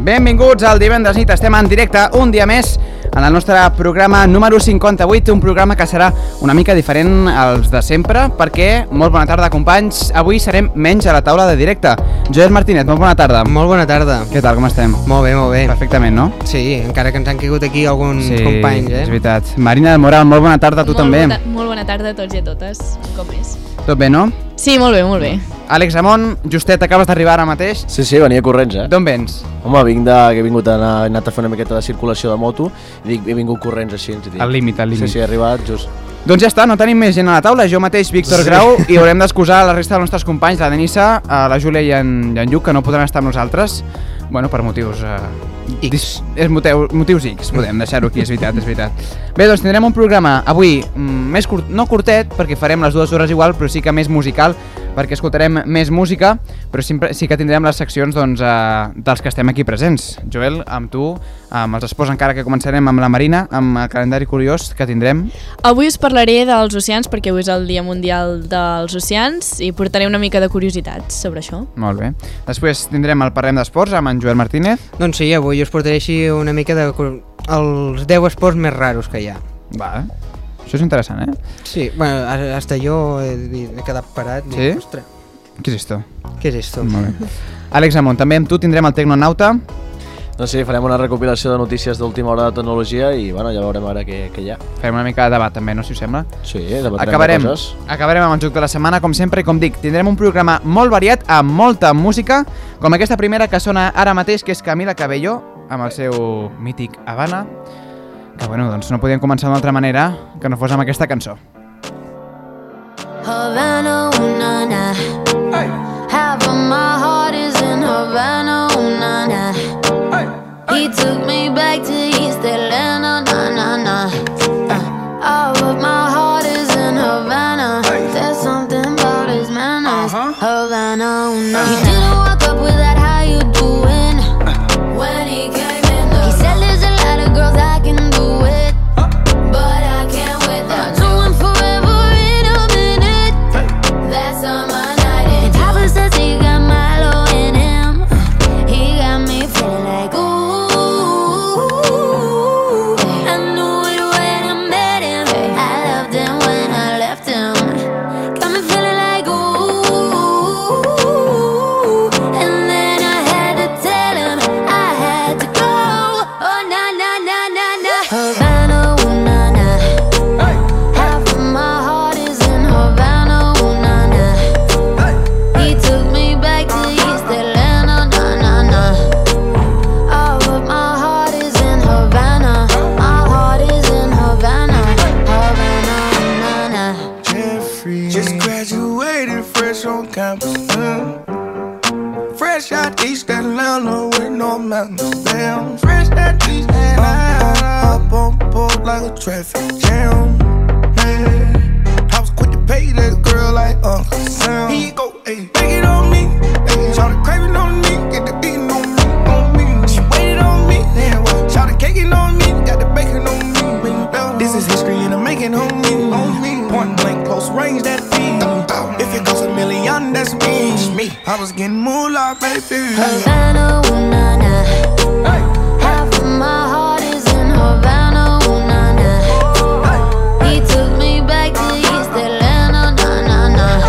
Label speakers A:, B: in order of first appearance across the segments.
A: Benvinguts al divendres nit, estem en directe un dia més en el nostre programa número 58, un programa que serà una mica diferent als de sempre, perquè, molt bona tarda companys, avui serem menys a la taula de directe. Joel Martínez, molt bona tarda.
B: Molt bona tarda.
A: Què tal, com estem?
B: Molt bé, molt bé.
A: Perfectament, no?
B: Sí, encara que ens han caigut aquí alguns companys, eh?
A: és veritat. Marina del Moral, molt bona tarda a tu
C: molt
A: també.
C: Bona, molt bona tarda a tots i a totes, un cop més.
A: Tot bé, no?
C: Sí, molt bé, molt bé.
A: Àlex Amon, justet, acabes d'arribar ara mateix.
D: Sí, sí, venia corrents, eh?
A: D'on vens?
D: Home, vinc de, que he vingut a anar, he anat a fer una miqueta de circulació de moto i dic, he vingut corrents així. Ens dic.
A: Al límit, al límit.
D: Sí, sí, he arribat just.
A: Doncs ja està, no tenim més gent a la taula, jo mateix, Víctor
D: Sí.
A: Grau, i haurem d'excusar la resta dels nostres companys, la Denissa, eh, la Júlia i en, i en Lluc, que no podran estar amb nosaltres, bueno, per motius... Eh,
B: X.
A: dis- És moteu, motius X, podem deixar-ho aquí, és veritat, és veritat. Bé, doncs tindrem un programa avui mm, més curt, no curtet, perquè farem les dues hores igual, però sí que més musical, perquè escoltarem més música, però sempre, sí que tindrem les seccions doncs, eh, dels que estem aquí presents. Joel, amb tu, amb els esports encara que començarem amb la Marina, amb el calendari curiós que tindrem,
C: Avui us parlaré dels oceans perquè avui és el Dia Mundial dels Oceans i portaré una mica de curiositat sobre això.
A: Molt bé. Després tindrem el Parlem d'Esports amb en Joel Martínez.
B: Doncs sí, avui us portaré així una mica de... cur- els 10 esports més raros que hi ha.
A: Va. Això és interessant, eh?
B: Sí, bueno, a- hasta jo he, dit- he quedat parat. dic,
A: Sí?
B: Ostres,
A: Què és esto?
B: què és esto?
A: Molt bé. Àlex Amont, també amb tu tindrem el Tecnonauta.
D: No sé, farem una recopilació de notícies d'última hora de tecnologia i, bueno, ja veurem ara què, què hi ha.
A: Farem una mica de debat també, no, si us sembla?
D: Sí, debatrem
A: Acabarem,
D: coses.
A: acabarem amb el joc de la setmana, com sempre, i com dic, tindrem un programa molt variat, amb molta música, com aquesta primera que sona ara mateix, que és Camila Cabello, amb el seu mític Havana, que, bueno, doncs no podíem començar d'una altra manera que no fos amb aquesta cançó.
E: Havana, ooh na na. Half of my heart is in Havana, ooh na na. He took me back to East Atlanta, na na na. Uh, all of my heart is in Havana. There's something about his manners, Havana, ooh na na. He didn't walk up with that how you doing. When he came in, the he said there's a lot of girls I can do it. But I can't with that. No one forever in a minute. That's on my night. And Papa says he got Milo in him. He got me feeling like ooh. I knew it when I met him. I loved him when I left him. Got me feeling like ooh. And then I had to tell him I had to go. Oh na na na na na. Havana, ooh na na. Half of my heart is in Havana, ooh na na. He took me back to East Atlanta, na na na. All of my heart is in Havana. My heart is in Havana, Havana, ooh, na na.
F: Just graduated fresh on campus. mm. Fresh out East Atlanta with no mountains. Damn, fresh out East Atlanta. Up on board like a traffic jam. Man, I was quick to pay that girl like Uncle Sam. He go, hey, take it on me. Hey, shout the craving on me. Get the beating on me, on me. She waited on me. Damn, shout the caking on me. Got the bacon on me. This is history and I'm making homie. On me. Point blank, close range, that thing. If it goes a million, that's me. me. I was getting moolah, baby.
E: Havana, ooh na na. Half of my heart is in Havana, ooh na na. He took me back to East Atlanta, na na na.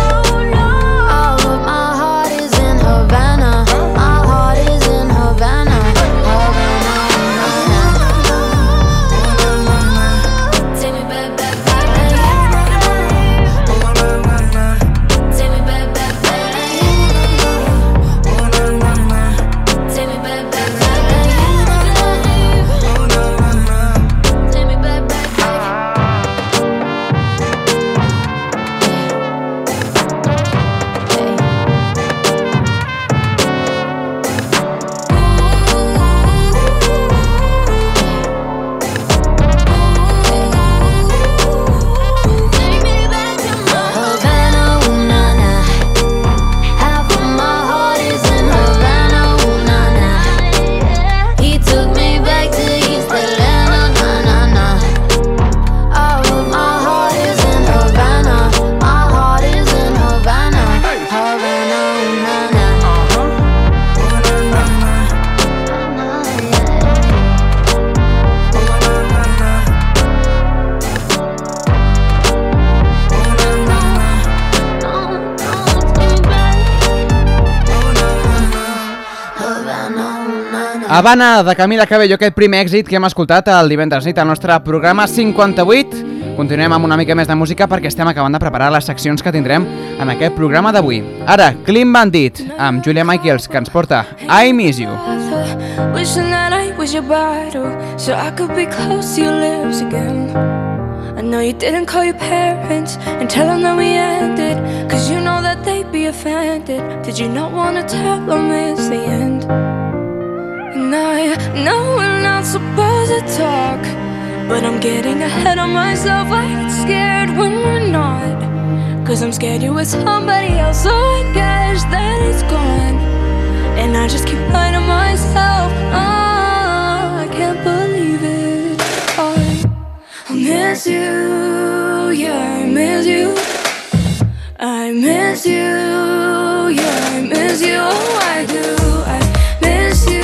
E: All of my heart is in Havana. My heart is in Havana, Havana, ooh na na. Take me back, back, back, Take me back, back, back. Take me back, back.
G: Oh,
E: Oh,
A: Habana de Camila Cabello, aquest primer èxit que hem escoltat el divendres nit al nostre programa 58. Continuem amb una mica més de música perquè estem acabant de preparar les seccions que tindrem en aquest programa d'avui. Ara, Clean Bandit, amb Julia Michaels, que ens porta I Miss You.
G: Wishing that I was your bottle so I could be close to your lips again. I know you didn't call your parents and tell them that we ended, cause you know that they'd be offended. Did you not wanna tell them it's the end? And I know we're not supposed to talk, but I'm getting ahead of myself. I get scared when we're not, cause I'm scared you're with somebody else, so I guess that it's gone. And I just keep lying to myself. Ah, I can't believe it. I I miss you, yeah, I miss you. I miss you, yeah, I miss you. Oh, I do. I miss you,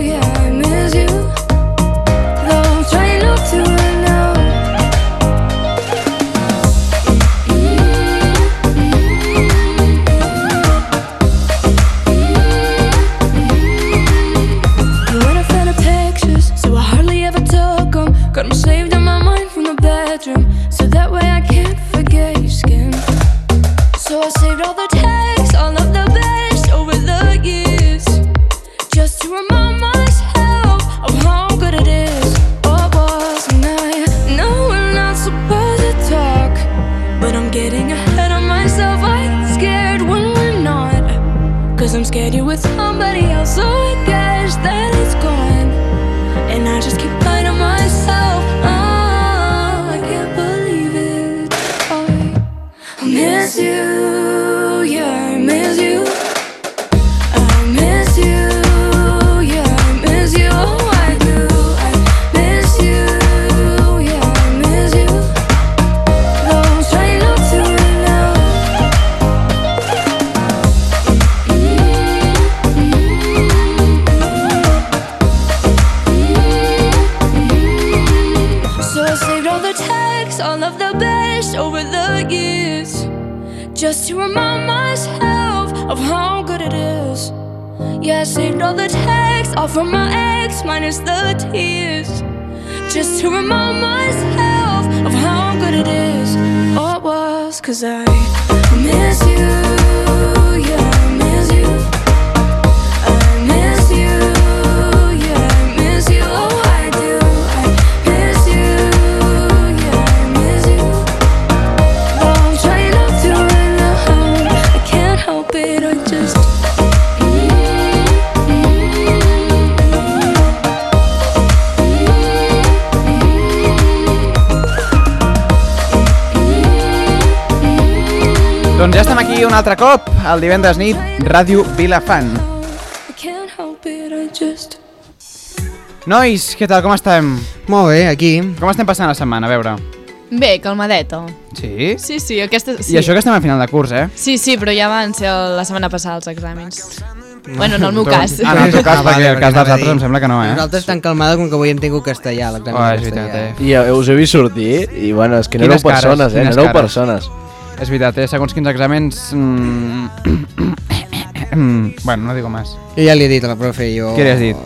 G: yeah, I miss you. Though I'm trying not to right now. And when I found the pictures, so I hardly ever took them. Got them saved in my mind from the bedroom, so that way I can't forget your skin. So I saved all the texts, all of the best over the years, just to remind myself of how good it is. What was and I know we're not supposed to talk, but I'm getting ahead of myself. I get scared when we're not. Cause I'm scared you're with somebody else, so I guess that it's gone. And I just keep lying to myself. Ah, I can't believe it. I I miss you, yeah, I miss you. I miss you, yeah, I miss you. Oh, I do. I miss you, yeah, I miss you. Though I'm trying not to right now. Mm-hmm. So I saved all the texts, all of the best over the years, just to remind myself of how good it is. Yeah, I saved all the texts, all from my ex, minus the tears, just to remind myself of how good it is. Or it was, cause I miss you. Yeah, I miss you. I miss you. Yeah, I miss you. Oh, I do. I miss you. Yeah, I miss you. Though I'm trying not to right now. I can't help it. I just.
A: Doncs ja estem aquí un altre cop, el divendres nit, Ràdio Vilafant.
G: I can't help it. I just.
A: Nois, què tal, com estem?
B: Molt bé, aquí.
A: Com estem passant la setmana, a veure?
C: Bé, calmadeta.
A: Sí?
C: Sí, sí, aquesta...
A: I
C: Sí.
A: això que estem a final de curs, eh?
C: Sí, sí, però ja van ser el- la setmana passada els exàmens. Bueno, no el meu cas.
A: Ah, no, en el teu cas, perquè el cas dels
B: anava a
A: altres
B: dir.
A: em sembla que no, eh?
B: Nosaltres tan calmada com que avui hem tingut castellà, l'examen
A: Oh,
B: de
A: és
B: castellà.
A: veritat, eh?
D: I eh, us he vist sortir i, bueno, és que no
A: Quines
D: éreu
A: cares,
D: persones, eh? No
A: quines
D: éreu
A: cares.
D: persones.
A: És veritat, eh? Segons quins exàmens... Mm... bueno, no digo más.
B: Jo ja li he dit a la profe, jo...
A: eh? Què li has dit?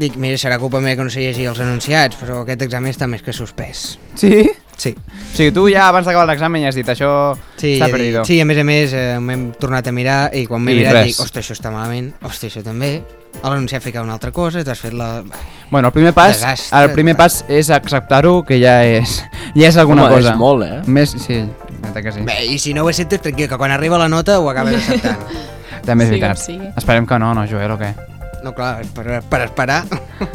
B: Dic, mira, serà culpa meva que no sé llegir els enunciats, però aquest examen està més que suspès.
A: Sí?
B: Sí.
A: O sigui, tu ja abans d'acabar l'examen ja has dit això
B: Sí,
A: està
B: he dit-
A: perdido.
B: sí, a més a més eh, m'hem tornat a mirar i quan m'he
A: I
B: mirat
A: res.
B: dic, ostres, això està malament, ostres, això també. A l'anunciat ficava una altra cosa, t'has fet la...
A: Bueno, el primer pas,
B: Desastre,
A: el primer pas és acceptar-ho, que ja és, ja és alguna
D: Home,
A: cosa.
D: és molt, eh?
A: Més, sí, veritat que sí.
B: Bé, i si no ho acceptes, tranquil, que quan arriba la nota ho acabes acceptant.
A: També és
C: Sí,
A: veritat.
C: sí.
A: Esperem que no, no, Joel, o què?
B: No, clar, per, per esperar.
A: No,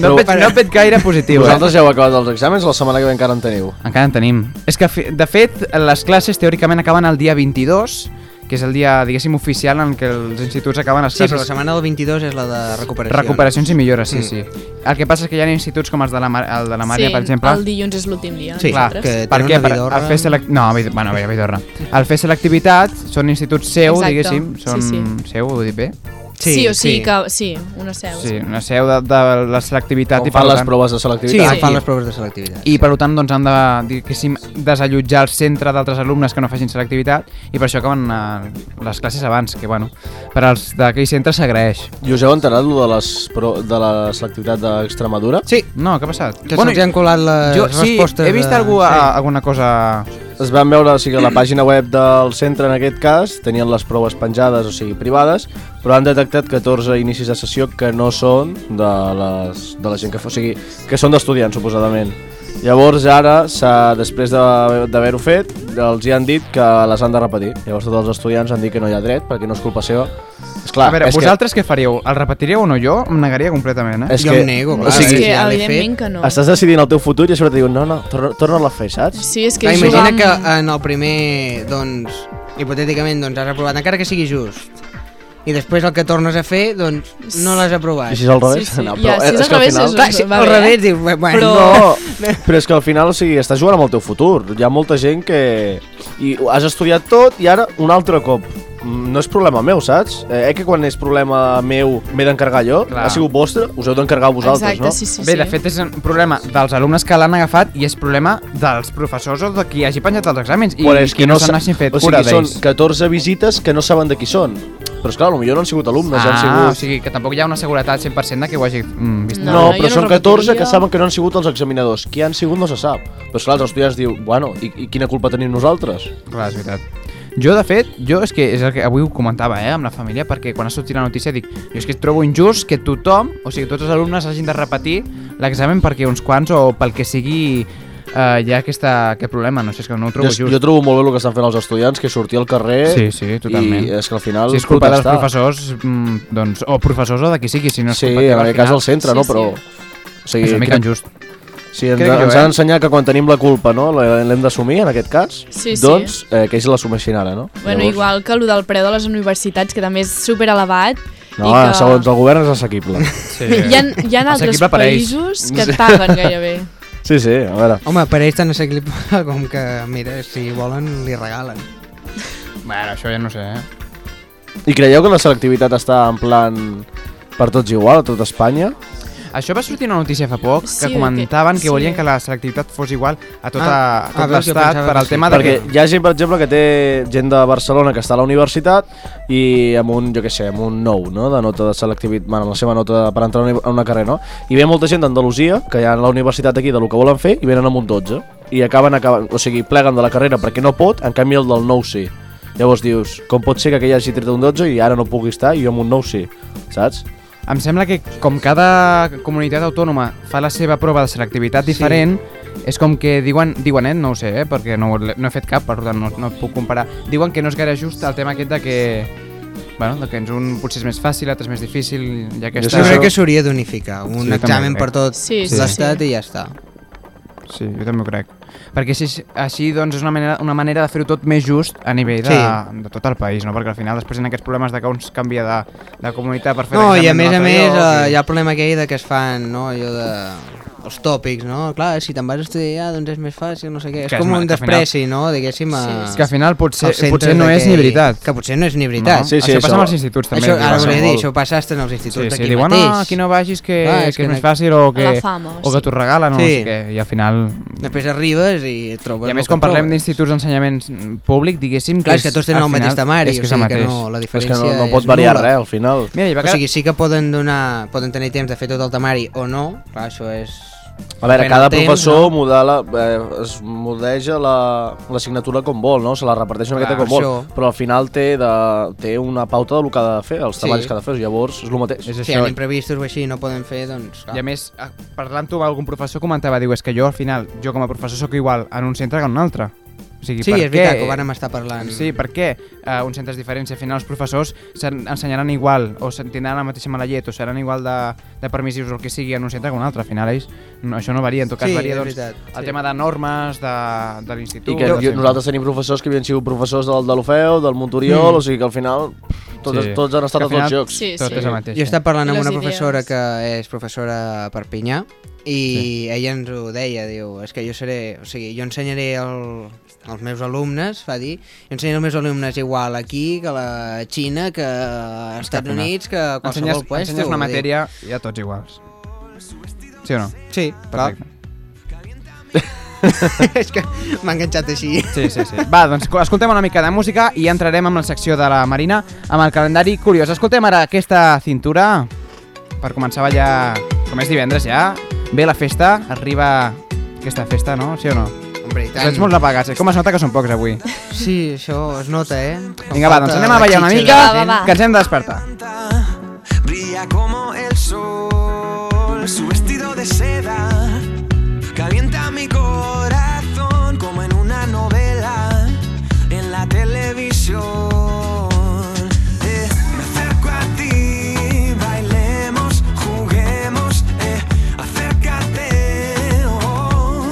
D: Però-
A: et, no et vet gaire positiu,
D: Vosaltres ja heu acabat els exàmens, la setmana que ve encara en teniu.
A: eh? Encara en tenim. És que, fe- de fet, les classes teòricament acaben el dia 22, que és el dia, diguéssim, oficial en què els instituts acaben les
B: Sí, però la
A: classes.
B: setmana del 22 és la de recuperació.
A: Recuperacions i millores, sí,
B: Mm.
A: sí. El que passa és que hi ha instituts com els de la, Mar- el de la Maria,
C: sí,
A: per exemple,
C: el dilluns és l'últim dia.
B: Sí,
A: Clar,
C: nosaltres.
A: que
B: que
A: per
B: tenen
A: què?
B: una
A: Per,
B: vidorra.
A: al fer selec... No, vid- bueno, bé, vidorra. Al fer selectivitat, són instituts seu,
C: Exacte,
A: diguéssim, són
C: sí,
A: seu, ho he dit bé?
C: Sí, sí o sí, sí, que sí, una seu.
A: Sí, una seu de, de la selectivitat
D: On
A: i per
D: fan les
A: tant-
D: proves de
B: Sí,
D: selectivitat.
B: on
C: Sí.
B: fan les proves de selectivitat.
A: I per tant doncs, han de diguéssim, desallotjar el centre d'altres alumnes que no facin selectivitat i per això acaben eh, les classes abans, que bueno, per als d'aquell centre s'agraeix.
D: I us heu enterat lo de, les pro... de la selectivitat d'Extremadura?
B: Sí,
A: No, què ha passat?
B: que se'ls han colat les
A: jo, sí,
B: respostes.
A: he vist
B: de-
A: algú,
B: Sí.
A: a, alguna cosa...
D: Es van veure, o sigui, a la pàgina web del centre en aquest cas tenien les proves penjades, o sigui, privades, però han detectat 14 inicis de sessió que no són de, les, de la gent que fa, o sigui, que són d'estudiants, suposadament. Llavors ara, s'ha- després de- d'haver-ho fet, els hi han dit que les han de repetir. Llavors tots els estudiants han dit que no hi ha dret, perquè no és culpa seva. Esclar,
A: a veure,
D: és
A: vosaltres que... què faríeu? El repetiríeu o no? Jo em negaria completament,
D: que...
A: eh?
D: És
B: Jo
D: que,
B: em nego,
D: o
B: clar.
C: és
D: sigui,
C: que,
B: ja l'he
C: evidentment
B: fet.
C: que no.
D: Estàs decidint el teu futur i a sobre et diuen no, no, torna- torna-la a fer, saps?
C: Sí, és que
B: Clar,
C: això
B: Ah, imagina
C: va amb-
B: que en el primer, doncs, hipotèticament, doncs has aprovat, encara que sigui just, i després el que tornes a fer, doncs, no l'has aprovat.
D: I si és al revés?
C: Sí, sí.
D: No,
C: Ja, si és al
D: que
C: revés
D: final-
C: és-
B: Clar, si
C: Va
B: al
C: bé,
B: revés,
C: eh?
B: dius, bueno,
C: Però-
D: No, però és que al final, o sigui, estàs jugant amb el teu futur. Hi ha molta gent que... I ho has estudiat tot i ara un altre cop. Mm, No és problema meu, saps? Eh, eh que quan és problema meu m'he d'encargar jo?
A: Clar.
D: Ha sigut vostre? Us heu d'encargar vosaltres,
C: Exacte,
D: no?
C: sí, sí,
A: Bé,
C: sí.
A: de fet és un problema dels alumnes que l'han agafat i és problema dels professors o de qui hagi penjat els exàmens i,
D: Però és
A: i
D: que
A: no,
D: s'ha-
A: se n'hagin fet
D: o sigui,
A: cura
D: són
A: d'ells.
D: 14 visites que no saben de qui són. Però esclar, potser no han sigut alumnes, han
A: Ah,
D: sigut...
A: o sigui, que tampoc hi ha una seguretat 100% de que ho hagi mm, vist.
D: No,
C: No, no,
D: però
C: jo no
D: són 14 que
C: repetiria.
D: saben que no han sigut els examinadors. Qui han sigut no se sap. Però esclar, els estudiants diu, bueno, i, i quina culpa tenim nosaltres?
A: Clar, és veritat. Jo, de fet, jo és que és el que avui ho comentava eh, amb la família, perquè quan ha sortit la notícia dic, jo és que trobo injust que tothom, o sigui, tots els alumnes hagin de repetir l'examen perquè uns quants o pel que sigui eh, hi ha aquesta, aquest problema, no sé, és que no ho trobo
D: jo,
A: just.
D: jo trobo molt bé el que estan fent els estudiants, que sortir al carrer...
A: Sí, sí, totalment.
D: I és que al final...
A: si és culpa dels
D: protestar.
A: professors, mm, doncs, o professors o de qui sigui, si no és
D: Sí,
A: culpa
D: en
A: teva, al
D: aquest cas
A: final,
D: del centre,
C: Sí,
D: no?
C: sí.
D: Però... O sigui,
A: és una mica
D: crec-
A: injust.
D: sí, ens,
A: crec que jo,
D: ens
A: eh?
D: han ensenyat que quan tenim la culpa, no? la- L'hem d'assumir, en aquest cas.
C: Sí, sí.
D: Doncs eh, que ells l'assumeixin ara, no?
C: Bueno,
D: Llavors-
C: igual que el del preu de les universitats, que també és super elevat.
D: No, ah,
C: i que...
D: segons el govern és assequible.
A: Sí.
C: Hi ha, hi ha altres
A: Assequible per a ells.
C: països que et paguen gairebé.
D: sí, sí, a veure.
B: Home, per ells tant assequible com que, mira, si volen, li regalen.
A: Bueno, això ja no sé, eh?
D: I creieu que la selectivitat està en plan per tots igual, a tot Espanya?
A: Això va sortir una notícia fa poc,
C: Sí,
A: que comentaven
C: que-
A: que, volien
C: sí.
A: que la selectivitat fos igual a tot, a,
B: Ah,
A: a tot
B: a veure, jo
A: l'estat
B: pensava
A: per
B: que
A: al
B: sí.
A: tema de
D: Perquè hi ha gent, per exemple, que té gent de Barcelona que està a la universitat i amb un, jo què sé, amb un nou, no?, de nota de selectivitat, bueno, amb la seva nota per entrar a una- a una carrera, no? I ve molta gent d'Andalusia, que hi ha a la universitat aquí de lo que volen fer, i venen amb un 12. I acaben, acaben, o sigui, pleguen de la carrera perquè no pot, en canvi el del nou sí. Llavors dius, com pot ser que aquell hagi tret un 12 i ara no pugui estar i jo amb un nou sí, saps?
A: Em sembla que com cada comunitat autònoma fa la seva prova de selectivitat
B: Sí.
A: diferent, és com que diuen, diuen eh, no ho sé, eh, perquè no, l'he- no he fet cap, per tant no, no puc comparar, diuen que no és gaire just el tema aquest de que, bueno, de que ens un potser és més fàcil, altre és més difícil, i aquesta...
D: Sí,
B: Jo crec
D: sí.
B: que s'hauria d'unificar, un
A: Sí, també
B: examen
A: crec.
D: eh.
B: per tot
C: Sí, sí,
B: l'estat
C: sí.
B: i ja està.
A: Sí, jo també ho crec. Perquè així, així doncs, és una manera, una manera de fer-ho tot més just a nivell de,
B: Sí.
A: de tot el país, no? Perquè al final després en aquests problemes de que uns canvia de, de comunitat per fer
B: No, i a
A: l'examen
B: més a
A: d'un altre
B: més
A: lloc,
B: eh,
A: i-
B: hi ha el problema aquell de que es fan, no, allò de els tòpics, no? Clar, si te'n vas a estudiar, doncs és més fàcil, no sé què.
A: Que
B: És
A: és
B: com
A: mal,
B: un
A: que al final-
B: despreci, no?, diguéssim, a...
C: Sí,
A: És que al final potser,
B: als centres
A: potser no
B: de
A: és
B: que-
A: ni veritat.
B: Que potser no és ni veritat.
A: No?
D: Sí, sí,
A: això passa
D: això-
A: amb els instituts també.
B: Això,
A: que
B: ara
A: passa
B: volia dir,
A: molt.
B: això passa hasta en els instituts
A: Sí, sí,
B: d'aquí
A: diuen,
B: mateix.
A: ah, aquí no vagis que,
B: Clar,
A: que,
B: és
A: que és
B: que
A: més
B: no-
A: fàcil o que,
C: A la fama,
A: o que
C: sí.
A: t'ho regalen o no
B: Sí.
A: sé què, i al final...
B: Després arribes i et
A: I
B: trobes
A: a
B: el
A: més,
B: que
A: quan parlem
B: trobes.
A: d'instituts d'ensenyament públic, diguéssim...
B: Clar, és que tots tenen
A: al
B: el mateix
A: final,
B: temari,
A: és que és
B: o
A: el
B: sigui que
A: mateix.
B: no, la
D: És
B: diferència
D: que no, no pot
B: és
D: variar
B: nula.
D: res, al final.
A: Mira, hi va
B: O
A: quedar...
B: sigui, sí que poden donar, poden tenir temps de fer tot el temari o no, clar, això és...
D: A veure,
B: depèn
D: cada
B: del temps,
D: professor modela, eh, es modeja la- l'assignatura com vol, no? Se la reparteix una miqueta
B: Clar,
D: com vol,
B: això.
D: però al final té, de, té una pauta del que ha de fer, els
B: Sí.
D: treballs que ha de fer, llavors és el mateix.
A: és
B: Si
A: això.
B: hi ha imprevistos o així i no poden fer, doncs... Clar.
A: I a més, a- parlant-ho amb algun professor, comentava, diu, és que jo al final, jo com a professor sóc igual en un centre que en un altre. O sigui,
B: sí,
A: per
B: és veritat,
A: què?
B: que ho vàrem estar parlant.
A: Sí, per què uh, uns centres diferents i al final els professors s'en- ensenyaran igual o se'n tindran la mateixa mala llet o seran igual de, de permissius o el que sigui en un centre que en un altre. Al final ells, no, això no varia, en tot cas
B: Sí,
A: varia
B: és
A: doncs,
B: veritat,
A: el
B: sí.
A: tema de normes de, de l'institut.
D: I que
A: de
D: jo,
A: sempre.
D: nosaltres tenim professors que havien sigut professors del Dalofeu, del Monturiol, mm. o sigui que al final Tots,
A: Sí.
D: tots han estat a
A: Que al
D: tots els
A: final-
D: jocs.
C: Sí,
A: Tot
C: sí.
A: és el mateix. eh.
B: Jo he estat parlant amb
C: Les
B: una professora
C: idees.
B: que és professora a Perpinyà i ella ens ho deia, diu, és que jo seré, o sigui, jo ensenyaré el, els meus alumnes, va dir, jo ensenyaré els meus alumnes igual aquí que a la Xina, que als Estats
A: final.
B: Units, que a qualsevol
A: Ensenyes,
B: puesto,
A: ensenyes una
B: vull dir.
A: matèria i ja tots iguals. Sí o no?
B: Sí, clar.
A: Perfecte.
B: és que m'ha enganxat així.
A: Sí, sí, sí. Va, doncs escoltem una mica de música i ja entrarem amb la secció de la Marina amb el calendari curiós. Escoltem ara aquesta cintura per començar a ballar, com és divendres ja, ve la festa, arriba aquesta festa, no? Sí o no?
B: Hombre, i tant.
A: Tens molts apagats, eh? com es nota que són pocs avui.
B: Sí, això es nota, eh?
A: Vinga, va, doncs anem a ballar una mica,
C: Va, va, va.
A: que ens hem de despertar.
F: planta, brilla como el sol. Su vestido de seda calienta mi corazón como en una novela en la televisión. Eh, me acerco a ti, bailemos, juguemos, eh, acércate. oh.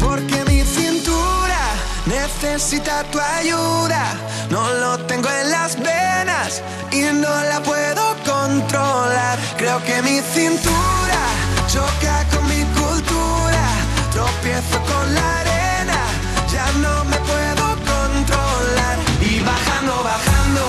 F: Porque mi cintura necesita tu ayuda. No lo tengo en las venas y no la puedo controlar. Creo que mi cintura choca con mi cultura. Tropiezo con la arena, ya no me puedo controlar. Y bajando, bajando,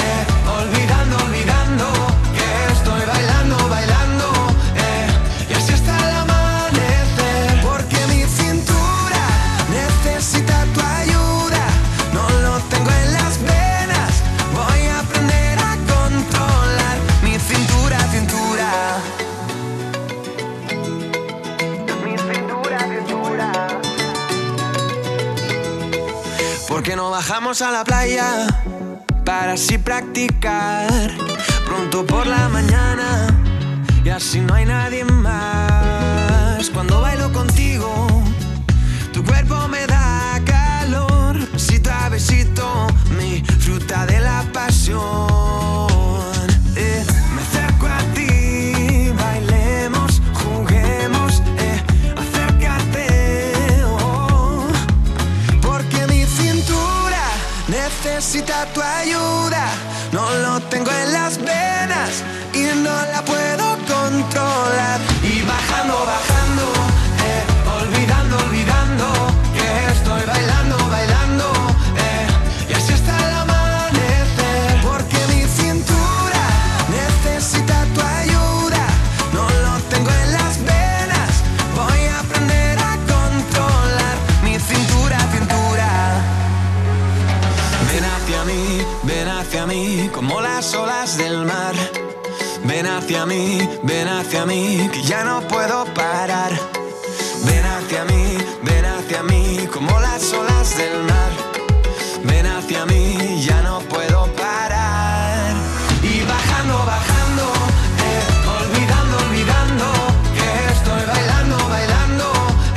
F: eh, olvidando, olvidando que estoy bailando, bailando. eh, y así hasta el amanecer. Porque mi cintura necesita tu ayuda. No lo tengo en las venas. Voy a aprender a controlar mi cintura, cintura. Mi cintura, cintura. Porque no bajamos a la playa para así practicar pronto por la mañana y así no hay nadie más. Cuando bailo contigo, tu cuerpo me da calor, besito a besito, mi fruta de la pasión. Eh, me acerco a ti, bailemos, juguemos, eh, acércate. oh. Porque mi cintura necesita tu ayuda. No lo tengo en las venas y no la puedo controlar. Y bajando, bajando, eh, olvidando, olvidando que estoy bailando, bailando. eh, y así hasta el amanecer. Porque mi cintura necesita tu ayuda. No lo tengo en las venas. Voy a aprender a controlar mi cintura, cintura. Ven hacia mí, ven hacia mí, como las olas del mar. Ven hacia mí, ven hacia mí, que ya no puedo parar. Ven hacia mí, ven hacia mí, como las olas del mar. Ven hacia mí, ya no puedo parar. Y bajando, bajando, eh, olvidando, olvidando, que estoy bailando, bailando,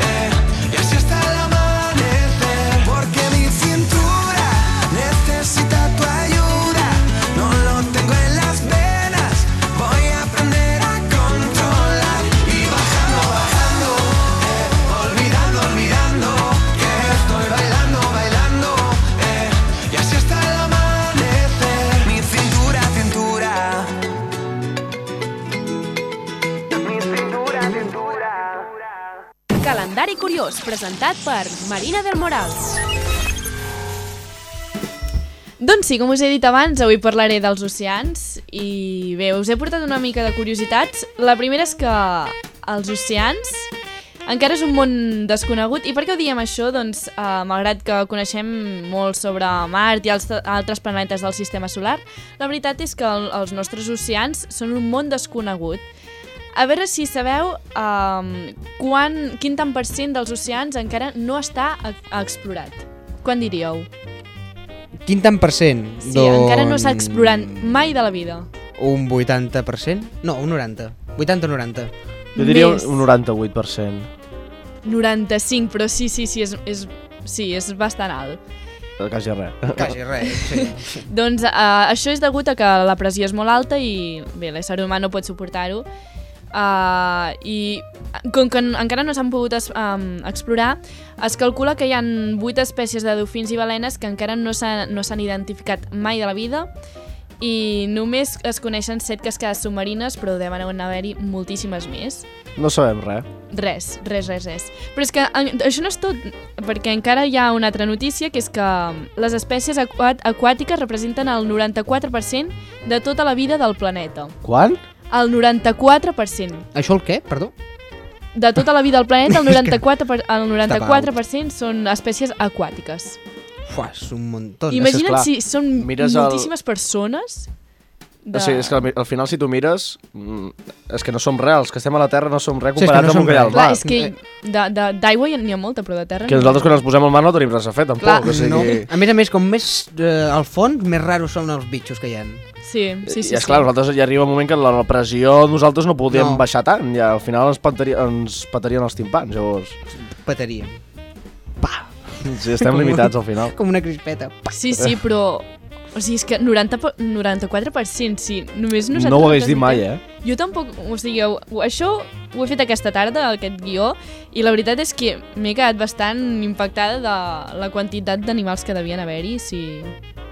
F: eh, y así hasta el amanecer. Porque mi cintura necesita tu ayuda, no lo tengo en las venas, voy a aprender a controlar. Y bajando, bajando, eh, olvidando, olvidando, que estoy bailando, bailando, eh, y así hasta el amanecer. Mi cintura, cintura.
H: Calendari curiós, presentat per Marina del Morals.
C: Doncs sí, com us he dit abans, avui parlaré dels oceans i bé, us he portat una mica de curiositats. La primera és que els oceans encara és un món desconegut i per què ho diem això? Doncs eh, malgrat que coneixem molt sobre Mart i els, altres planetes del sistema solar, la veritat és que el, els nostres oceans són un món desconegut. A veure si sabeu um, quan, quin tant per cent dels oceans encara no està e- explorat. Quan diríeu?
B: Quin tant per cent?
C: Sí, encara no
B: Doncs-
C: s'ha explorat mai de la vida.
B: Un 80%? No, un 90. 80-90.
D: Jo diria un
C: Més.
D: un 98%.
C: 95, però sí, sí, sí, és, és, sí, és bastant alt.
D: eh, Quasi res.
B: Quasi
D: Eh,
B: res, sí.
C: Doncs eh, això és degut a que la pressió és molt alta i bé, l'ésser humà no pot suportar-ho. Uh, I com que en- encara no s'han pogut es, um, explorar, es calcula que hi ha 8 espècies de dofins i balenes que encara no s'han no s'han identificat mai de la vida i només es coneixen set cascades submarines, però deuen haver-hi moltíssimes més.
D: No sabem res.
C: Res, res, res, res. Però és que en, això no és tot, perquè encara hi ha una altra notícia, que és que les espècies aqua- aquàtiques representen el 94% de tota la vida del planeta.
D: Quan?
C: El 94%.
B: Això el què? Perdó?
C: De tota la vida del planeta, el 94%, per, el
B: Estava
C: 94 són espècies aquàtiques.
B: Fuà, és un muntó.
D: Imagina-
C: Imagina't
D: clar.
C: si són
D: Mires el-
C: moltíssimes persones...
D: De... O sigui, és que al, al final, si tu mires, mm, és que no som res, els que estem a la Terra no som res
B: Sí, és que
D: comparats
B: no
D: amb
B: som
D: un que hi ha
B: res.
D: al
C: Clar,
D: mar.
C: és que de- de- d'aigua ja n'hi ha molta, però de terra...
D: Que
C: no.
D: nosaltres quan ens posem al mar no tenim res a fer, tampoc.
C: Clar,
D: o sigui,
B: No. A més a més, com més eh, al fons, més raros són els bitxos que hi ha.
C: Sí, sí, sí.
D: I esclar,
C: sí.
D: nosaltres ja arriba un moment que la repressió nosaltres no podíem
B: No.
D: baixar tant, ja al final ens, petaria, ens petarien els timpans, llavors
B: Petaria.
D: sí, estem limitats al final.
B: Com una crispeta.
C: Sí, sí, però... O sigui, és que 90, po- 94%, sí. Només nosaltres...
D: No ho hagués dit mai, eh?
C: Jo tampoc... O sigui, ho- ho- això ho he fet aquesta tarda, aquest guió, i la veritat és que m'he quedat bastant impactada de la quantitat d'animals que devien haver-hi, si...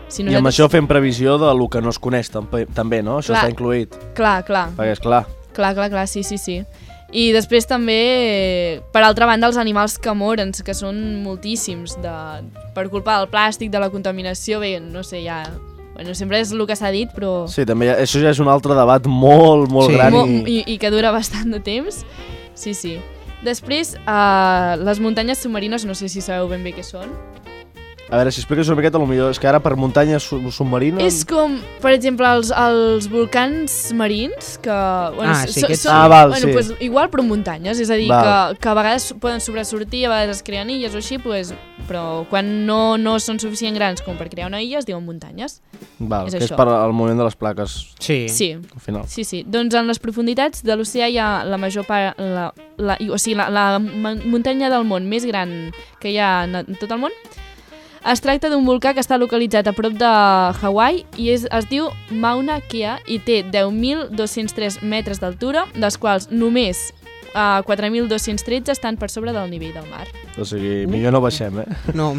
C: si
D: I amb això fem previsió de lo que no es coneix tamp- també, no? Això
C: Clar.
D: està incloït.
C: Clar, clar.
D: Perquè, esclar,
C: Clar, clar, clar, sí, sí, sí. I després també, per altra banda, els animals que moren, que són moltíssims, de, per culpa del plàstic, de la contaminació, bé, no sé, ja... Bueno, sempre és el que s'ha dit, però...
D: sí, també hi ha, això ja és un altre debat molt, molt
B: Sí.
D: gran.
C: Mo-
D: i...
C: i, I que dura bastant de temps. Sí, sí. Després, uh, les muntanyes submarines, no sé si sabeu ben bé què són.
D: A veure, si expliques una miqueta, potser és que ara per muntanya su- submarina...
C: És com, per exemple, els, els volcans marins, que... Bueno,
B: Ah,
C: s-
B: sí, aquests
C: són-
D: sí. Ah, val,
C: bueno,
D: sí.
C: Pues, igual, però muntanyes, és a dir, que,
D: Val.
C: que a vegades poden sobresortir, a vegades es creen illes o així, pues, però quan no, no són suficient grans com per crear una illa, es diuen muntanyes.
D: Val,
C: és
D: que és
C: això.
D: per al moment de les plaques,
B: Sí.
C: Sí.
D: al final.
C: Sí, sí. Doncs en les profunditats de l'oceà hi ha la major part... La, la, i- o sigui, la, la ma- muntanya del món més gran que hi ha en en tot el món. Es tracta d'un volcà que està localitzat a prop de Hawaii i és, es diu Mauna Kea i té 10.203 metres d'altura, dels quals només eh, 4.213 estan per sobre del nivell del mar.
D: O sigui, millor no baixem, eh?
B: No,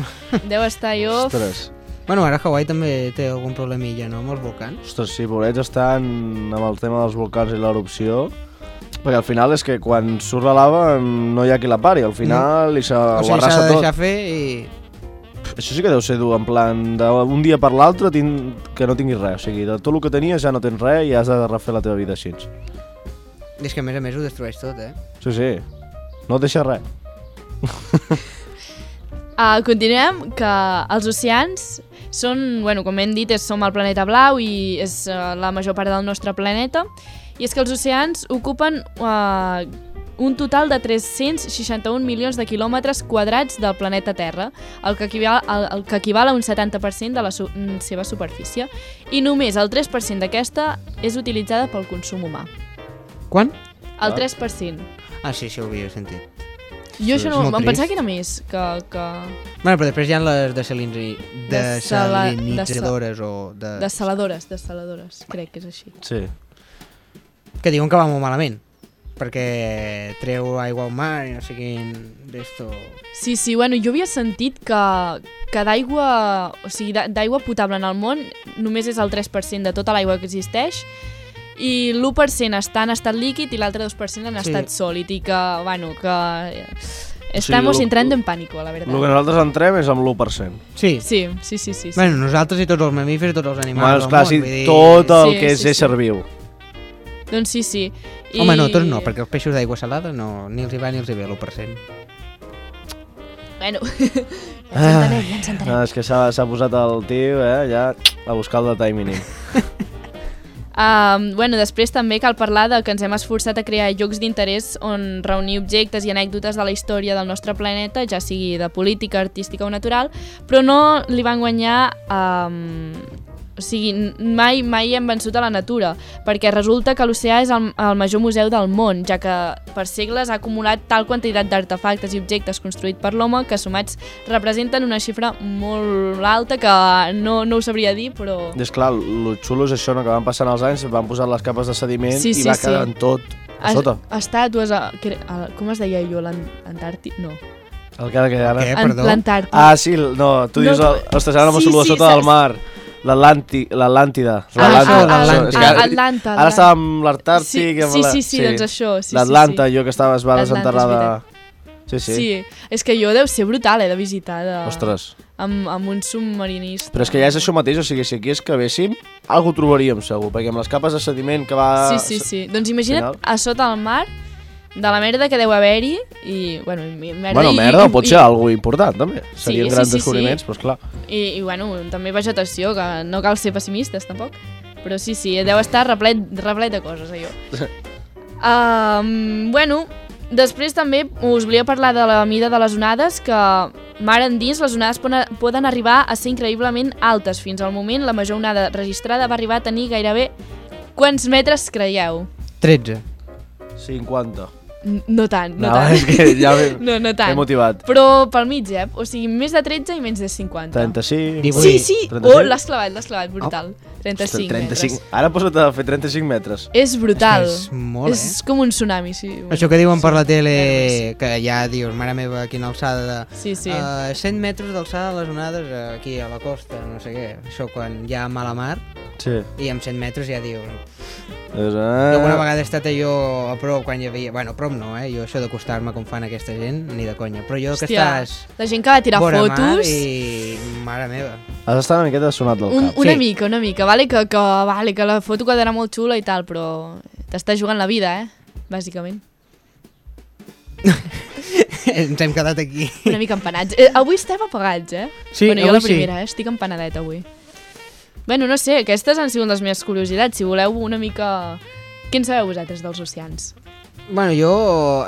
C: Deu estar jo...
D: Ostres.
B: bueno, ara Hawaii també té algun problemilla, no?, amb els volcans.
D: Ostres, sí, pobrets estan amb el tema dels volcans i l'erupció. Perquè al final és que quan surt la lava no hi ha qui la pari, al final i se
B: Mm. O
D: ho
B: sigui, s'ha
D: arrasa
B: de
D: tot.
B: deixar fer i...
D: Això sí que deu ser dur, en plan, d'un dia per l'altre tin- que no tinguis res. O sigui, de tot el que tenies ja no tens res i has de refer la teva vida així.
B: I és que a més a més ho destrueix tot, eh?
D: Sí, sí, no et deixa res.
C: Uh, continuem, que els oceans són, bueno, com hem dit, és, som el planeta blau i és uh, la major part del nostre planeta. I és que els oceans ocupen uh, un total de 361 milions de quilòmetres quadrats del planeta Terra, el que equival, el, el que equival a un 70% de la su mm, seva superfície. I només el 3% d'aquesta és utilitzada pel consum humà.
B: Quan?
C: El
D: Ah.
C: 3%.
B: Ah, sí, sí, ho havia sentit.
C: Jo això
B: és
C: no,
B: molt
C: em pensava
B: trist.
C: que era més, que... que...
B: Bueno, però després hi ha les desalinitri...
C: Desala-
B: desalinitzadores o... De...
C: Desaladores, desaladores, crec que és així.
D: Sí.
B: Que diuen que va molt malament perquè treu aigua al mar i no sé quin d'esto...
C: Sí, sí, bueno, jo havia sentit que, que d'aigua, o sigui, d'a- d'aigua potable en el món només és el 3% de tota l'aigua que existeix i l'1% està en estat líquid i l'altre 2% en
B: Sí.
C: estat sòlid i que, bueno, que eh,
D: O sigui,
C: estamos
D: lo-
C: entrando en pánico, la
D: El que
C: verdad.
D: nosaltres entrem és amb l'1%.
B: Sí. sí.
C: Sí, sí, sí, sí. sí.
B: Bueno, nosaltres i tots els mamífers i tots els animals
D: Bueno,
B: del
D: esclar,
B: món,
D: sí,
B: vull dir...
D: tot el
C: Sí,
D: que és
C: sí,
D: ésser viu.
C: Doncs sí, sí. I...
B: Home, no, tots no, perquè els peixos d'aigua salada no, ni els hi va ni els hi ve l'1%.
C: Bueno,
B: Ah.
D: Ai, no, Ah, és que s'ha s'ha posat el tio, eh, ja a buscar el detall mínim.
C: Um, bueno, després també cal parlar de que ens hem esforçat a crear llocs d'interès on reunir objectes i anècdotes de la història del nostre planeta, ja sigui de política, artística o natural, però no li van guanyar... Um, o sigui, n- mai, mai hem vençut a la natura, perquè resulta que l'oceà és el, el major museu del món, ja que per segles ha acumulat tal quantitat d'artefactes i objectes construïts per l'home que sumats representen una xifra molt alta que no, no ho sabria dir, però...
D: I és clar, el xulo és això, no? que van passant els anys, van posant les capes de sediment
C: Sí,
D: i
C: sí,
D: va
C: sí.
D: quedant tot a sota.
C: Estàtues a, que, a, com es deia jo, l'Antàrtic? No,
D: El que ara que ara...
B: Què? Eh,
C: An-
B: perdó?
C: l'Antàrtic.
D: Ah, sí, el- no, tu
C: No,
D: dius, el,
C: tu-
D: ostres, ara m'ha
C: sí,
D: sí, a
C: sí,
D: sota
C: saps?
D: del mar. l'Atlanti- l'Atlàntida.
C: Ah,
D: L'Atlàntida.
A: ah, l'Atlàntida.
D: És que ara-
C: Atlanta,
D: Ara
C: Atlanta.
D: estava amb l'Artàrtic.
C: Sí,
D: i amb
C: sí,
D: la-
C: sí, sí, doncs això, sí, sí,
D: L'Atlanta,
C: sí.
D: jo que estava, es va
C: L'Atlanta,
D: desenterrar
C: és
D: de...
C: veritat.
D: Sí, sí.
C: sí, és que jo deu ser brutal, eh, de visitar de...
D: Ostres.
C: Amb, amb un submarinista.
D: Però és que ja és això mateix, o sigui, si aquí excavéssim, alguna trobaríem segur, perquè amb les capes de sediment que va...
C: Sí, sí, sí. Doncs imagina't
D: final.
C: a sota del mar, de la merda que deu haver-hi, i, bueno, i merda...
D: Bueno,
C: i,
D: merda,
C: i,
D: pot ser
C: i,
D: algo important, també.
C: Sí,
D: Serien
C: sí,
D: grans
C: sí,
D: descobriments, doncs
C: sí.
D: però esclar.
C: i, i, bueno, també vegetació, que no cal ser pessimistes, tampoc. Però sí, sí, deu estar replet, replet de coses, allò. Um, bueno, després també us volia parlar de la mida de les onades, que mar endins les onades pona- poden arribar a ser increïblement altes. Fins al moment, la major onada registrada va arribar a tenir gairebé... Quants metres creieu?
B: 13.
D: 50.
C: N- No tant, no,
D: No,
C: tant.
D: és que ja m'he-
C: no, no tant.
D: M'he motivat.
C: Però pel mig, eh? O sigui, més de 13 i menys de 50.
D: 35...
B: Divuit.
C: Sí, sí!
D: 35.
C: Oh, l'has clavat, l'has clavat, brutal. 35,
D: 35.
C: metres.
D: Ara posa't a fer 35 metres.
C: És brutal.
B: És molt,
C: és
D: eh?
C: com un tsunami, sí. Bueno,
B: Això que diuen per la
C: Sí.
B: tele, que ja dius, mare meva, quina alçada de...
C: Sí, sí.
B: Eh, 100 metres d'alçada de les onades eh, aquí a la costa, no sé què. Això quan hi ha mala mar
D: Sí.
B: i amb 100 metres ja dius...
D: És,
B: Jo alguna
D: eh...
B: vegada he estat jo a prop quan hi havia... Bueno, a prop no, eh? Jo això d'acostar-me com fan aquesta gent, ni de conya. Però jo que estàs...
C: la gent que va tirar
B: vora mar
C: fotos...
B: i... Mare meva.
D: Has estat una miqueta sonat del
C: Un,
D: cap.
C: una
B: Sí.
C: mica, una mica, vale? Que, que, vale, que la foto quedarà molt xula i tal, però t'està jugant la vida, eh? Bàsicament.
B: Ens hem quedat aquí.
C: Una mica empanats. Eh, avui estem apagats, eh?
B: Sí,
C: bueno, jo la
B: avui sí.
C: primera, eh? Estic empanadeta avui. Bueno, no sé, aquestes han sigut les meves curiositats. Si voleu una mica... Què en sabeu vosaltres dels oceans?
B: Bueno, jo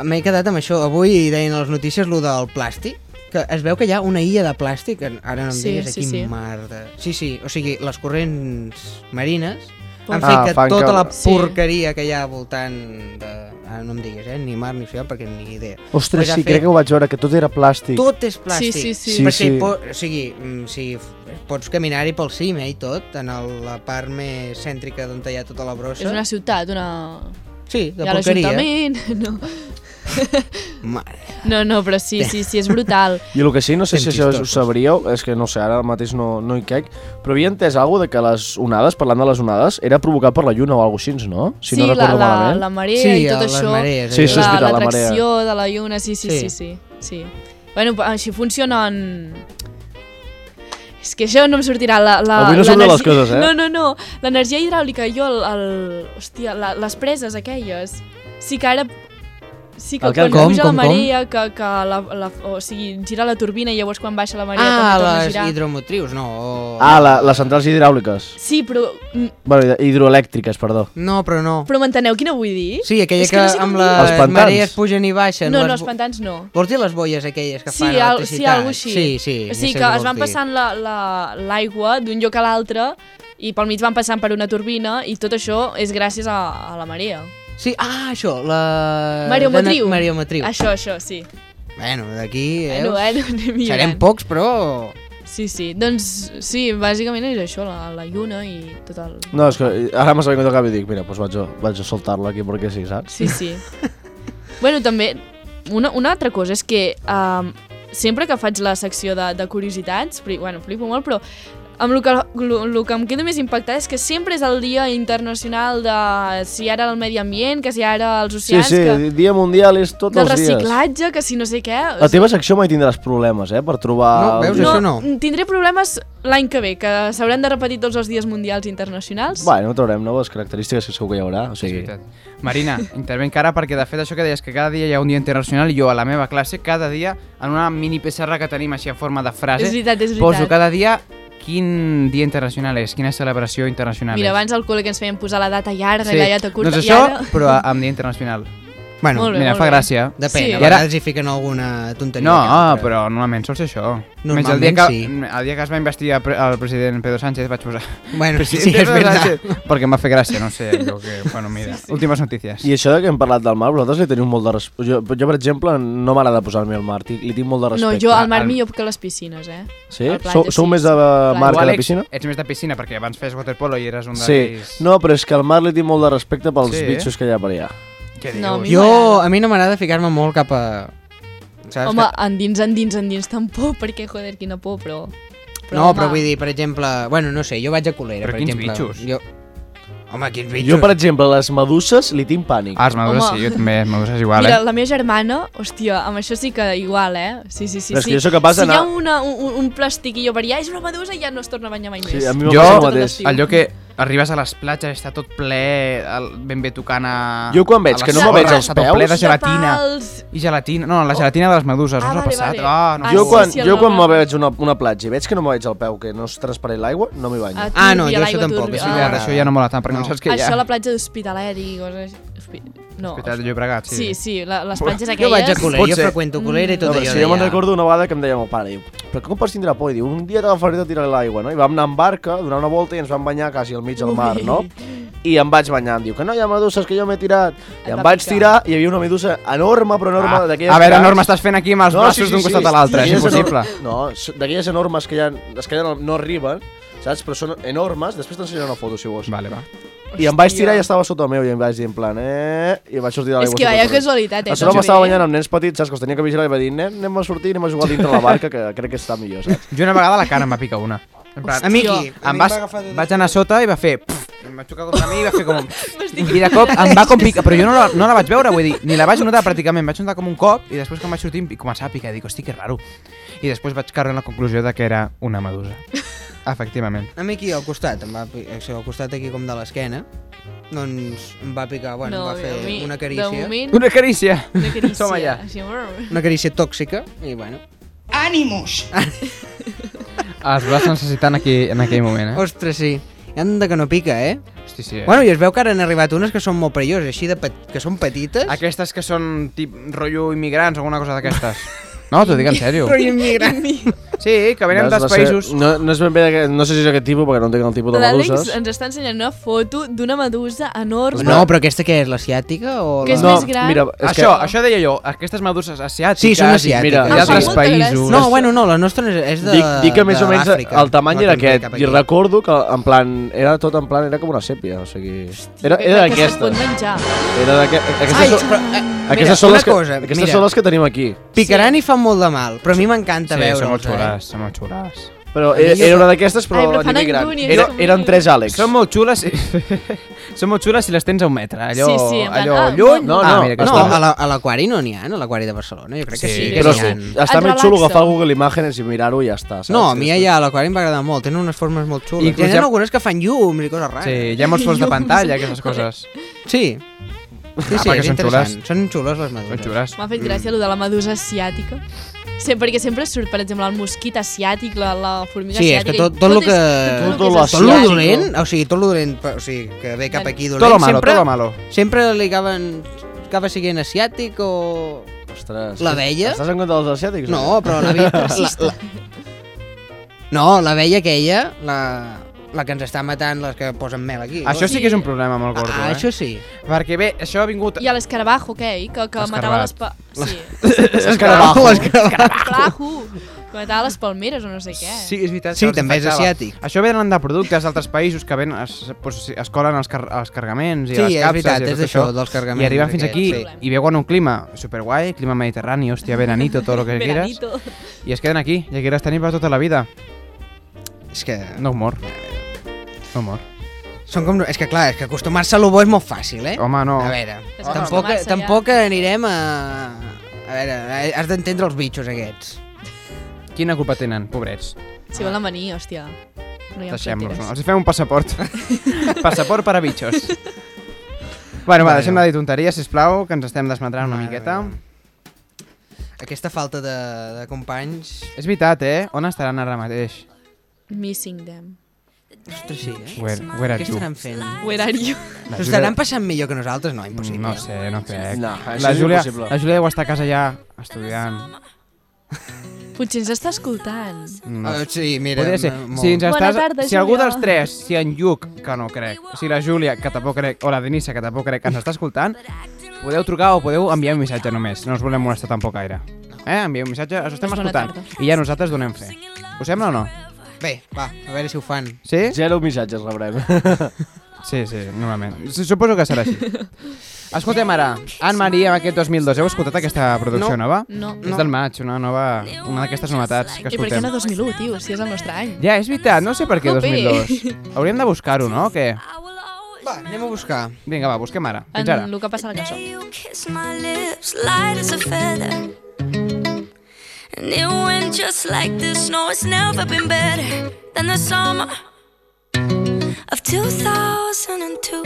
B: m'he quedat amb això. Avui deien a les notícies lo del plàstic, que es veu que hi ha una illa de plàstic, ara no em
C: Sí,
B: diguis
C: sí,
B: aquí
C: sí.
B: mar de... Sí, sí, o sigui, les corrents marines han
D: Ah,
B: fet que
D: fan que-
B: tota la
C: Sí.
B: porqueria que hi ha al voltant de... Ara no em diguis, eh? Ni mar ni oceà, perquè ni idea.
D: Ostres,
B: Pues ha
D: sí,
B: fet-
D: crec que ho vaig veure, que tot era plàstic.
B: Tot és plàstic.
C: Sí, sí, sí.
D: Sí,
B: Perquè
D: sí.
B: Po o sigui, mm, si f- pots caminar-hi pel cim, eh, i tot, en el, la part més cèntrica d'on hi ha tota la brossa.
C: És una ciutat, una...
B: Sí, de
C: Hi ha
B: porqueria.
C: l'Ajuntament... No.
B: Mare.
C: no, no, però sí, sí, sí, és brutal.
D: I el que sí, no sé si
B: Fem
D: això ho
B: xistosos.
D: sabríeu, és que no sé, ara mateix no, no hi caic, però havia entès alguna de que les onades, parlant de les onades, era provocat per la lluna o alguna cosa així, no? Si
C: sí,
D: no
C: la,
D: recordo
C: la,
D: malament.
C: la marea
B: Sí,
C: i tot
B: les
C: això.
B: marees.
D: Sí, això
B: allò.
D: és
C: la,
D: veritat, la
C: l'atracció de la lluna, sí, sí, sí,
B: Sí.
C: sí, sí. Bueno, pa- així funcionen... És que això no em sortirà la... la
D: Avui no surten
C: l'energi-
D: les coses, eh?
C: No, no, no. L'energia hidràulica, jo, el... el hòstia, la, les preses aquelles. Sí que ara... Sí que
D: El què,
C: quan
D: el com,
C: puja
B: com,
C: la
B: com?
C: marea, que, que la, la, o sigui, gira la turbina i llavors quan baixa la marea
B: Ah,
C: també torna a
B: les
C: girar.
B: hidromotrius, no. o-
D: Ah, la, les centrals hidràuliques.
C: Sí, però,
D: Bueno, hid- hidroelèctriques, perdó.
B: No, però no.
C: però m'enteneu quina vull dir?
B: Sí, aquella
C: És
B: que,
C: que no sé com
B: amb
C: dir-ho.
D: Els
B: les
D: pantans.
B: marees pugen i baixen.
C: No,
B: les
C: no, els
B: bo-
C: pantans no.
B: Vols dir les boies aquelles que fan
C: al-
B: electricitat?
C: Sí, algo així.
B: Sí, sí.
C: O sigui
B: ja sé
C: que
B: què
C: es van
B: vols dir.
C: passant l'aigua la, l'aigua d'un lloc a l'altre i pel mig van passant per una turbina i tot això és gràcies a, a la marea.
B: Sí, ah, això, la... Eh,
C: Mariometriu.
B: Dana- Mariometriu.
C: Això, això, sí.
B: Bueno, d'aquí...
C: Bueno,
B: veus?
C: eh, no, anem millorant.
B: Serem pocs, però...
C: Sí, sí. Doncs sí, bàsicament és això, la, la lluna i tota tot el...
D: No, és que ara m'ha sabut el cap i dic, mira, doncs vaig a, vaig a soltar-la aquí perquè sí, saps?
C: Sí, sí. bueno, també, una, una altra cosa és que um, sempre que faig la secció de, de curiositats, fli, bueno, flipo molt, però amb el que, lo, lo que em queda més impactat és que sempre és el dia internacional de si ara el medi ambient, que si ara els
D: Sí,
C: oceans,
D: sí,
C: que,
D: dia mundial és tots
C: del
D: els dies.
C: reciclatge, que si no sé què... o
D: La teva secció mai tindràs problemes, eh, per trobar...
B: No,
D: el
B: veus,
D: dia.
B: això no.
C: Tindré problemes l'any que ve, que s'hauran de repetir tots els dies mundials internacionals.
D: Bueno, traurem noves característiques que segur que hi haurà, o
A: És
D: sigui...
A: veritat. Marina, intervenc ara perquè de fet això que deies que cada dia hi ha un dia internacional i jo a la meva classe cada dia en una mini pissarra que tenim així en forma de frase
C: És veritat, és veritat.
A: poso cada dia quin dia internacional és, quina celebració internacional
C: Mira,
A: és.
C: abans al col·le que ens feien posar la data llarga i la data curta,
A: doncs
C: i
A: això,
C: ara...
A: però a- amb dia internacional.
B: Bueno,
C: Molt bé,
A: Mira,
C: molt
A: fa
C: bé.
A: gràcia.
B: depèn,
C: Sí.
B: a
A: I ara-
B: vegades hi fiquen alguna tonteria.
A: No, ah,
B: que altra.
A: però normalment sol ser això.
B: Normalment
A: Menys el dia que,
B: sí.
A: El dia que es va investigar pre- el president Pedro Sánchez vaig posar...
B: Bueno, sí,
A: Presidente
B: és
A: Pedro
B: veritat.
A: Sánchez, Perquè em va fer gràcia, no sé, allò que... Eh, Bueno, mira, últimes notícies.
D: I això de que hem parlat del mar, vosaltres li teniu molt de respecte. Jo, jo, per exemple, no m'agrada posar-me al mar, tinc- li tinc molt de
C: No,
D: respecte.
C: jo al mar
A: al-
C: millor que a les piscines, eh?
D: Sí?
C: al platja,
D: Sou, sou
C: sí,
D: més
C: sí,
D: de
C: platja.
D: mar que de
A: Tu, Àlex,
D: piscina?
A: Ets més de piscina, perquè abans feies waterpolo i eres un
D: Sí.
A: d'aquells...
D: No, però és que al mar li tinc molt de respecte pels
A: Sí.
D: bitxos que hi ha per allà.
A: Què
C: No,
A: dius?
C: mi-
B: Jo,
C: m'agrada.
B: a mi no m'agrada ficar-me molt cap a... Saps?
C: Home, endins, endins, endins tampoc, perquè, joder, quina por, però...
B: que-
C: Però,
B: No,
C: home,
B: però vull dir, per exemple... Bueno, no sé, jo vaig a Colera,
A: Però
B: per
A: quins
B: exemple.
A: bitxos.
B: Jo... Home, quins bitxos.
D: Jo, per exemple, les meduses li tinc pànic.
A: Ah, els madures
C: Home.
A: sí, jo també, els madures és igual,
C: Mira,
A: eh?
C: la meva germana, hòstia, amb això sí que igual, eh? Sí, sí, sí.
D: Però és
C: sí.
D: que jo sóc capaç
C: si hi ha
D: d'anar-
C: una, un, un plastiquillo per allà, és una medusa i ja no es torna a banyar mai més.
D: Sí, a mi m'ha
A: Jo-
D: passat el
C: Tot
D: mateix.
C: l'estiu.
A: El lloc que arribes a les platges, està tot ple, el- ben bé tocant a...
D: Jo quan veig
A: a les
D: que no me
A: sorres,
D: veig els
A: Està tot ple
D: peus-
A: de gelatina.
C: pals.
A: I gelatina, no, la gelatina de les meduses,
C: Ah,
A: us ha
C: vale,
A: passat?
C: vale.
A: Ah, no.
C: Ah,
D: Jo
C: sí,
D: quan,
C: sí, el
D: jo quan me
C: Navara.
D: veig una, una platja i veig que no me veig el peu, que no és transparent l'aigua, no m'hi banyo.
C: Ah,
B: Ah, no,
C: turbia,
B: jo això
C: l'aigua
B: tampoc,
C: turbia.
B: això
A: Sí,
C: Ah,
A: ara, això ja no mola tant, perquè no,
B: No.
A: saps que
C: això
A: ja...
C: a la platja d'Hospitalet i coses... Hospi... No,
A: Hospitalet de Llobregat, sí.
C: sí, sí, la, les platges aquelles...
B: Jo vaig a Colera,
D: Pot
B: jo
D: ser.
B: freqüento Colera i
D: Mm. No,
B: tot
D: però
B: allò.
D: si jo me'n
B: deia-
D: recordo una vegada que em deia meu pare, diu, però com pots tindre por? I diu, un dia t'agafaré de tirar a l'aigua, no? I vam anar en barca, donar una volta i ens vam banyar quasi al mig del mar, no? I em vaig banyar, em diu que no hi ha meduses, que jo m'he tirat. I
C: Et
D: em
C: va
D: vaig
C: picar.
D: tirar i hi havia una medusa enorme, però enorme,
A: Ah,
D: d'aquelles...
A: a veure,
D: grans.
A: Norma, estàs fent aquí amb els braços d'un costat a l'altre, és
D: D'aquelles
A: impossible.
D: enor- No, s- d'aquelles enormes que ja, les que ja no, no arriben, saps? Però són enormes, després t'ensenyaré una foto, si vols.
A: Vale, va.
D: I em vaig tirar i estava sota meu i em vaig dir en plan, eh... I vaig sortir de l'aigua.
C: És que
D: sota
C: vaya
D: corrent.
C: casualitat, eh?
D: A sobre
C: tots
D: m'estava
C: bé.
D: banyant amb nens petits, saps? Que els tenia que vigilar i va dir, nen, anem a sortir, anem a jugar dintre la barca, que crec que està millor, saps?
A: Jo una vegada la cara em va picar una. En plan,
B: A mi
C: Jo.
B: aquí.
A: em vas, vaig anar a sota i va fer... pff, Em va xocar contra mi i va fer com...
C: M'estic
A: I de cop em va com picar, però jo no la, no la vaig veure, vull dir, ni la vaig notar pràcticament, vaig notar com un cop i després quan vaig sortir i començava a picar, dic, hosti, que raro. I després vaig caure en la conclusió de que era una medusa. Efectivament.
B: A mi aquí al costat, em va, pi- o sigui, al costat aquí com de l'esquena, doncs em va picar, bueno,
C: no,
B: em va fer
C: a mi,
B: una carícia.
C: De moment,
A: Una carícia!
C: una carícia.
A: Som allà.
C: Així, brr.
B: Una carícia tòxica, i bueno. Ah,
A: Es va necessitant aquí, en aquell moment, eh?
B: Ostres, sí. I anda que no pica, eh?
A: Hosti, sí, eh?
B: Bueno, i es veu que ara han arribat unes que són molt perilloses, així de pet... que són petites.
A: Aquestes que són tip rotllo immigrants o alguna cosa d'aquestes. No, t'ho dic en sèrio.
B: Però immigrant.
A: Sí, que venen dels
D: Va ser-
A: països.
D: No, no és ben bé d'aquest... No sé si és aquest tipus, perquè no entenc el tipus de
C: L'Àlex
D: meduses.
C: ens està ensenyant una foto d'una medusa enorme.
B: No, però aquesta què és, l'asiàtica o
C: Que és
B: la...
D: no,
C: més gran.
D: mira, és
A: Això,
D: que...
A: això deia jo, aquestes meduses asiàtiques...
B: Sí, són
A: i-
B: asiàtiques.
A: Mira,
D: Ah,
A: d'altres
D: sí.
A: països...
B: No, bueno, no, la nostra és, és de
D: Dic, dic que més
B: de
D: o menys
B: Àfrica.
D: el tamany
B: No
D: era
B: tanto
D: aquest,
B: cap
D: i
B: aquí.
D: recordo que en plan, era tot en plan, era com una sèpia, o sigui... Era, era
C: Que se't pot
D: d'aquestes,
C: menjar.
D: era d'aquestes,
B: Ai,
D: aquestes,
B: però,
D: són,
B: eh, mira,
D: aquestes, són
B: una
D: les que,
B: cosa,
D: aquestes
B: mira.
D: són les que tenim aquí.
B: picaran i fan molt de mal, però a mi m'encanta
A: Sí, són molt
B: veure'ls, eh?
A: xules, són molt xules.
D: Però era, era una d'aquestes,
C: Ai,
D: però
C: però
D: a
C: fan
D: nivell gran.
C: angúnies,
D: Era,
C: com
D: eren
C: dius.
D: tres Àlex.
A: Són molt xules... i- són molt xules si les tens a un metre. Allò,
C: Sí, sí, en plan,
A: allò
C: ah,
A: lluny...
D: no,
A: ah,
D: no,
A: mira, que
B: No,
A: estan-
B: a la- a l'aquari no n'hi ha, a l'aquari de Barcelona, jo crec que sí,
A: Sí,
B: que
D: Però
B: n'hi
D: sí,
B: ha.
D: està
C: Et
D: més xulo
C: relaxa.
D: agafar Google Imágenes i mirar-ho i ja està. Saps?
B: No, a mi allà a l'aquari em va agradar molt, tenen unes formes molt xules.
A: Inclús
B: Inclús
A: hi ha-
B: tenen algunes que fan llum i coses
A: Sí,
B: rares.
A: hi ha molts fons de pantalla, aquestes coses. Ah,
B: Sí. Sí, sí,
A: perquè
B: és
A: són
B: interessant.
A: xules.
B: Són xules les meduses.
A: Són xules.
C: M'ha
B: Mm.
C: fet gràcia allò de la medusa asiàtica. Sí, perquè sempre surt, per exemple, el mosquit asiàtic, la, la formiga
B: Sí, és que
C: asiàtica... i
B: tot, tot, lo
C: és-
B: que...
C: lo
D: Tot lo
C: és
B: Tot lo
C: asiàtic.
B: dolent, o sigui, tot lo dolent, o sigui, que ve cap aquí dolent,
A: Tot lo malo,
B: sempre,
A: tot lo malo.
B: sempre li acaben, acaba sent asiàtic o...
D: Ostres.
B: L'abella?
D: Estàs en contra dels asiàtics? o
B: No, però la veia... La, la... No, la veia aquella, la, la que ens està matant, les que posen mel aquí.
A: Això sí que és un problema amb el gordo,
B: ah,
A: eh?
B: això sí.
A: Perquè bé, això ha vingut...
C: I a l'escarabajo, què? I Que, que matava les... Pa... Sí,
A: Escarabajo.
C: l'escarabajo. Que matava les palmeres o no sé què.
A: Sí, és veritat.
B: Sí,
A: que els
B: també és
A: afectava.
B: asiàtic.
A: Això venen de productes d'altres països que ven, es, pues, es colen els, car els cargaments i
B: Sí,
A: les
B: és
A: capses
B: veritat,
A: i tot
B: és d'això, dels cargaments
A: I arriben fins aquí
B: aquests,
C: sí.
A: i veuen un clima superguai, clima mediterrani, hòstia, veranito, tot el que quieras.
C: Veranito.
A: I es queden aquí, i aquí les tenim per tota la vida.
B: És que...
A: No mor. No mor.
B: Són com... És que clar, és que acostumar-se a lo bo és molt fàcil, eh?
A: Home, no.
B: A veure,
C: És que
B: tampoc,
C: acostumar-se ja.
B: tampoc anirem a... A veure, has d'entendre els bitxos aquests.
A: Quina culpa tenen, pobrets.
C: Si volen venir, hòstia. No hi ha
A: Deixem-los.
C: fronteres.
A: no? Els hi fem un passaport. passaport per a bitxos. Bueno, va, deixem de dir tonteries, sisplau, que ens estem desmatrant una
B: Mare
A: miqueta.
B: meva. Aquesta falta de, de companys...
A: És veritat, eh? On estaran ara mateix?
C: Missing them.
B: Ostres, sí, eh?
A: Where, where
B: Què
A: are you?
B: estaran fent?
C: Where are you?
B: S'ho estaran passant millor que nosaltres? No, impossible.
A: No sé, no crec.
D: No, això
A: la,
D: és
A: Júlia,
D: impossible.
A: la Júlia deu estar a casa ja estudiant.
C: Potser ens està escoltant.
A: No.
B: Ah, sí, mira,
A: Podria ser.
B: m- molt.
A: Si, ens
C: Bona
A: estàs,
C: tarda,
A: si algú
C: Júlia.
A: dels tres, si en Lluc, que no crec, si la Júlia, que tampoc crec, o la Denisa, que tampoc crec, que ens està escoltant, podeu trucar o podeu enviar un missatge només. No us volem molestar tampoc gaire. Eh? Envieu un missatge, us estem
C: Doncs Bona
A: escoltant.
C: tarda.
A: I ja nosaltres donem fe. Us sembla o no?
B: Bé, va, a veure si ho fan.
A: Sí?
D: Zero missatges rebrem.
A: Sí, sí, normalment. S- Suposo que serà així. Escoltem ara, Anne Maria, aquest 2002. Heu escoltat aquesta producció
B: No.
A: nova?
C: No.
A: És del maig, una nova... Una d'aquestes novetats que
C: I per què
A: escoltem.
C: no 2001, tio? Si és el nostre any.
A: Ja, és veritat, no sé per què
C: Jope.
A: 2002. Hauríem de buscar-ho, no? O què?
B: Va, anem a buscar.
A: Vinga, va, busquem ara. Fins ara.
C: En el que passa a la cançó.
I: You kiss my lips, light as a feather. And it went just like this. No, it's never been better than the summer of 2002.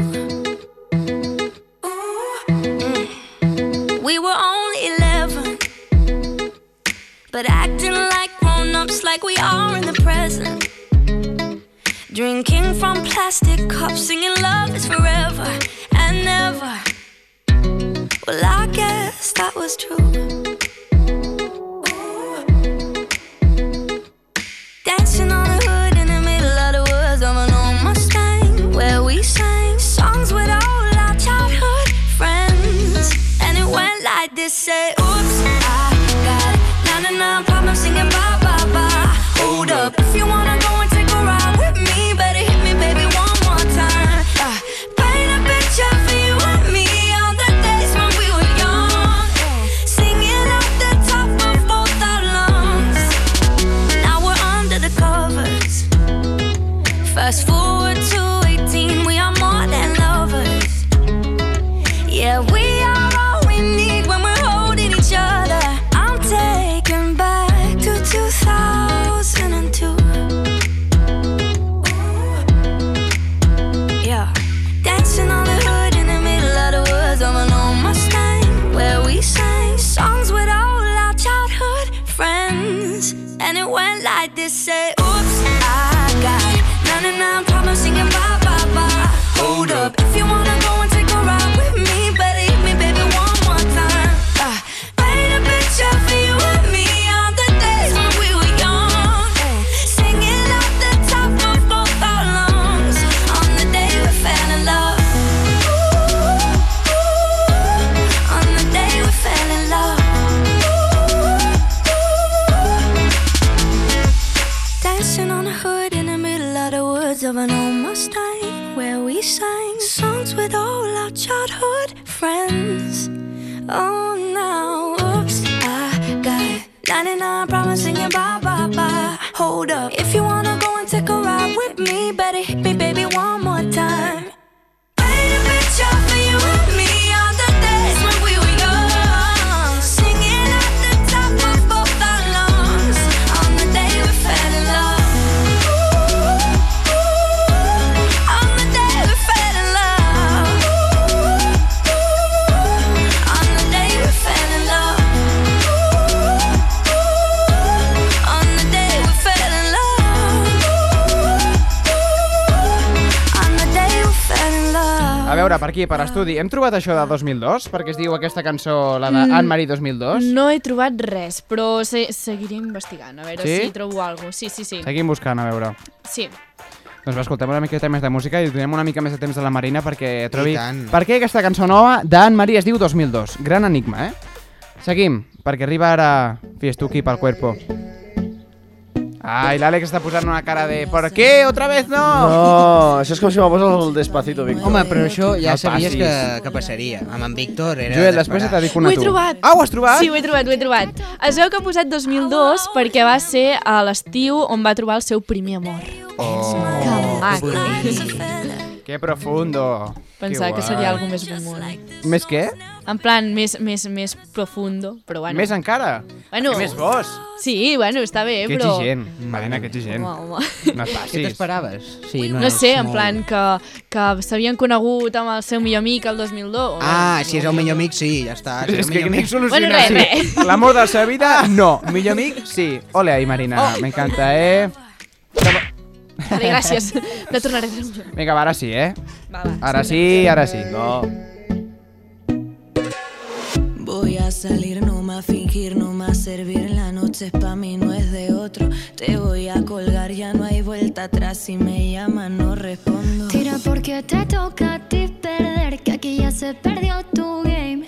I: Ooh, mm. We were only 11, but acting like grown ups, like we are in the present. Drinking from plastic cups, singing love is forever and never. Well, I guess that was true. Dancing on the hood in the middle of the woods of an old Mustang, where we sang songs with all our childhood friends. And it went like this: say, Oops, I got nine and nine problems singing bye bye bye. Hold up, if you wanna go and take a ride with me, better hit me, baby, one more time. Uh, paint a picture for you and me on the days when we were young, singing at the top of both our lungs. Now we're under the covers. Fast forward to 18, we are more than lovers. Yeah, we are all we need when we're holding each other. I'm taken back to 2002. Yeah. Dancing on the hood in the middle of the woods of an old Mustang, where we sang songs with all our childhood friends. And it went like this: say, Oops, I got nine and nine problems singing bye bye bye. Hold up, if you wanna go and take a ride with me, better hit me, baby, one more time. Uh, paint a picture for you and me on the days when we were young, singing at the top of both our lungs on the day we fell in love. Ooh, ooh, on the day we fell in love. Ooh, ooh. Dancing on a hood in the middle of the woods of an old Mustang, where we sang songs with all our childhood friends. Oh, now, oops, I got 99 problems singing bye bye bye. Hold up, if you wanna go and take a ride with me, better hit me, baby, one more time. Paint a picture for you and me on the days when we were young, singing at the top of both our lungs on the day we fell in love. On the day we fell in love. On the day we fell in love. On the day we fell in love. On the day we fell in love.
A: A veure, per aquí, per estudi, hem trobat això de 2002? Perquè es diu aquesta cançó, la de mm. Anne Marie 2002?
C: No he trobat res, però se seguiré investigant, a veure
A: Sí?
C: si trobo alguna cosa. Sí, sí, sí.
A: Seguim buscant, a veure.
C: Sí.
A: Doncs va, escoltem una miqueta més de música i donem una mica més de temps a la Marina perquè trobi...
B: tant.
A: Per què aquesta cançó nova d'Anne Marie es diu 2002? Gran enigma, eh? Seguim, perquè arriba ara Fiestuki pel cuerpo. Ai, l'Àlex està posant una cara de... Per què? Otra vez no!
D: No, això és com si me posas el despacito, Víctor.
B: Home, però això ja
A: No
B: no sabies
A: passis.
B: que, eh, que passaria. Amb en Víctor era...
A: Joel,
B: d'esperar.
A: després t'ha dit
C: Ho
A: una
C: he
A: tu.
C: trobat.
A: Ah, ho has trobat?
C: Sí, ho he trobat, ho he trobat. Es veu que ha posat 2002 perquè va ser a l'estiu on va trobar el seu primer amor. Oh, que maco.
A: Que profundo.
C: Pensava que
A: guai.
C: seria alguna més bombon.
A: Més què?
C: En plan, més, més, més profundo, però bueno.
A: Més encara?
C: Bueno.
A: Que més bos?
C: Sí, bueno, està bé,
A: Que
C: però...
A: exigent. Marina, que exigent.
C: Home, home.
A: No et
B: Què
A: passis.
B: t'esperaves? Sí,
C: No sé,
B: és
C: en plan que, que s'havien conegut amb el seu millor amic el 2002.
B: Ah, si és el millor amic, Ah, sí, ja està. Si
A: És que
B: el
A: Nick
B: millor amic...
A: soluciona
C: Bueno, res,
A: així. L'amor de la seva vida, no. Millor amic, sí. Ole ahí, Marina. Oh. M'encanta, eh?
C: Vale, gràcies. De tornaré a treure.
A: Vinga, va, ara sí, eh?
C: Va, va.
A: Ara sí, ara sí. Oh. No.
J: Voy a salir, no más fingir, no más servir. La noche es pa' mí, no es de otro. Te voy a colgar, ya no hay vuelta atrás. Si me llaman, no respondo.
K: Tira porque te toca a ti perder, que aquí ya se perdió tu game.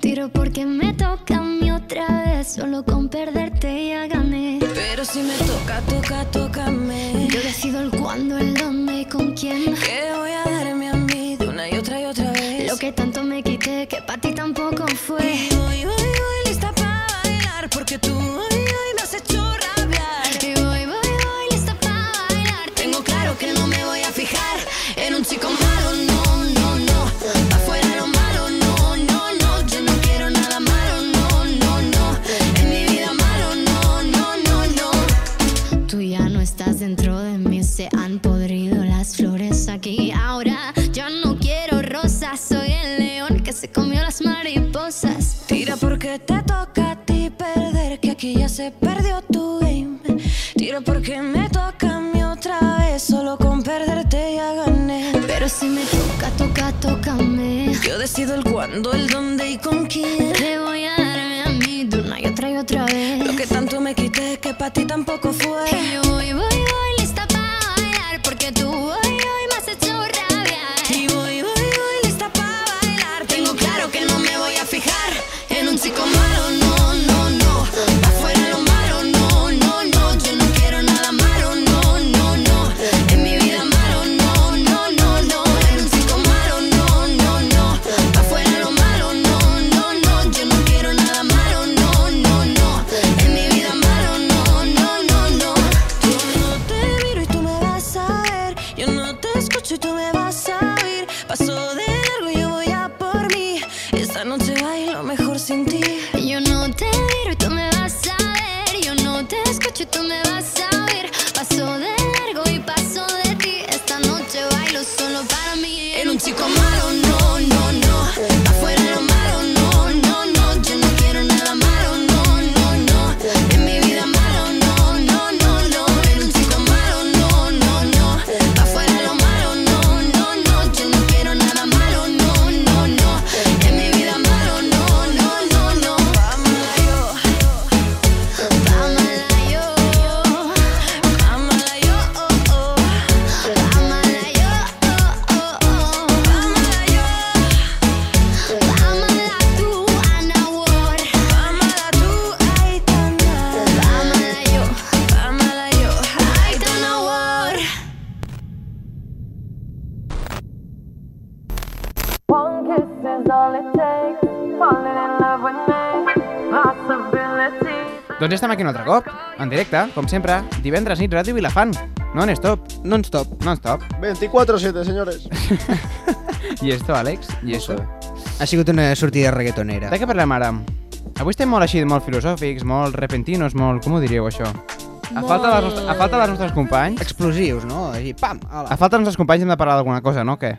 K: Tiro porque me toca a mí otra vez, solo con perderte ya gané.
J: Pero si me toca, toca, tócame.
K: Yo decido el cuándo, el dónde y con quién.
J: Que voy a darme a mí de una y otra y otra vez.
K: Lo que tanto me quité cosas
G: oh,
K: dentro de mí se han podrido las flores aquí. Ahora ya no quiero rosas, soy el león que se comió las mariposas.
J: Tira porque te toca a ti perder, que aquí ya se perdió tu game. Tira porque me toca a mí otra vez, solo con perderte ya gané.
K: Pero si me toca, toca, tócame.
J: Yo decido el cuándo, el dónde y con quién.
K: Te voy a darme a mí de una y otra y otra vez.
J: Lo que tanto me quité, que para ti tampoco fue.
K: Y yo voy, voy, voy lista para bailar porque tú hoy, hoy me has hecho rabiar.
J: Y voy, voy, voy lista para bailar. Tengo claro que no me voy a fijar en un chico malo, no, no, no. Afuera lo malo, no, no, no. Yo no quiero nada malo, no, no, no. En mi vida malo, no, no, no, no. En un chico malo, no, no, no. Afuera lo malo, no, no, no. Yo no quiero nada malo, no, no, no. En mi vida malo, no, no, no, no. Yo no te miro y tú me vas a ver. Yo no te escucho y tú me vas a oír. Paso de largo y yo voy a por mí. Esta noche bailo mejor sin ti.
K: Yo no te miro y tú me vas a ver. Yo no te escucho y tú me vas a oír. Paso de largo y paso de ti. Esta noche bailo solo para mí.
J: En un chico malo, no, no, no. Afuera lo malo, no, no, no. Yo no quiero nada malo, no, no, no. En mi vida malo, no, no, no, no. En un chico malo, no, no, no. Afuera lo malo, no, no, no. Yo no quiero nada malo, no, no, no. En mi vida malo, no, no, no, no. Vámonos yo.
K: Amala yo,
J: Ámala yo, oh, oh.
K: amala yo, oh, oh, oh.
J: Ámala yo,
K: Amala tú, Ana Ward.
J: ámala tú, Aitana.
K: Amala yo,
J: Ámala yo,
K: Aitana Ward.
G: One kiss is all it takes. Falling in love with me. Possibilities.
A: Doncs ja estem aquí un altre cop, en directe, com sempre, divendres nit, ràdio Vilafant, non-stop,
B: Non-stop.
A: non-stop.
D: 24-7, señores.
A: I esto, Àlex, i esto.
B: Ha sigut una sortida reggaetonera.
A: De què parlem ara? Avui estem molt així, molt filosòfics, molt repentinos, molt... Com ho diríeu, això? A falta, dels nostres, a falta dels nostres companys...
B: Explosius, no? Així, pam,
A: A
B: ala.
A: falta dels nostres companys hem de parlar d'alguna cosa, no? Què?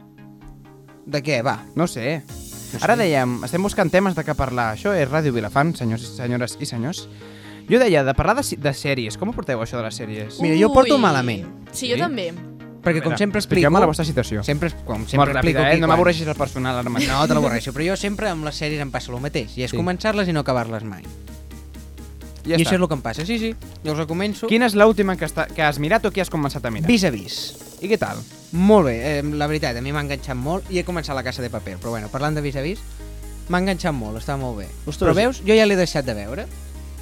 B: De què, va?
A: No sé. Ara dèiem, estem buscant temes de què parlar. Això és Ràdio Vilafant, senyors, i senyores i senyors. Jo deia, de parlar de, si- de sèries. Com ho porteu, això de les sèries?
B: Mira, jo porto malament.
C: Sí, jo
A: Sí?
C: també.
B: Perquè com
A: Espera,
B: sempre explico...
A: Expliquem la vostra situació.
B: Sempre, com
A: Molt
B: sempre
A: ràpida,
B: explico
A: eh?
B: aquí
A: No
B: quan-
A: m'avorreixis el personal ara mateix.
B: No, te l'avorreixo, però jo sempre amb les sèries em passa el mateix, i és
A: Sí.
B: sí. començar-les i no acabar-les mai.
A: ja
B: I
A: està.
B: això és el que em passa, sí, sí, jo us la començo.
A: Quina és l'última que, està, que has mirat o que has començat a mirar?
B: Vis a vis.
A: I què tal?
B: Molt bé, eh, la veritat, a mi m'ha enganxat molt i he començat la Casa de Paper, però bueno, parlant de vis a vis, m'ha enganxat molt, està molt bé.
D: Ostres.
B: Però veus, jo ja l'he deixat de veure.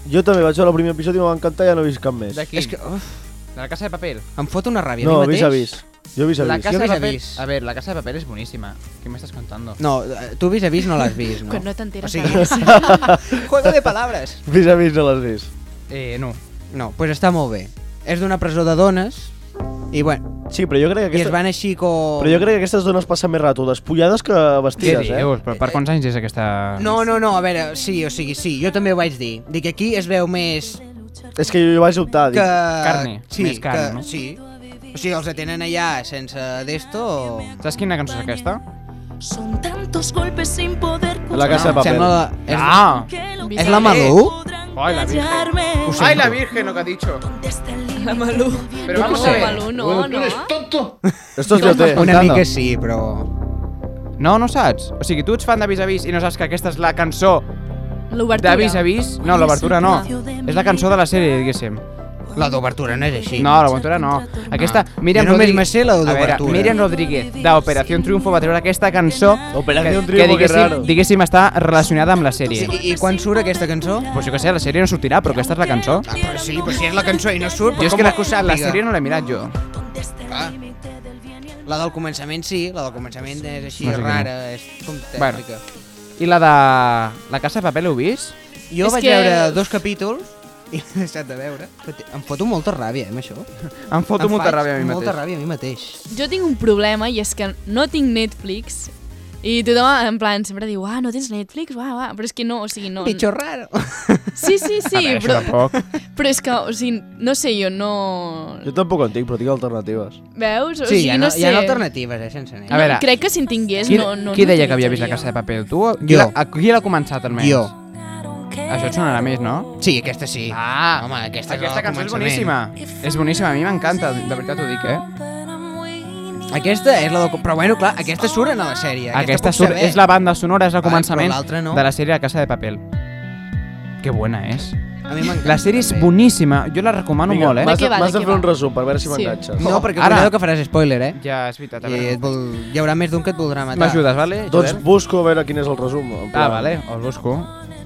D: Jo també vaig veure el primer episodi i em va encantar i ja no he vist cap més.
A: De
B: És que, uf,
A: De la Casa de Paper.
B: em fot una ràbia
D: No,
B: a mi mateix.
D: vis a vis. Jo vis a
A: La
D: vis.
A: Casa
B: Vis a
A: de Paper...
B: Vis.
A: A veure, la Casa de Paper és boníssima. Què m'estàs contando?
B: No, eh, tu vis a vis no l'has vist, no?
C: Quan no t'enteres
B: O sigui,
C: de res.
B: Juego de palabres.
D: Vis a vis no l'has vist.
A: Eh, no.
B: No, doncs pues està molt bé. És d'una presó de dones i, bueno,
D: Sí, però jo crec que
B: i es
D: aquesta...
B: van així com...
D: Però jo crec que aquestes dones passen més rato despullades que
A: Què
D: vestides, eh?
A: dius? Per, per quants anys és aquesta...
B: No, no, no, a veure, sí, o sigui, sí, jo també ho vaig dir. Dic que aquí es veu més
D: És que jo vaig optar,
B: que...
D: Ah, dic,
A: Carne,
B: sí,
A: més carn,
B: que...
A: no?
B: Sí, o sigui, els atenen allà sense d'esto o...
A: Saps quina cançó és aquesta?
J: Son tantos golpes sin poder
D: la casa de paper.
B: Sembla... La... És,
A: Ah!
B: és la Malú?
A: Ai, la Virgen.
J: callarme.
A: Ay, la Virgen, lo que ha dicho.
C: La Malú.
A: Pero vamos
C: No,
A: a ver.
C: Malú, no, no.
D: Esto es lo que...
B: Una mica sí, però...
A: No, no saps. O sigui, tu ets fan de Vis a Vis i no saps que aquesta és la cançó
C: L'obertura.
A: de Vis a Vis. No, l'obertura no. És la cançó de la sèrie, diguéssim.
B: La d'obertura no és així.
A: No, l'obertura no. Aquesta,
B: Ah.
A: Miriam
B: Jo només
A: Rodríguez-
B: me sé la
A: A veure,
B: d'obertura.
A: Miriam Rodríguez, d'Operación Triunfo, va treure aquesta cançó
D: Operación
A: que, que
D: Triunfo, que
A: diguéssim,
D: raro.
A: diguéssim està relacionada amb la sèrie.
B: I, I quan surt aquesta cançó?
A: Pues jo què sé, la sèrie no sortirà, però aquesta és la cançó.
B: Ah, però sí, però si és la cançó i no surt,
A: Jo
B: però
A: és
B: com
A: que la,
B: ho sàpiga?
A: la sèrie no l'he mirat jo.
B: Ah. La del començament sí, la del començament és així
A: No sé què
B: rara, és com
A: Bueno.
B: tècnica.
A: I la de... La Casa de Paper l'heu vist?
B: Jo
C: És
B: vaig
C: que-
B: veure dos capítols i l'he deixat de veure. Però té- Em foto molta ràbia, eh, amb això.
A: Em foto
B: Em
A: molta
B: faig
A: ràbia a mi
B: Molta
A: mateix.
B: ràbia a mi mateix.
C: Jo tinc un problema i és que no tinc Netflix I tothom, en plan, sempre diu, ah, no tens Netflix? Uah, uah. Però és que no, o sigui, no...
B: Bicho raro.
C: Sí, sí, sí,
D: veure, això
C: però,
D: tampoc.
C: però és que, o sigui, no sé, jo no...
D: Jo tampoc ho entenc, però tinc alternatives.
C: Veus? O
B: Sí,
C: sigui,
B: hi ha, hi
C: no
B: ha
C: sé.
B: alternatives, eh, sense nens.
A: A veure,
C: Crec que si en tingués,
A: qui,
C: no, no...
A: qui
C: no
A: deia que havia vist la Casa de Paper? Tu? Qui
B: Jo.
A: l'ha- a- Qui l'ha començat, almenys?
B: Jo.
A: Això et sonarà més, no?
B: Sí, aquesta sí.
A: Ah,
B: Home, aquesta,
A: aquesta cançó és boníssima.
B: començament.
A: És boníssima, a mi m'encanta, de veritat ho dic, eh?
B: Aquesta és la del... Però bueno, clar, aquesta surt a la sèrie.
A: Aquesta,
B: puc
A: surt,
B: saber.
A: és la banda sonora, és el
B: però
A: començament
B: l'altra no.
A: de la sèrie La Casa de Papel. Que bona és.
B: A mi m'encanta.
A: La sèrie és boníssima, jo la recomano
D: Vinga,
A: molt, eh?
D: M'has de,
C: què va, de
D: m'has de
C: què
D: fer un
C: va?
D: resum per veure si
C: Sí.
D: m'enganxes.
B: No, perquè
A: Ara.
B: Ara. cuidado que faràs spoiler, eh?
A: Ja, és veritat, a
B: I
A: veure.
B: et vol... hi haurà més d'un que et voldrà matar.
A: M'ajudes, vale?
D: Doncs
A: Joel?
D: busco a veure quin és el resum. en
A: Ah,
D: plan.
A: vale, el busco.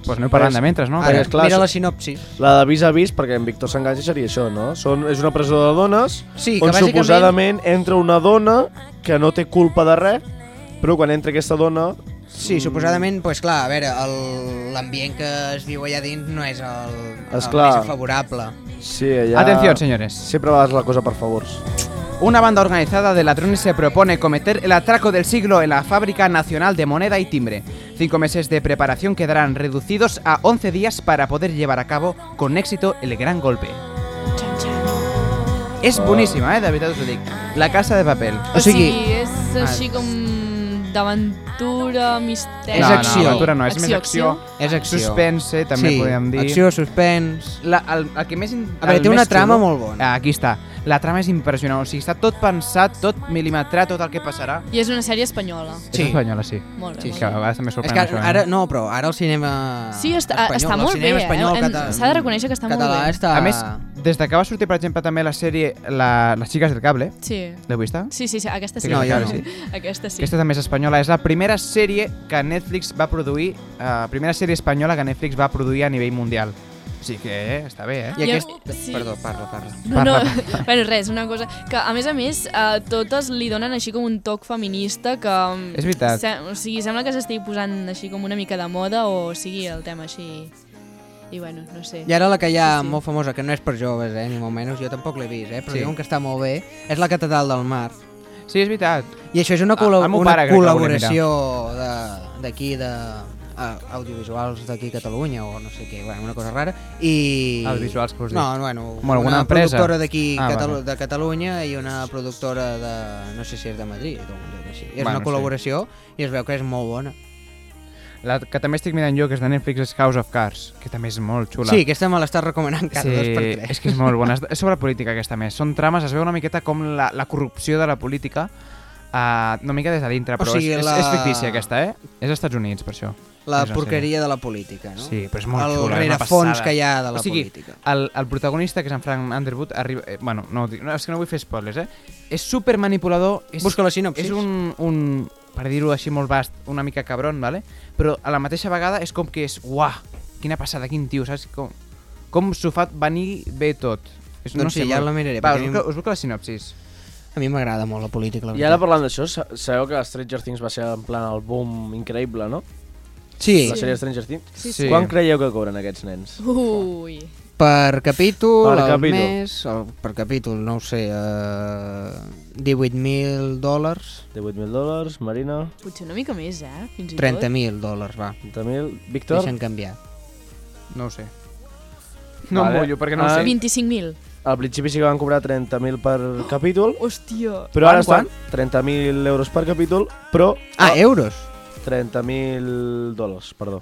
A: Doncs pues aneu parlant de mentre, no?
B: Ara,
D: Perquè, esclar,
B: mira
D: això-
B: la sinopsi.
D: La de vis a vis, perquè en Víctor s'enganxa seria això, no? Són, és una presó de dones
B: Sí, que
D: on
B: bàsicament-
D: suposadament entra una dona que no té culpa de res, però quan entra aquesta dona...
B: Sí, suposadament, doncs pues, clar, a veure, el- l'ambient que es viu allà dins no és el, el
D: Esclar.
B: més favorable.
D: Sí, allà...
A: Atención, señores.
D: Sempre vas la cosa per favors.
A: Una banda organizada de ladrones se propone cometer el atraco del siglo en la Fábrica Nacional de Moneda y Timbre. Cinco meses de preparación quedarán reducidos a 11 días para poder llevar a cabo con éxito el gran golpe. Es buenísima, ¿eh? David Autodic. La casa de papel. Ah,
C: O
B: O sigui- Ah.
C: sigui, és així com d'aventura,
B: És
C: misteri...
A: no,
B: acció.
A: No, aventura no, és més acció.
B: És acció.
A: Suspense, també
B: sí,
A: podríem dir.
B: acció, suspens...
A: La, el, el que més... in-
B: A veure,
A: el
B: té una
A: més
B: trama
A: xulo-
B: molt bona.
A: Ah, Aquí està. La trama és impressionant. O sigui, està tot pensat, tot mil·limetrat, tot el que passarà.
C: I és una sèrie espanyola.
B: Sí.
A: És espanyola, sí.
C: Molt bé,
A: Sí,
C: molt
A: que a
C: bé.
A: vegades també
B: És
A: sorprèn.
B: que
A: això, eh?
B: ara, no, però ara el cinema
C: Sí, està-
B: espanyol,
C: està molt
B: el cinema
C: bé, eh?
B: espanyol,
C: Hem-
B: cata-
C: s'ha de reconèixer que està molt
B: català
C: bé.
B: Està...
A: A més, des de que va sortir, per exemple, també la sèrie la, Les xiques del cable,
C: Sí.
A: l'heu vista?
C: Sí, sí, sí, aquesta sí.
A: Sí, no,
B: jo
C: aquesta
A: no.
C: sí. Aquesta sí.
A: Aquesta també és espanyola. És la primera sèrie que Netflix va produir, eh, primera sèrie espanyola que Netflix va produir a nivell mundial. O sigui que eh, està bé, eh?
B: I
C: Jo-
B: aquest...
C: sí.
B: Perdó, parla, parla.
C: No, no, bueno, res, una cosa que, a més a més, a totes li donen així com un toc feminista que... mm,
A: És veritat.
C: Se, o sigui, sembla que s'estigui posant així com una mica de moda o sigui el tema així... I bueno, no sé.
B: I ara la que hi ha sí,
C: Sí, sí.
B: sí. molt famosa, que no és per joves, eh, ni molt menys, jo tampoc l'he vist, eh, però
A: Sí.
B: sí. diuen que està molt bé, és la Catedral del Mar.
A: Sí, és veritat.
B: I això és una,
A: Ah,
B: col·la
A: el meu
B: una
A: pare crec que la volia
B: col·laboració de- d'aquí, de, de audiovisuals d'aquí a Catalunya o no sé què, bueno, una cosa rara. I...
A: Audiovisuals, que vols dir?
B: No, bueno,
A: Com alguna
B: una
A: empresa?
B: productora d'aquí
A: Ah,
B: ah, Catalu
A: vale.
B: de Catalunya i una productora de... no sé si és de Madrid o un lloc així. És
A: Bueno,
B: una
A: sí.
B: col·laboració i es veu que és molt bona.
A: La que també estic mirant jo, que és de Netflix, és House of Cards, que també és molt xula.
B: Sí, aquesta me l'estàs recomanant cada
A: Sí,
B: dos per tres.
A: és que és molt bona. És sobre política aquesta més. Són trames, es veu una miqueta com la, la corrupció de la política, uh, una mica des de dintre,
B: O
A: però
B: sigui,
A: és, és,
B: la-
A: és fictícia aquesta, eh? És als Estats Units, per això.
B: La
A: És una
B: porqueria de la política, no?
A: Sí, però és molt
B: el
A: xula, és una
B: rerefons
A: passada.
B: que hi ha de la
A: o sigui,
B: política.
A: El, el protagonista, que és en Frank Underwood, arriba... Eh, bueno, no, ho dic- no, és que no vull fer spoilers, eh? És super manipulador. És,
B: Busca la sinopsis.
A: És un, un per dir-ho així molt vast, una mica cabron, vale? però a la mateixa vegada és com que és uah, quina passada, quin tio, saps? Com, com s'ho fa venir bé tot. És,
B: Doncs sí, ja
A: molt-
B: la miraré,
A: Va,
B: perquè
A: us,
B: a mi
A: busco, us busco la sinopsis.
B: A mi m'agrada molt la política, la
D: I ara
B: veritat.
D: parlant d'això, sa- sabeu que Stranger Things va ser en plan el boom increïble, no?
B: Sí,
D: La sèrie Stranger Things.
A: Sí, sí.
D: Quan creieu que cobren aquests nens?
C: Ui,
B: per capítol,
D: Per capítol.
B: per capítol. al mes, el, per capítol, no ho sé, eh, 18.000 dòlars,
D: 18.000 dòlars, Marina,
C: potser una mica més, eh? Fins i
B: 30.000 dòlars, va.
D: 30.000... Víctor?
B: Deixa'm canviar.
A: No ho sé. No
D: Vale.
A: em mullo, perquè no
D: Ah.
A: ho
C: tot.
A: sé.
C: 25.000.
D: Al principi sí que van cobrar 30.000 per capítol,
C: Hòstia.
D: però ara
A: Quant,
D: estan 30.000 euros per capítol, però...
B: Ah, euros?
D: 30.000 dòlars, perdó.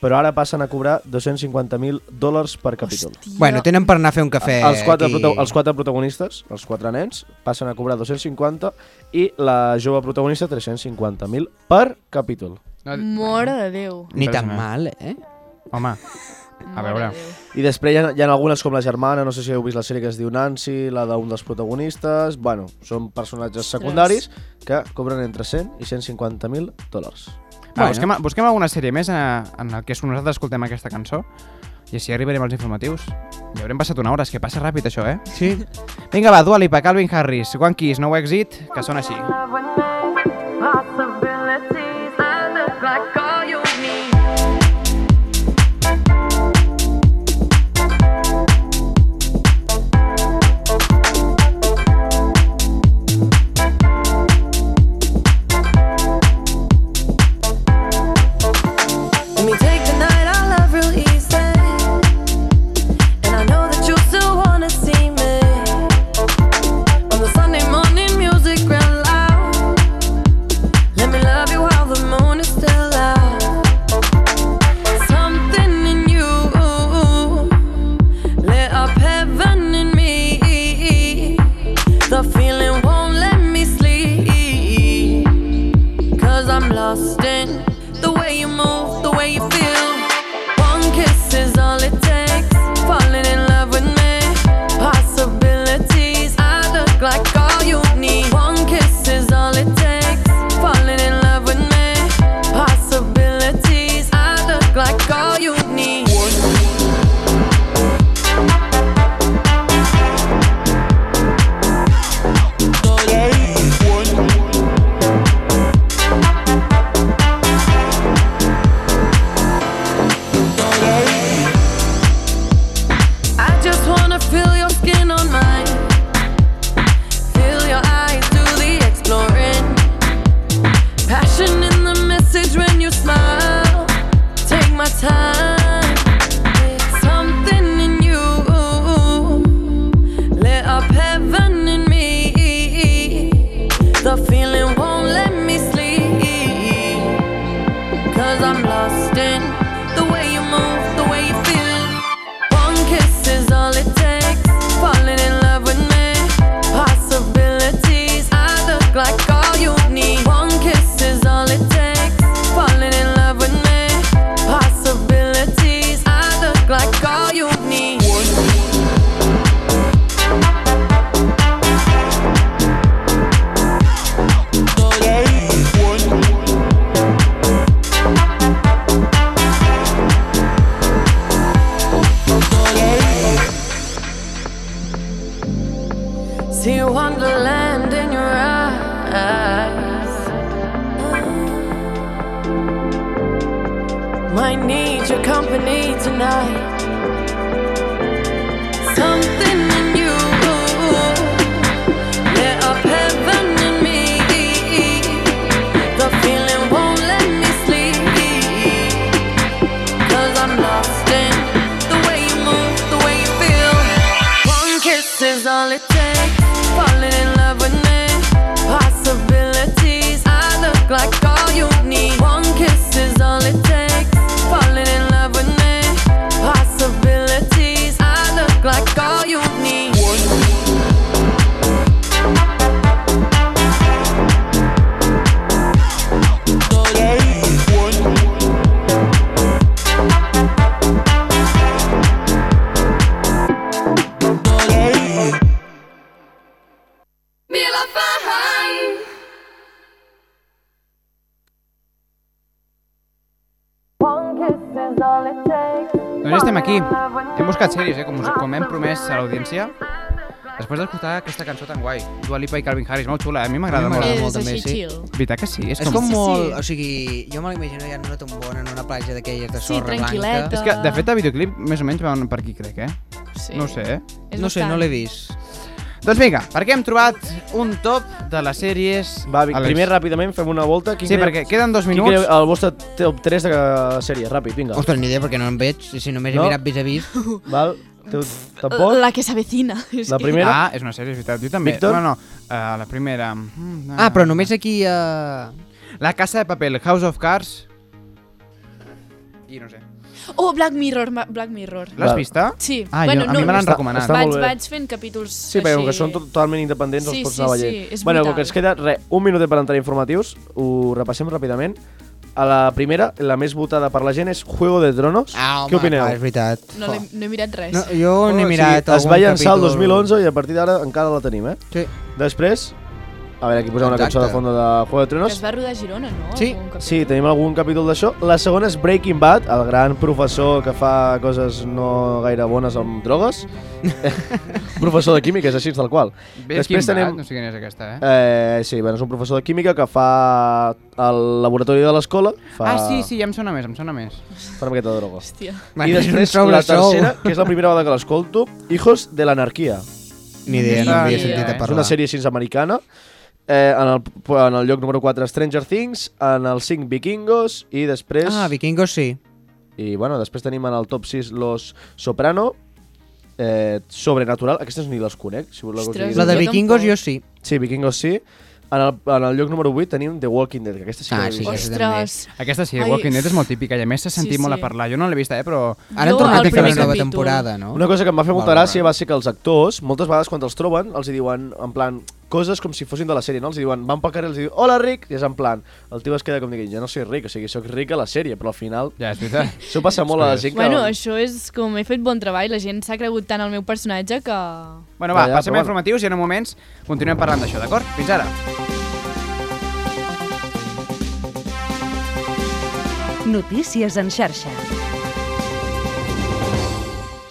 D: Però ara passen a cobrar 250.000 dòlars per capítol.
C: Hòstia.
B: Bueno, tenen per anar a fer un cafè
D: els, quatre
B: aquí.
D: prota els quatre protagonistes, els quatre nens, passen a cobrar 250 i la jove protagonista 350.000 per capítol.
A: No,
C: Mare de Déu.
B: Ni tan
A: Impressionant.
B: mal, eh?
A: Home, a
C: Mare
A: veure.
C: de Déu.
D: I després hi ha, hi ha algunes com la germana, no sé si heu vist la sèrie que es diu Nancy, la d'un dels protagonistes... Bueno, són personatges secundaris que cobren entre 100 i 150.000 dòlars.
A: va,
B: Bueno.
A: busquem, busquem alguna sèrie més eh, en el que nosaltres escoltem aquesta cançó i així arribarem als informatius. Ja haurem passat una hora, és que passa ràpid això, eh?
B: Sí.
A: Vinga, va, Dua Lipa, Calvin Harris, One Kiss, No Exit, que són així.
G: Possibilities that look like all you need.
L: The feeling won't let me sleep. Cause I'm lost in the way you move, the way you feel. One kiss is all it takes. Falling in love with me. Possibilities, I look like all you need. One kiss is all it takes. Falling in love with me. Possibilities, I look like all you need. I just wanna feel your skin on mine. Feel your eyes do the exploring. Passion in the message when you smile. Take my time. Something in you lit up heaven in me. The feeling won't let me sleep. Cause I'm lost in the way you move, the way you feel. One kiss is all it takes. Falling in love with me. Possibilities, I look like all you need. One kiss is all it takes. Falling in love with me. Possibilities, I look like all you need. See wonderland in your eyes. Might need your company tonight. Something in you lit up heaven in me. The feeling won't let me sleep. Cause I'm lost in the way you move, the way you feel. One kiss is all it takes. Falling in love with me. Possibilities, I look like all you need. One kiss is all it takes. Falling in love with me. Possibilities, I look like all you need.
G: Mila Fahim.
A: Doncs estem aquí. Hem buscat sèries, eh, com, us, com hem promès a l'audiència. Després d'escoltar aquesta cançó tan guai, Dua Lipa i Calvin Harris, molt xula, eh? a mi m'agrada
B: A mi
A: molt.
B: m'agrada molt, És també, així sí. chill.
A: Veritat que sí? És,
B: és com molt... O sigui, jo me l'imagino ja en una tombona, en una platja d'aquelles de sorra blanca.
A: És que, de fet, el videoclip més o menys van per aquí, crec, eh?
B: Sí.
A: No ho sé, eh?
B: És No sé, bastant. no l'he vist.
A: Doncs vinga, perquè hem trobat un top de les sèries...
D: Va, Vic, primer ràpidament fem una volta.
A: Sí, perquè queden dos
D: quin oh,
A: minuts.
D: creieu el vostre top 3 de cada sèrie, ràpid, vinga.
B: Ostres, ni idea, perquè no em veig, i si només
D: No.
B: he mirat vis a vis.
D: Val, tu tampoc?
C: La que s'avecina. és que-
A: Ah, és una sèrie, és veritat. Jo també.
B: Víctor?
A: No, no, uh, la primera... Mm,
B: Ah, però només aquí... Uh...
A: La Casa de Papel, House of Cards... I no sé.
C: Oh, Black Mirror, ma- Black Mirror.
A: L'has vista?
C: Sí.
A: Ah,
C: bueno,
A: jo- a
C: no,
A: mi me l'han
C: està-
A: recomanat.
D: està molt
C: vaig,
D: bé.
C: vaig fent capítols
D: Sí,
C: així.
D: però com que són totalment independents
C: Sí,
D: els pots
C: sí,
D: anar
C: sí,
D: veient.
C: és
D: bueno,
C: brutal.
D: com que ens queda re, un minut per entrar a informatius, ho repassem ràpidament. A la primera, la més votada per la gent és Juego de Tronos. Ah, Què opineu?
B: clar, és veritat.
C: No, l'he- no he mirat res.
B: No, jo n'he mirat
D: Es va
B: algun
D: llançar el
B: capítol.
D: 2011 i a partir d'ara encara la tenim, eh?
B: Sí.
D: Després, a veure, aquí posem una
B: Exacte.
D: cançó de fons de Juego de
C: Que
D: Tronos.
C: es va rodar a Girona, no?
D: Sí,
C: Algun cap-
D: sí, tenim algun capítol d'això. La segona és Breaking Bad, el gran professor que fa coses no gaire bones amb drogues. professor de química, és així, tal qual.
A: Breaking Bad, no sé quina és aquesta, eh?
D: eh? Sí, bueno, és un professor de química que fa el laboratori de l'escola. Fa...
A: Ah, sí, sí, ja em sona més, em sona més.
D: Fa una miqueta de droga.
C: Hòstia.
D: I després la tercera, que és la primera vegada que l'escolto, Hijos de l'anarquia.
B: Ni idea, no havia sentit a
D: És
B: parlar.
D: una sèrie ciència americana. Eh, en, el, en el lloc número 4, Stranger Things, en el 5, Vikingos, i després...
B: Ah, Vikingos sí.
D: I, bueno, després tenim en el top 6, Los Soprano, eh, Sobrenatural, aquestes ni les conec, si voleu que us
B: Ostres,
D: digui.
B: La de jo Vikingos tampoc. jo sí.
D: Sí, Vikingos sí. En el, en el lloc número 8 tenim The Walking Dead, que aquesta sí que
B: Ah,
D: l'he
B: sí,
D: vist.
B: aquesta també. Ostres.
A: Aquesta sí,
B: Ai.
A: The Walking Dead és molt típica i a més se sentit
B: Sí,
A: molt a
B: sí.
A: parlar. Jo no l'he vista, eh, però...
B: Ara han Jo, tornat el a fer primer una nova capítol. temporada, no?
D: Una cosa que em va fer molta
B: Val,
D: gràcia va ser que els actors, moltes vegades quan els troben, els hi diuen, en plan, coses com si fossin de la sèrie, no? Els hi diuen, van pel carrer, els hi diuen, hola Rick, i és en plan, el tio es queda com dient, jo no soy Rick, o sigui, soc Rick a la sèrie, però al final...
A: Ja, és veritat.
D: Això passa molt a la gent que...
C: Bueno, això és com he fet bon treball, la gent s'ha cregut tant al meu personatge que...
A: Bueno, va,
D: Ja, ja,
A: passem
D: però bueno.
A: a informatius i en un moments continuem parlant d'això, d'acord? Fins ara.
M: Notícies en xarxa.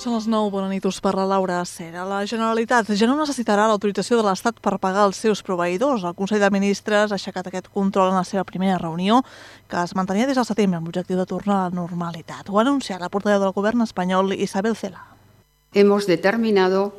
N: Són les 9, bona nit, us parla Laura Sera. La Generalitat ja no necessitarà l'autorització de l'Estat per pagar els seus proveïdors. El Consell de Ministres ha aixecat aquest control en la seva primera reunió, que es mantenia des del setembre amb l'objectiu de tornar a la normalitat. Ho ha anunciat la portaveu del govern espanyol, Isabel Cela.
O: hemos determinado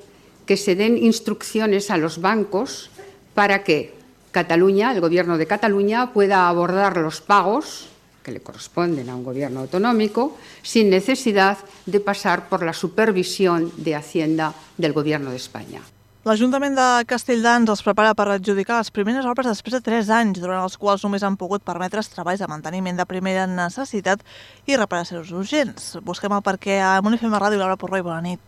O: que se den instrucciones a los bancos para que Cataluña, el Gobierno de Cataluña, pueda abordar los pagos que le corresponden a un gobierno autonómico sin necesidad de pasar por la supervisión de Hacienda del Gobierno de España.
N: L'Ajuntament de Castelldans els prepara per adjudicar les primeres obres després de 3 anys, durant els quals només han pogut permetre's treballs de manteniment de primera necessitat i reparacions urgents. Busquem el perquè a Monifem Ràdio, Laura Porroi, bona nit.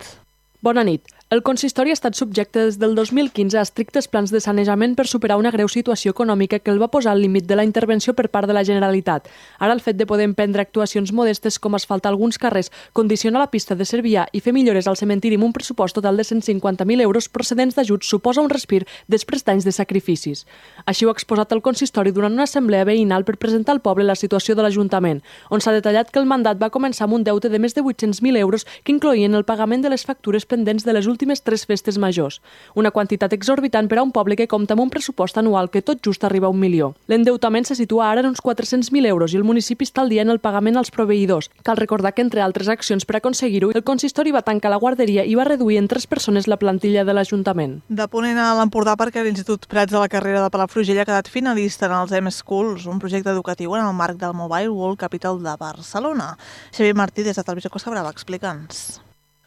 P: Bona nit. El consistori ha estat subjecte des del 2015 a estrictes plans de sanejament per superar una greu situació econòmica que el va posar al límit de la intervenció per part de la Generalitat. Ara el fet de poder emprendre actuacions modestes com asfaltar alguns carrers, condicionar la pista de Cervià i fer millores al cementiri amb un pressupost total de 150.000 euros procedents d'ajuts suposa un respir després d'anys de sacrificis. Així ho ha exposat el consistori durant una assemblea veïnal per presentar al poble la situació de l'Ajuntament, on s'ha detallat que el mandat va començar amb un deute de més de 800.000 euros que incloïen el pagament de les factures pendents de les últimes tres festes majors, una quantitat exorbitant per a un poble que compta amb un pressupost anual que tot just arriba a un milió. L'endeutament se situa ara en uns 400.000 euros i el municipi està al dia en el pagament als proveïdors. Cal recordar que, entre altres accions per aconseguir-ho, el consistori va tancar la guarderia i va reduir en tres persones la plantilla de l'Ajuntament.
N: De ponent a l'Empordà perquè l'Institut Prats de la carrera de Palafrugell ha quedat finalista en els M-Schools, un projecte educatiu en el marc del Mobile World Capital de Barcelona. Xavier Martí, des de Televisió Costa Brava, explica'ns.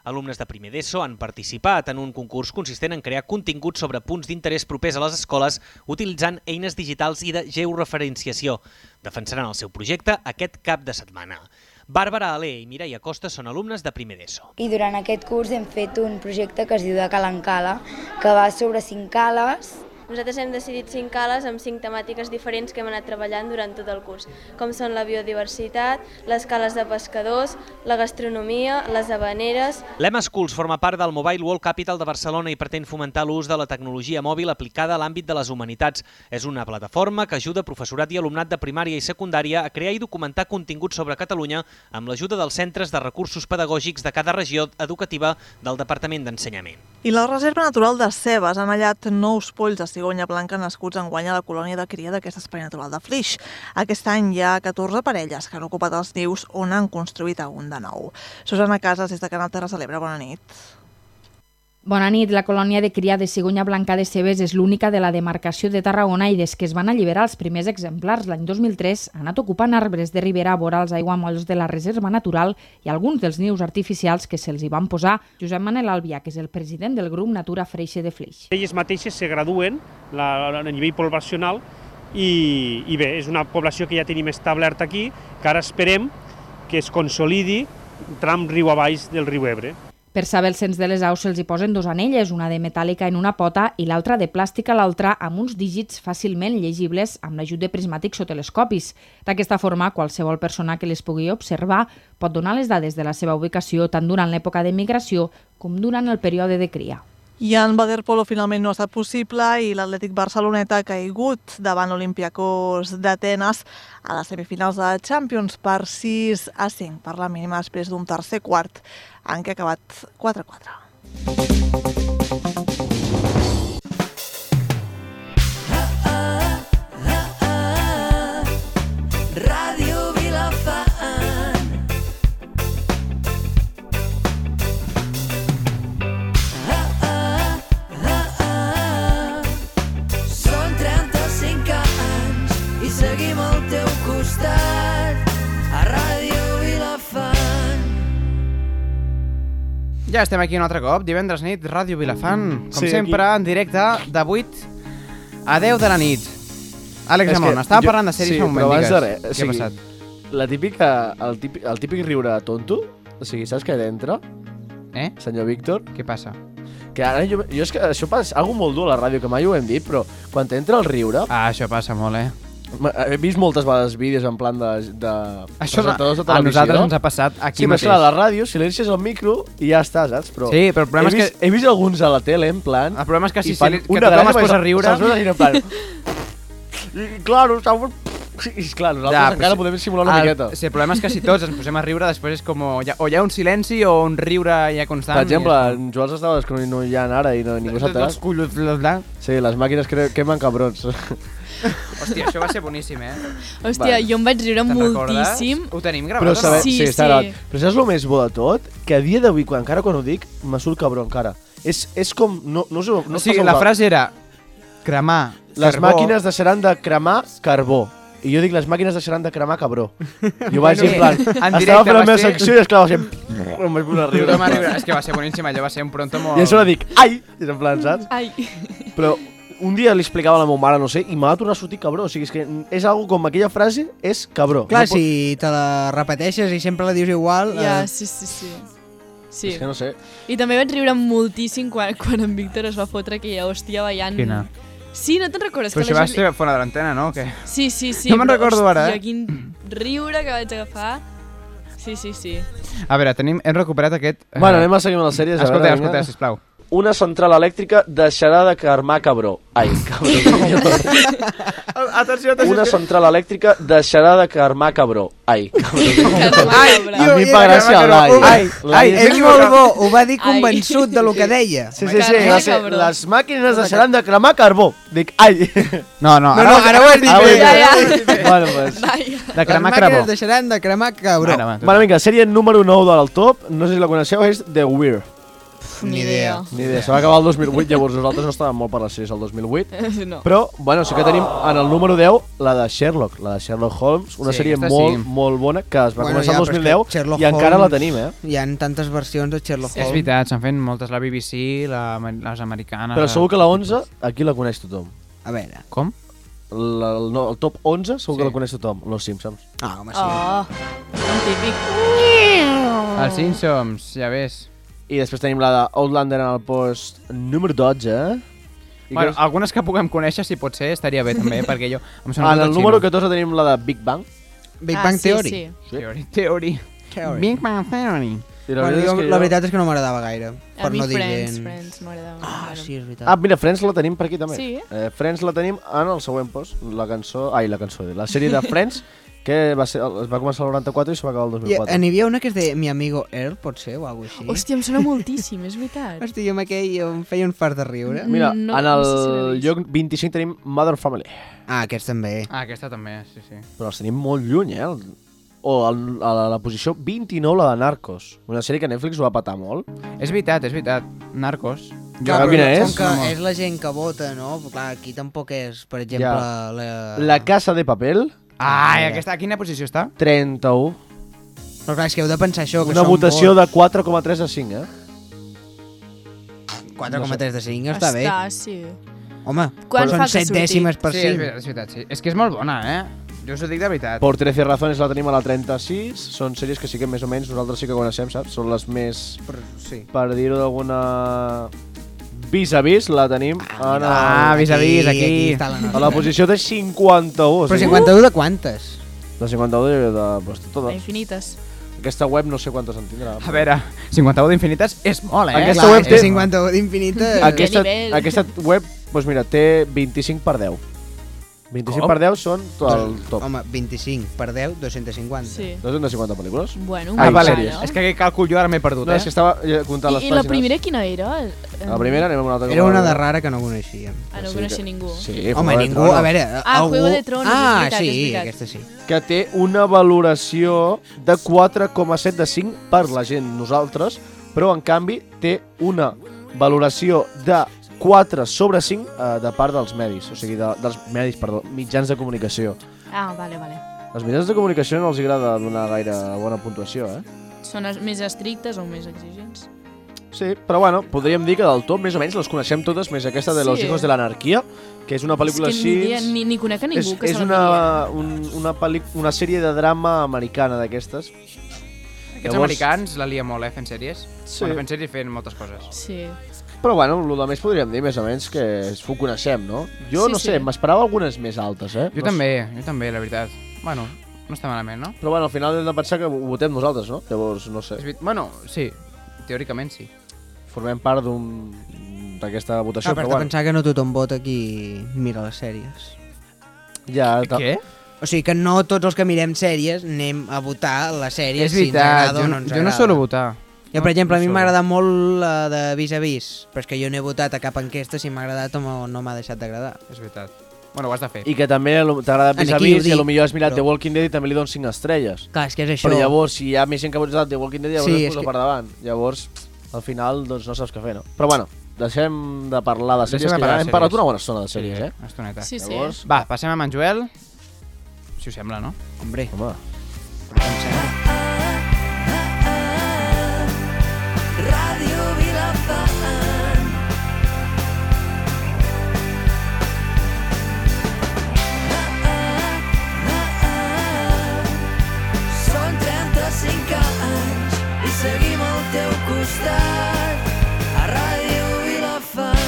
Q: Alumnes de primer d'ESO han participat en un concurs consistent en crear continguts sobre punts d'interès propers a les escoles utilitzant eines digitals i de georreferenciació. Defensaran el seu projecte aquest cap de setmana. Bàrbara Alé i Mireia Costa són alumnes de primer d'ESO.
R: I durant aquest curs hem fet un projecte que es diu de Calencala, que va sobre cinc cales.
S: Nosaltres hem decidit cinc cales amb cinc temàtiques diferents que hem anat treballant durant tot el curs, com són la biodiversitat, les cales de pescadors, la gastronomia, les habaneres...
Q: L'EMA Schools forma part del Mobile World Capital de Barcelona i pretén fomentar l'ús de la tecnologia mòbil aplicada a l'àmbit de les humanitats. És una plataforma que ajuda professorat i alumnat de primària i secundària a crear i documentar continguts sobre Catalunya amb l'ajuda dels centres de recursos pedagògics de cada regió educativa del Departament d'Ensenyament.
N: I la Reserva Natural de Cebes han hallat nous polls de cigonya blanca nascuts en guany a la colònia de cria d'aquest espai natural de Flix. Aquest any hi ha 14 parelles que han ocupat els nius on han construït a un de nou. Susana Casas, des de Canal Terra Celebra, bona nit.
T: Bona nit. La colònia de cria de cigonya blanca de Cebes és l'única de la demarcació de Tarragona i des que es van alliberar els primers exemplars l'any 2003 ha anat ocupant arbres de ribera vora els aiguamolls de la reserva natural i alguns dels nius artificials que se'ls hi van posar. Josep Manel Albià, que és el president del grup Natura Freixe de Flix.
U: Elles mateixes se graduen la, a nivell poblacional i, i bé, és una població que ja tenim establerta aquí, que ara esperem que es consolidi tram riu avall del riu Ebre.
T: Per saber el cens de les aus se'ls hi posen dos anelles, una de metàl·lica en una pota i l'altra de plàstica a l'altra amb uns dígits fàcilment llegibles amb l'ajut de prismàtics o telescopis. D'aquesta forma, qualsevol persona que les pugui observar pot donar les dades de la seva ubicació tant durant l'època de migració com durant el període de cria.
N: I en Bader Polo finalment no ha estat possible i l'Atlètic Barceloneta ha caigut davant l'Olimpiakos d'Atenes a les semifinals de Champions per 6 a 5 per la mínima després d'un tercer quart en què ha acabat 4-4.
L: Ràdio Vilafant.
J: Són 35 anys i seguim al teu costat a Ràdio Vilafant.
A: Ja estem aquí un altre cop, divendres nit, Ràdio Vilafant, com
D: Mm, Sí,
A: sí, sempre, aquí. en directe de 8 a 10 de la nit. Àlex
D: És
A: Amon,
D: que
A: estava
D: jo-
A: parlant de sèries
D: sí,
A: fa un moment,
D: però abans de
A: digues.
D: res, o
A: Què ha
D: sigui, La típica, el, típic, el típic riure tonto, o sigui, saps què entra?
A: Eh?
D: Senyor Víctor?
A: Què passa?
D: Que ara jo, jo és que això passa, algo molt dur a la ràdio, que mai ho hem dit, però quan t'entra el riure...
A: Ah, això passa molt, eh?
D: He vist moltes vegades vídeos en plan de, de
A: Això
D: presentadors de
A: a
D: televisió.
A: nosaltres ens ha passat aquí
D: sí,
A: mateix.
D: Sí, però és clar, a la ràdio silencies el micro i ja està, saps? Però
A: Sí, però el problema
D: he
A: és
D: vist, que... He vist alguns a la tele, en plan... El
A: problema és que si silen- que
D: una
A: tothom
D: gràcia,
A: es posa
D: però
A: a riure.
D: Se'ls veu de en plan... I, claro, estamos... I, clar, nosaltres ja, encara podem simular una
A: el,
D: miqueta.
A: Sí, el problema és que si tots ens posem a riure, després és com... o hi ha- O hi ha un silenci o un riure ja constant.
D: Per exemple, en Joan s'estava descronollant ara i no, ningú s'ha
A: Els
D: enterat.
A: collons, bla, bla.
D: Sí, les màquines cre- quemen cabrons.
A: Hòstia, això va ser boníssim, eh?
C: Hòstia,
D: Vale.
C: jo em vaig riure
A: Te'n
C: moltíssim.
A: recordes? Ho tenim
D: Però,
A: gravat, o
D: sabe,
A: no?
D: sí, sí, està gravat. Però saps el més bo de tot? Que a dia d'avui, quan, encara quan ho dic, me surt cabró encara. És, és com... No, no, us ho- no
A: O
D: us
A: sigui,
D: passeu
A: la
D: val.
A: frase era cremar
D: Les
A: carbó.
D: màquines deixaran de cremar carbó. I jo dic, les màquines deixaran de cremar cabró. I ho vaig dir, en plan...
A: Bueno, en
D: estava
A: directe
D: fent la
A: va
D: meva
A: ser-
D: secció i es clava sempre... Em vaig posar a riure.
A: Em va riure. És que va ser boníssim, allò va ser un pronto molt...
D: I a sobre dic, ai! I és en plan, saps?
C: Ai.
D: Però un dia li explicava a la meva mare, no sé, i m'ha tornat a sortir cabró. O sigui, és que és algo com aquella frase és cabró.
B: Clar,
D: no pot-
B: si te la repeteixes i sempre la dius igual...
C: Ja,
B: eh,
C: sí, sí, sí. Sí.
D: És que no sé.
C: I també vaig riure moltíssim quan, quan en Víctor es va fotre aquella hòstia ballant.
A: Quina?
C: Sí, no te'n recordes?
A: Però
C: que
A: això
C: la
A: va
C: gent
A: ser fora de l'antena, no? O què?
C: li- Sí, sí, sí.
A: No me'n
C: però,
A: recordo ara,
C: hòstia,
A: eh?
C: quin riure que vaig agafar. Sí, sí, sí.
A: A veure, tenim, hem recuperat aquest... eh,
D: Bueno, anem a seguir amb les sèries, a
A: Escolta,
D: veure,
A: escolta,
D: vinga.
A: sisplau.
D: Una central elèctrica deixarà de cremar cabró. Ai, cabró.
A: Atenció,
D: Una central elèctrica deixarà de cremar cabró. Ai, cabró.
B: Ai,
D: a mi em fa gràcia l'ai.
B: Ai, ai,
D: L'ai
B: és molt bo, ho va dir convençut de lo que deia.
D: Sí, sí, sí, va ser, les màquines deixaran de cremar carbó. Dic, ai.
A: No, no,
B: No, no, ara ho has dit bé.
D: Ara ho he
B: Ja,
D: dit bé.
B: ja.
D: Bueno, pues.
A: De cremar
B: Les
D: cremó.
B: màquines deixaran de cremar cabró.
D: Bueno, bueno, vinga, sèrie número 9 del top, no sé si la coneixeu, és The Weir.
B: Ni idea.
D: Ni idea, se va acabar el 2008, llavors nosaltres no estàvem molt per les sèries el 2008.
C: No.
D: Però, bueno, sí que tenim en el número 10 la de Sherlock, la de Sherlock Holmes, una
B: Sí,
D: sèrie
B: aquesta
D: molt,
B: sí.
D: molt bona que es va
B: Bueno,
D: començar
B: ja,
D: el
B: però és
D: 2010
B: que Sherlock
D: i encara
B: Holmes-
D: la tenim, eh?
B: Hi ha tantes versions de Sherlock
A: És
B: Holmes.
A: veritat, s'han fet moltes, la BBC, la, les americanes... eh.
D: Però segur que la 11 aquí la coneix tothom.
B: A veure.
A: Com?
D: La, el, no, el top 11 segur sí. que la coneix tothom, Los Simpsons.
B: Ah, home,
C: Oh, un típic.
B: Ah,
A: Els Simpsons, ja ves.
D: I després tenim la d'Outlander en el post número 12. I
A: Bueno,
D: que-
A: algunes que puguem conèixer, si pot ser, estaria bé també, eh, perquè jo... Em
D: en
A: sona molt
D: el
A: de
D: número
A: xino.
D: 14 tenim la de Big Bang.
B: Big Ah, Bang sí, Theory. sí.
A: Theory, Theory.
B: Theory.
A: Big Bang Theory.
D: I
B: La, bueno, jo, la veritat és que no m'agradava gaire.
C: A
B: Per
C: mi
B: no dir
C: Friends,
B: gent.
C: Friends, m'agradava.
B: Ah, sí, és veritat.
D: Ah, mira, Friends la tenim per aquí també.
C: Sí, eh?
D: eh? Friends la tenim en el següent post, la cançó... Ai, la cançó, la sèrie de Friends, que va ser, es va començar el 94 i se va acabar el
B: I
D: 2004.
B: n'hi havia una que es de Mi amigo Earl, pot ser, o alguna cosa així.
C: Hòstia, em sona moltíssim, és veritat.
B: Hòstia, jo amb aquell em feia un fart de riure.
D: Mira,
C: no-
D: en
C: no
D: el
C: sé si l'he
D: lloc 25 tenim Mother Family.
B: Ah, aquests també.
A: Ah, aquesta també, sí, sí.
D: Però els tenim molt lluny, eh? El- O el, a la, la posició 29, la de Narcos. Una sèrie que Netflix ho va patar molt.
A: És veritat, és veritat. Narcos.
D: Jo crec que és.
B: Com que és la gent que vota, no? Però clar, aquí tampoc és, per exemple,
D: Ja.
B: la... Ah,
D: La Casa de Papel,
A: Ai, aquesta, a quina posició està?
D: 31.
B: Però clar, és que heu de pensar això, que
D: Una
B: són
D: votació
B: vots.
D: de 4,3 de 5, eh?
B: 4,3 de
C: Ah,
B: 5, està, bé.
C: Està, sí.
B: Home,
C: Quan
B: són
C: falta
B: 7
C: sortir?
B: dècimes per
A: sí,
B: 5.
A: és veritat, és veritat, sí. És que és molt bona, eh? Jo us ho dic de veritat.
D: Por 13 razones la tenim a la 36. Són sèries que sí que més o menys nosaltres sí que coneixem, saps? Són les més...
B: Per, sí.
D: per dir-ho d'alguna... Vis a vis la tenim ah, en el...
A: Ah, Vis a Vis, aquí, aquí. aquí
B: està la nostra.
D: a la posició de 51.
B: Però 51 de quantes?
D: De 51 de... de pues,
C: A
D: totes.
C: infinites.
D: Aquesta web no sé quantes en tindrà.
A: A veure, 51 d'infinites és molt, eh?
D: Aquesta web
B: és
D: té-
B: 51 d'infinita.
D: Aquesta, aquesta web, doncs mira, té 25 per 10. 25 per 10 són
B: Doncs
D: el top.
B: Home, 25 per 10, 250. Sí.
D: 250 pel·lícules.
C: Bueno,
A: Ah,
D: Ai,
A: vale.
D: sèries.
A: És que aquest càlcul jo ara m'he perdut,
D: No,
A: eh?
D: és que estava eh, comptant les
C: I, I la
D: pàgines.
C: primera quina era?
D: La primera anem a una altra.
B: Era
D: com
B: una
D: la-
B: de rara que no coneixíem.
C: Ah, no ho coneixia ningú.
D: Sí,
B: Home,
D: Juego de
B: ningú,
D: Tronos.
B: a veure...
C: Ah,
B: algú...
C: Juego de Tronos, és
B: Ah,
C: veritat, és
B: sí,
C: veritat.
B: aquesta sí.
D: que té una valoració de 4,7 de 5 per la gent, nosaltres, però en canvi té una valoració de 4 sobre 5 eh, de part dels medis, o sigui, de, dels medis, perdó, mitjans de comunicació.
C: Ah, vale, vale.
D: Els mitjans de comunicació no els agrada donar gaire bona puntuació, eh?
C: Són es- més estrictes o més exigents?
D: Sí, però bueno, podríem dir que del tot més o menys les coneixem totes, més aquesta de Los
C: Sí.
D: Hijos de l'Anarquia, que és una pel·lícula
C: és que ni,
D: així...
C: ni, ni conec a ningú
D: és,
C: que
D: és
C: se la
D: una,
C: vegi.
D: un, una, pel·li, una sèrie de drama americana d'aquestes.
A: Aquests americans la lia molt, eh, fent sèries.
D: Sí.
A: Sí. Bueno, fent sèries i fent moltes coses.
C: Sí.
D: Però bueno, el de més podríem dir més o menys que és- ho coneixem, no? Jo
A: Sí,
D: no sé,
A: sí.
D: m'esperava algunes més altes, eh?
A: Jo
D: no
A: també, jo també, la veritat. Bueno, no està malament, no?
D: Però bueno, al final hem de pensar que ho votem nosaltres, no? Llavors, no sé.
A: És veritat. Bueno, sí, teòricament sí.
D: Formem part d'un d'aquesta votació,
B: Ah,
D: però
B: però has de
D: bueno.
B: pensar que no tothom vota qui mira les sèries.
D: Ja,
A: Què?
B: O sigui que no tots els que mirem sèries anem a votar la sèrie
A: És
B: si ens
A: veritat,
B: agrada
C: doncs,
A: jo
B: o
A: no-
B: no ens
A: jo no
B: agrada.
A: suelo votar.
B: Jo, per
A: No-
B: exemple,
A: no
B: a mi
A: suelo.
B: m'agrada molt la de vis a vis, però és que jo no he votat a cap enquesta si m'ha agradat o no- no m'ha deixat d'agradar.
A: És veritat. Bueno, ho has de fer.
D: I que també lo- t'agrada
B: Aquí
D: vis a
B: ho
D: vis i
B: dic,
D: potser has mirat
B: però-
D: The Walking Dead i també li dones 5 estrelles.
B: Clar, és que és això.
D: Però llavors, si hi ha més gent que ha votat The Walking Dead, llavors
B: Sí,
D: sí,
B: és
D: es posa
B: que-
D: per davant. Llavors, al final, doncs no saps què fer, no? Però bueno, deixem de parlar de
A: Deixem
D: sèries,
A: de
D: que
A: parlar
D: ja
A: de
D: hem parlat
A: sèries.
D: una bona estona de sèries,
A: Sí,
D: eh?
A: Una estoneta.
C: Sí, sí.
D: Llavors,
A: Va, passem amb en Joel. Si us sembla, no?
B: Hombre.
D: Home.
G: Ràdio Vilafant. Són 35 anys i seguim al teu costat a Ràdio Vilafant.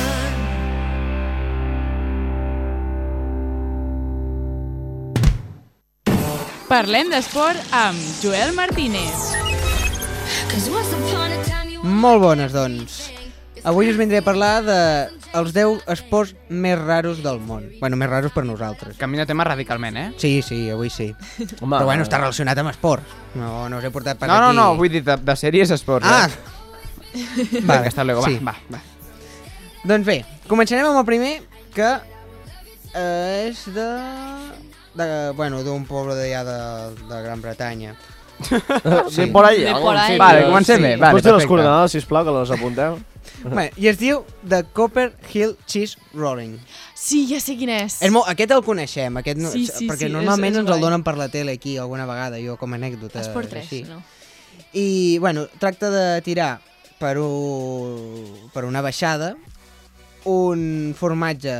H: Parlem d'esport amb Joel Martínez.
B: Molt bones, doncs. Avui us vindré a parlar de els 10 esports més raros del món. Bueno, més raros per nosaltres.
A: Canvia de tema radicalment, eh?
B: Sí, sí, avui sí.
A: Home,
B: Però bueno, està relacionat amb esports. No, no us he portat per
A: no, no,
B: aquí.
A: no, vull dir de, de sèries esports.
B: Ah!
A: Eh? Vale. Hasta luego, va,
B: Sí.
A: sí. va, va.
B: Doncs bé, començarem amb el primer, que eh, és de... de bueno, d'un poble d'allà de, de Gran Bretanya.
D: Sí, por ahí, De por ahí. Vale, comencem bé, vale, Pots dir les perfecte. coordenades, sisplau, que les apunteu?
B: Bé, I es diu The Copper Hill Cheese Rolling.
C: Sí, ja sé quin és.
B: És molt, aquest el coneixem, aquest no,
C: Sí, sí,
B: perquè
C: sí,
B: normalment
C: és- és
B: ens el
C: guai.
B: donen per la tele aquí alguna vegada, jo com a anècdota.
C: Esport 3,
B: així.
C: no?
B: I, bueno, tracta de tirar per, u... per una baixada un formatge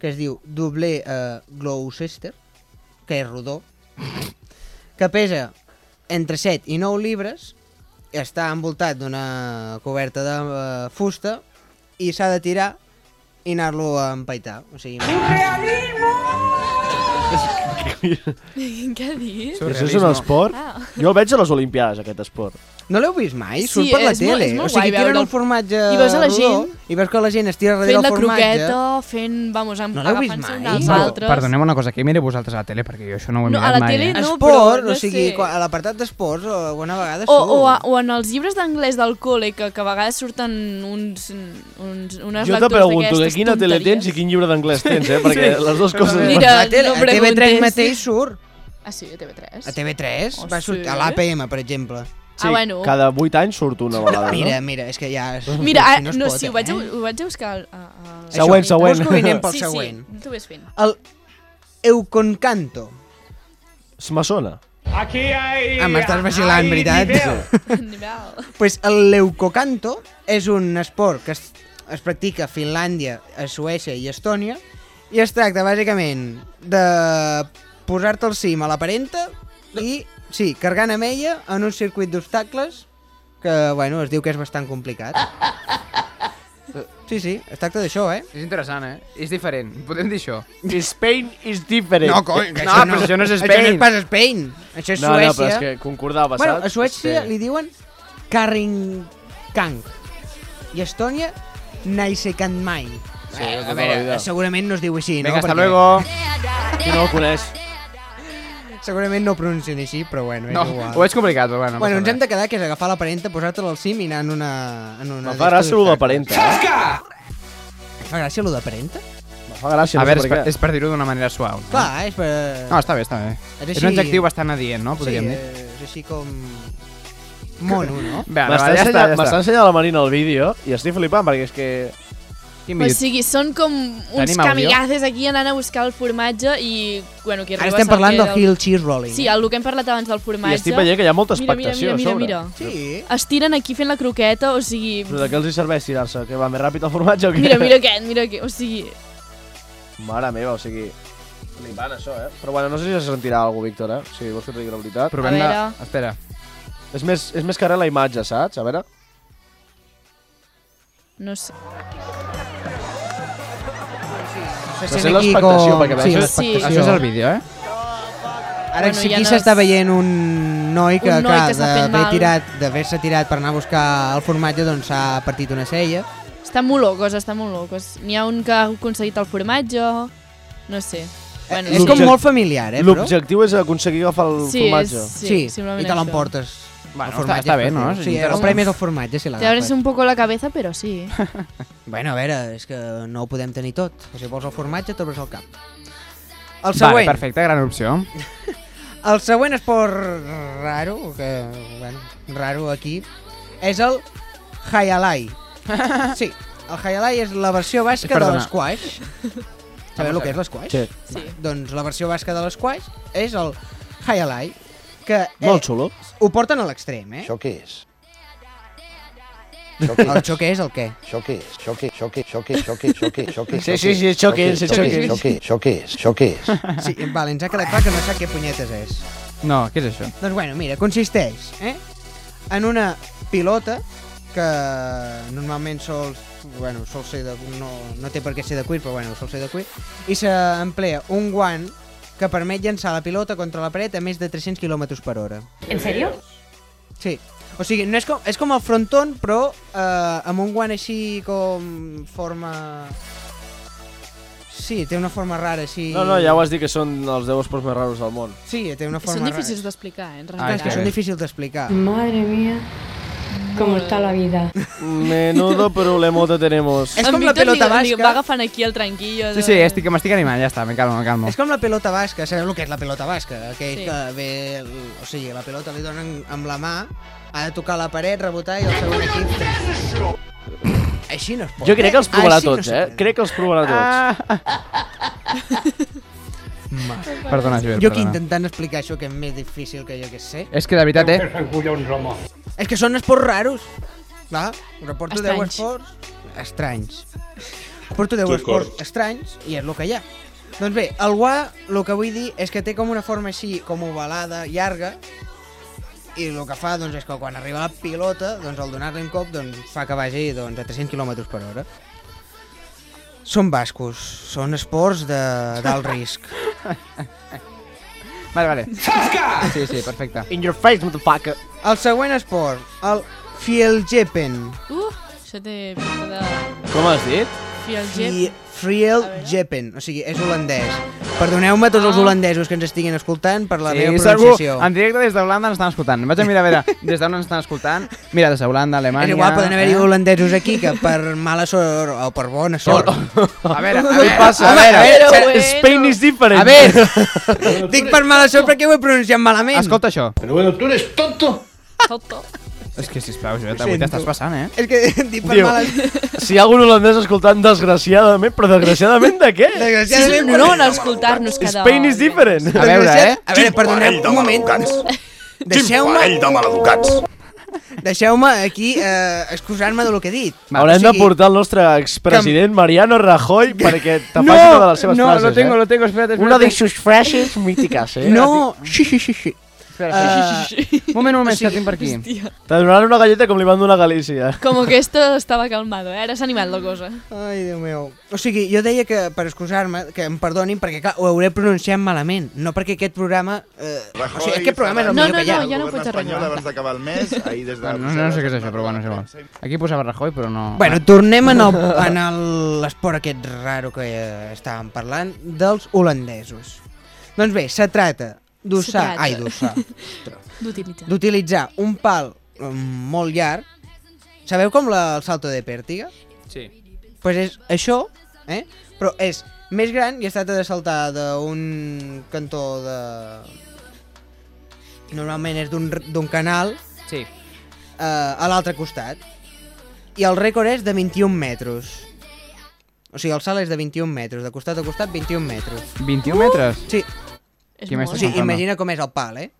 B: que es diu doble eh, Gloucester, que és rodó, que pesa entre 7 i 9 libres, està envoltat d'una coberta de eh, fusta i s'ha de tirar i anar-lo a empaitar. O sigui,
C: Què dius?
D: Això és un esport?
C: Ah.
D: Jo el veig a les Olimpiades, aquest esport.
B: No l'heu vist mai?
C: Sí,
B: Surt per la
C: és molt-
B: tele.
C: és molt
B: o sigui,
C: guai
B: tiren
C: veure'l.
B: un formatge
C: I veus a la
B: rodó
C: gent
B: I veus que la gent es tira darrere
C: Fent
B: el
C: la
B: formatge.
C: croqueta, fent, vamos, amb-
A: No l'heu vist
C: agafant-se un
A: mai?
C: dels
A: Perdó,
C: altres.
A: Perdoneu una cosa, que mire vosaltres a la tele, perquè jo això no ho he
C: No, a
A: mirat
C: la
A: mai.
C: tele
A: eh?
C: no,
B: Esport,
C: però no
B: o sigui,
C: sé.
B: quan- a l'apartat d'esports, o alguna vegada
C: O,
B: surt.
C: o, a, o en els llibres d'anglès del col·le, que, que a vegades surten uns, uns, unes
D: Jo te
C: lectures
D: pregunto que
C: d'aquestes
D: quina tele
C: tonteries.
D: tens i quin llibre d'anglès tens, eh? Perquè
B: Sí.
D: les dues coses...
C: Mira,
B: A tele-
C: no
B: a TV3
C: preguntes.
B: mateix surt.
C: Ah, sí, a TV3.
B: A TV3
C: Oh,
B: va sortir,
C: sí?
B: a l'APM, per exemple.
C: Ah, bueno.
D: Cada 8 anys surt una vegada, no?
B: Mira, mira, és que ja...
C: Mira,
B: si
C: ah,
B: no,
C: no,
B: es pot, eh?
C: sí, ho vaig, a, ho vaig a buscar... A, a...
D: Següent,
C: Això.
D: següent.
B: Vols que ho anem pel
C: sí,
B: següent?
C: Sí, tu vés fent.
B: El Euconcanto.
D: Me sona.
G: Aquí hay...
B: Ah, m'estàs vacilant, veritat? pues el leucocanto és un esport que es, es practica a Finlàndia, a Suècia i a Estònia i es tracta bàsicament de posar-te el cim a la parenta i, sí, cargant amb ella en un circuit d'obstacles que, bueno, es diu que és bastant complicat. Sí, sí, es tracta d'això, eh?
A: És interessant, eh? És diferent, podem dir això.
D: Spain is different.
B: No, coi, que
A: no,
B: això
A: però això no és
B: Això no
A: Spain.
B: és pas Spain, això és
D: No, no,
B: Suècia.
D: però és que concordava,
B: bueno,
D: saps?
B: a Suècia
D: Sí.
B: li diuen Karringkang i a Estònia Naisekanmai.
D: Sí,
B: Eh,
D: tota la
B: a veure,
D: vida.
B: segurament no es diu així,
A: Vinga,
B: no?
A: hasta luego.
D: Qui no el coneix?
B: Segurament no ho pronuncien així, però bueno, és
A: No,
B: igual.
A: ho veig complicat, però bueno. no
B: bueno,
A: passa
B: ens hem
A: res.
B: de quedar que és agafar la parenta, posar-te-la al cim i anar en una... En una
D: Em fa gràcia allò de parenta.
B: Et fa gràcia allò de parenta?
D: Em fa gràcia, no sé
A: A veure,
D: per
A: és per,
D: què.
A: és per dir-ho d'una manera suau. No?
B: Clar, és per...
A: Mm. No, està bé, està bé.
B: És
A: És,
B: així-
A: un adjectiu bastant adient, no? Podríem
B: sí,
A: dir.
B: eh, és així com... Mono, no?
A: Bé,
D: M'està
A: ja està,
D: ensenyant-
A: ja
D: M'està
A: està.
D: ensenyant la Marina el vídeo i estic flipant perquè és que... Quin
C: O sigui, són com uns
D: Tenim àudio?
C: camigaces aquí anant a buscar el formatge i, bueno, qui
B: Ara
C: arriba
B: estem
C: se'l
B: parlant
C: queda
B: del
C: el-
B: heel cheese rolling.
C: Sí, el que hem parlat abans del formatge.
D: I estic veient que hi ha molta expectació
C: mira,
D: a
C: mira,
D: sobre.
C: mira, mira. Es tiren aquí fent la croqueta, o sigui...
D: Però de què els hi serveix tirar-se? Que va més ràpid el formatge o què?
C: Mira, mira aquest, mira aquest, o sigui...
D: Mare meva, o sigui... Flipant, això, eh? Però bueno, no sé si se sentirà alguna cosa, Víctor, eh? Si vols que et digui la veritat.
A: Provem A de- veure.
D: Espera. És més, és més que res la imatge, saps? A veure.
C: No sé.
B: Se
D: Però sent l'expectació, perquè veus
A: Això és el vídeo, eh?
B: Ara
A: Bueno,
B: bueno,
A: ja
B: aquí
A: no
B: s'està
A: és-
B: veient un noi que,
A: Un noi
B: clar,
A: que s'ha fet
B: d'haver
A: mal.
B: tirat, d'haver-se tirat per anar a buscar el formatge, doncs s'ha partit una cella.
C: Està molt locos, està molt locos. N'hi ha un que ha aconseguit el formatge, no sé. Bueno,
B: Eh, és com molt familiar, eh, però?
D: L'objectiu és aconseguir agafar el
C: Sí,
D: formatge.
C: és- sí,
B: Sí,
C: simplement
B: i te
C: això.
B: l'emportes.
A: Bueno,
B: El
A: està-
B: formatge
A: està bé, no?
B: per fi.
A: És
B: Sí, el
A: interessant.
B: premi és el formatge, si
C: Te abres
B: l'agafes.
C: un poco la cabeza, però sí.
B: Bueno, a veure, és que no ho podem tenir tot. Si vols el formatge, t'obres el cap. El
A: Vale,
B: següent.
A: perfecte, gran opció.
B: El següent esport raro, que, bueno, raro aquí, és el Hayalai. Sí, el Hayalai és la versió basca de
A: Perdona.
B: l'esquash. Sabeu el que és l'esquash?
D: Sí.
B: Sí. Doncs la versió basca de l'esquash és el Hayalai, que
D: Eh, Molt xulo.
B: ho porten a l'extrem, eh?
E: Això què és?
B: El xoque és el què?
E: Això què és? Això què? Això què? Això què? Això què? Això què? Això què?
B: Sí, sí, sí,
E: Això què
B: xoque,
E: és? Això què és? Això què és? Això què és? Això què és?
B: Sí, vale, ens ha quedat clar que no sap què punyetes és.
A: No, què és això?
B: Doncs bueno, mira, consisteix eh, en una pilota que normalment sols, bueno, sol ser de, no, no té per què ser de cuir, però bueno, sol ser de cuir, i s'emplea un guant que permet llançar la pilota contra la paret a més de 300 km per hora.
V: ¿En serio?
B: Sí. O sigui, no és, com, és com el fronton, però eh, amb un guant així com forma... Sí, té una forma rara, així...
D: No, no, ja ho has dit que són els 10 esports més raros del món.
B: Sí, té una forma
C: Són
B: rara.
C: difícils d'explicar, eh, en
B: Ah, és
C: realitat.
B: que són difícils d'explicar.
V: Madre mía, cómo está la vida.
D: Menudo problemota tenemos.
B: És
C: En
B: com la
C: Víctor li-
B: pelota
C: li
B: basca.
C: Va agafant aquí el tranquillo.
A: Sí, sí, estic, m'estic animant, ja està, me calmo, me calmo.
B: És com la pelota basca, sabeu el que és la pelota basca? Aquell
C: Sí.
B: sí. que ve... O sigui, la pelota li donen amb la mà, ha de tocar la paret, rebotar i el segon equip... Així no es pot.
D: Jo crec que els provarà
B: Així no
D: tots,
B: se Ah,
D: eh? Crec que els provarà tots.
A: Ah. Perdona, Joel,
B: Jo que
A: perdona.
B: intentant explicar això que és més difícil que jo que sé.
A: És que de veritat, eh?
B: collons, home. És que són esports raros. Va, reporto 10 Estranys. esports estranys. Porto 10
W: D'acord.
B: esports estranys i és el que hi ha. Doncs bé, el guà, el que vull dir és que té com una forma així, com ovalada, llarga, i el que fa doncs, és que quan arriba la pilota, doncs, al donar-li un cop doncs, fa que vagi doncs, a 300 km per hora. Són bascos, són esports de d'alt risc.
A: Vale, vale.
B: Zasca!
A: Sí, sí, perfecte.
D: In your face, motherfucker.
B: El següent esport, el Fieljepen.
C: Uh, això té pinta de...
D: Com has dit?
C: Fjellgep.
B: Fieljepen, o sigui, és holandès. Perdoneu-me a tots
A: Ah.
B: els holandesos que ens estiguin escoltant per la
A: sí,
B: meva
A: segur,
B: pronunciació.
A: en directe des d'Holanda ens estan escoltant. Vaig a mirar a veure des d'on ens estan escoltant. Mira, des d'Holanda, Alemanya...
B: És igual, poden haver-hi
A: eh?
B: holandesos aquí que per mala sort o per bona sort.
A: A veure,
B: Què
A: a veure,
B: passa?
A: a veure,
B: espera.
A: bueno. Spain is different.
B: A veure, dic per mala sort perquè ho he pronunciat malament.
A: Escolta això.
B: Però bueno, tu eres tonto.
A: És que sisplau, Joel,
D: Ho
A: avui
D: sento.
A: t'estàs passant, eh?
B: És que dic per
D: Diu,
B: mala...
D: si hi ha algun holandès escoltant, desgraciadament, però desgraciadament de què?
C: Sí, és un honor escoltar-nos cada...
D: Spain is different.
B: A veure, eh? A veure, perdoneu, un moment. Deixeu-me...
D: parell de maleducats.
B: Deixeu-me aquí eh, excusar-me del que he dit.
D: Haurem de portar el nostre expresident Mariano Rajoy perquè te faci
B: No,
D: una de les seves
B: no,
D: frases,
B: lo tengo,
D: eh?
B: lo tengo, espérate,
D: Una
B: espérate.
D: de sus frases míticas, eh?
B: No, sí, sí, sí, sí.
A: Espera,
B: Un
A: moment, un
B: moment,
A: que tinc per aquí.
D: Te donaran una galleta com li van donar a Galícia.
C: Como que esto estaba calmado, eh? Ara s'ha animat la cosa.
B: Ai, Déu meu. O sigui, jo deia que, per excusar-me, que em perdonin, perquè clar, ho hauré pronunciat malament, no perquè aquest programa... Eh, o sigui, aquest programa és el millor que hi ha.
X: espanyol abans d'acabar el mes, ahir des de...
A: Bueno, no, no sé què és això, però bueno, és igual. Aquí posava Rajoy, però no...
B: Bueno, tornem en el- en el- l'esport aquest raro que eh, estàvem parlant, dels holandesos. Doncs bé, se trata d'usar...
C: Se trata.
B: Ai, d'usar.
C: D'utilitzar.
B: D'utilitzar un pal eh, molt llarg. Sabeu com la, el salto de pèrtiga?
A: Sí.
B: pues és això, eh? però és més gran i es tracta de saltar d'un cantó de... Normalment és d'un r- d'un canal
A: Sí.
B: eh, a l'altre costat. I el rècord és de 21 metres. O sigui, el salt és de 21 metres, de costat a costat 21 metres.
A: 21 metres?
B: Sí.
A: Uh! És Què m'estàs
B: o sigui,
A: contando?
B: imagina com és el pal, eh?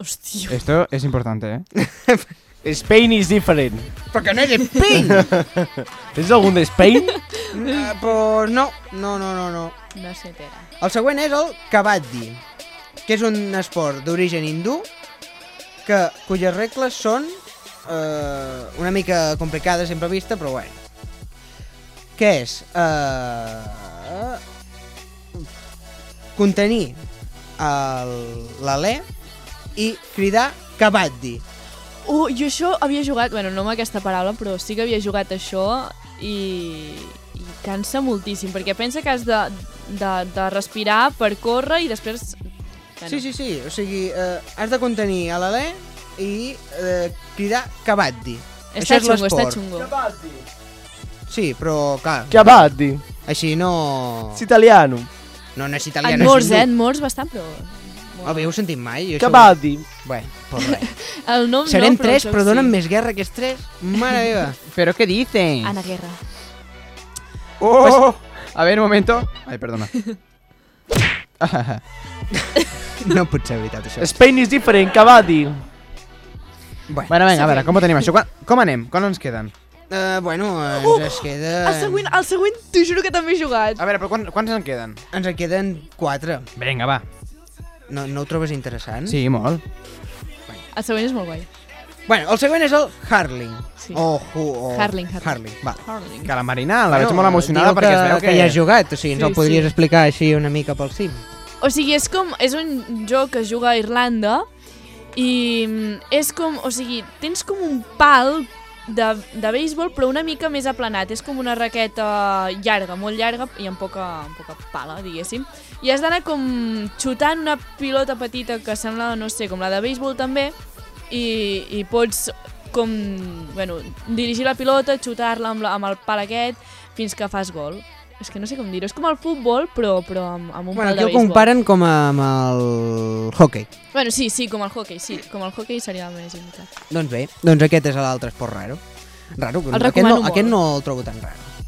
C: Hòstia.
A: Esto es importante, eh?
D: Spain is different.
B: Però que no és Spain!
D: Tens algun de Spain?
B: Eh, pues no, no, no, no, no.
C: No sé, Tera.
B: El següent és el kabaddi, que és un esport d'origen hindú que, cuyes regles són eh, una mica complicades sempre vista, però bueno. Què és? Eh, contenir el- l'alè i cridar kabaddi.
C: Uh, jo això havia jugat, bueno, no amb aquesta paraula, però sí que havia jugat això i, i cansa moltíssim, perquè pensa que has de, de, de respirar per córrer i després... Bueno,
B: Sí, sí, sí, o sigui, eh, has de contenir a l'alè i eh, cridar kabaddi.
C: Està
B: Això és
C: xungo, està
B: l'esport.
C: xungo.
B: Sí, però clar...
D: Kabaddi.
B: Així no...
D: És italiano.
B: No, no és italià,
C: En
B: no és
C: morts, eh?
B: hindú.
C: En morts bastant, però... eh?
B: El viu sentit mai? Jo
D: Kabaddi.
B: Bé, pues res.
C: El nom
B: Serem
C: no, però
B: tres,
C: això
B: però
C: sí.
B: donen més guerra que els tres. Mare meva.
A: Però què dicen?
C: Ana Guerra.
A: Oh! A ver, un momento. Ai, perdona.
B: no pot ser veritat, això.
D: Spain is different, Kabaddi.
B: Bueno,
A: bueno vinga, a veure, com ho tenim això? Quan, com anem? Quan ens queden?
B: Uh, bueno, ens
C: Uh,
B: es queda...
C: El següent, el següent t'ho juro que també he jugat.
A: A veure, però quan, quants en queden?
B: Ens en queden quatre.
A: Vinga, va.
B: No, no ho trobes interessant?
A: Sí, molt.
C: El següent és molt guai.
B: Bueno, el següent és el Harling.
C: Sí.
B: O, o, o...
C: Harling, Harling.
B: Harling, vale.
C: Harling.
A: Que la Marina la veig molt emocionada
B: diu
A: perquè es veu que...
B: que hi has jugat, o sigui, ens
C: Sí,
B: el podries
C: sí.
B: explicar així una mica pel cim.
C: O sigui, és com... És un joc que es juga a Irlanda i mm, és com... O sigui, tens com un pal de, de béisbol, però una mica més aplanat. És com una raqueta llarga, molt llarga i amb poca, amb poca pala, diguéssim. I has d'anar com xutant una pilota petita que sembla, no sé, com la de béisbol també, i, i pots com, bueno, dirigir la pilota, xutar-la amb, la- amb el pal aquest fins que fas gol. És que no sé com dir-ho, és com el futbol, però, però amb, amb un
B: Bueno,
C: pal
B: aquí
C: de
B: ho
C: béisbol.
B: comparen com amb el hockey.
C: Bueno, sí, sí, com el hockey, sí. Com el hockey seria el més imitat.
B: Doncs bé, doncs aquest és l'altre esport raro. Raro,
C: El
B: aquest
C: recomano
B: no,
C: molt.
B: aquest no el trobo tan raro.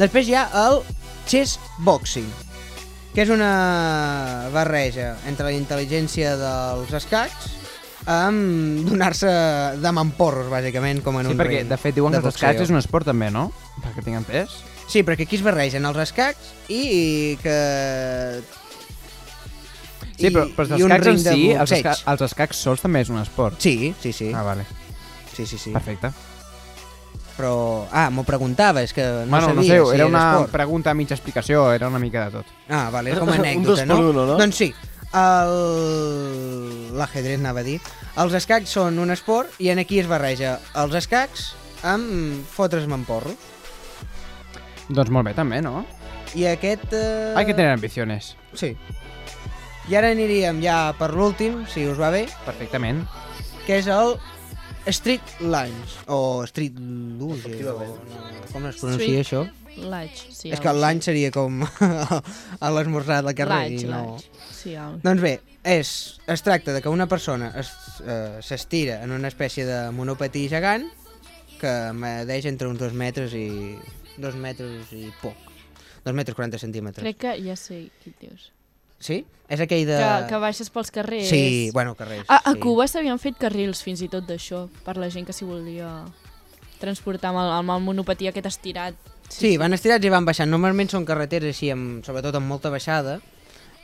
B: Després hi ha el chess boxing, que és una barreja entre la intel·ligència dels escacs amb donar-se de mamporros, bàsicament, com en
A: Sí,
B: un
A: perquè
B: ring
A: de fet diuen que els escacs
B: boxeo.
A: és un esport també, no? Perquè tinc entès.
B: Sí, perquè aquí es barregen els escacs i que...
A: Sí, però, però els
B: i un
A: escacs en
B: ring de
A: si, els,
B: boxeig.
A: esca els escacs sols també és un esport.
B: Sí, sí, sí.
A: Ah, vale.
B: Sí, sí, sí.
A: Perfecte.
B: Però, ah, m'ho preguntava, és que no
A: bueno,
B: sabia
A: no sé,
B: si
A: era una
B: esport.
A: pregunta a mitja explicació, era una mica de tot.
B: Ah, vale, com a
A: Un dos
B: anècdota,
A: per
B: no?
A: uno, no?
B: Doncs sí, el- l'ajedrez anava a dir. Els escacs són un esport i en aquí es barreja els escacs amb fotre's mamporro.
A: Doncs molt bé també, no?
B: I aquest... Eh...
A: Hay que tener ambiciones.
B: Sí. I ara aniríem ja per l'últim, si us va bé,
A: Perfectament.
B: que és el Street Lunch, o Street Luge, o... com es pronuncia això?
C: Laig, sí.
B: és que el lunch seria com a l'esmorzar del carrer
C: Lunch,
B: i no...
C: lunch. Sí, el...
B: Doncs bé, és, es tracta de que una persona es- eh, s'estira en una espècie de monopatí gegant que medeix entre uns dos metres i... dos metres i poc. Dos metres 40 centímetres.
C: Crec que ja sé qui et dius.
B: Sí? És aquell de...
C: Que, que baixes pels carrers.
B: Sí, bueno, carrers,
C: A, a
B: sí.
C: Cuba s'havien fet carrils fins i tot d'això, per la gent que s'hi volia transportar amb el, amb el monopatí aquest estirat.
B: Sí, van estirats i van baixant. Normalment són carreteres així, amb, sobretot amb molta baixada.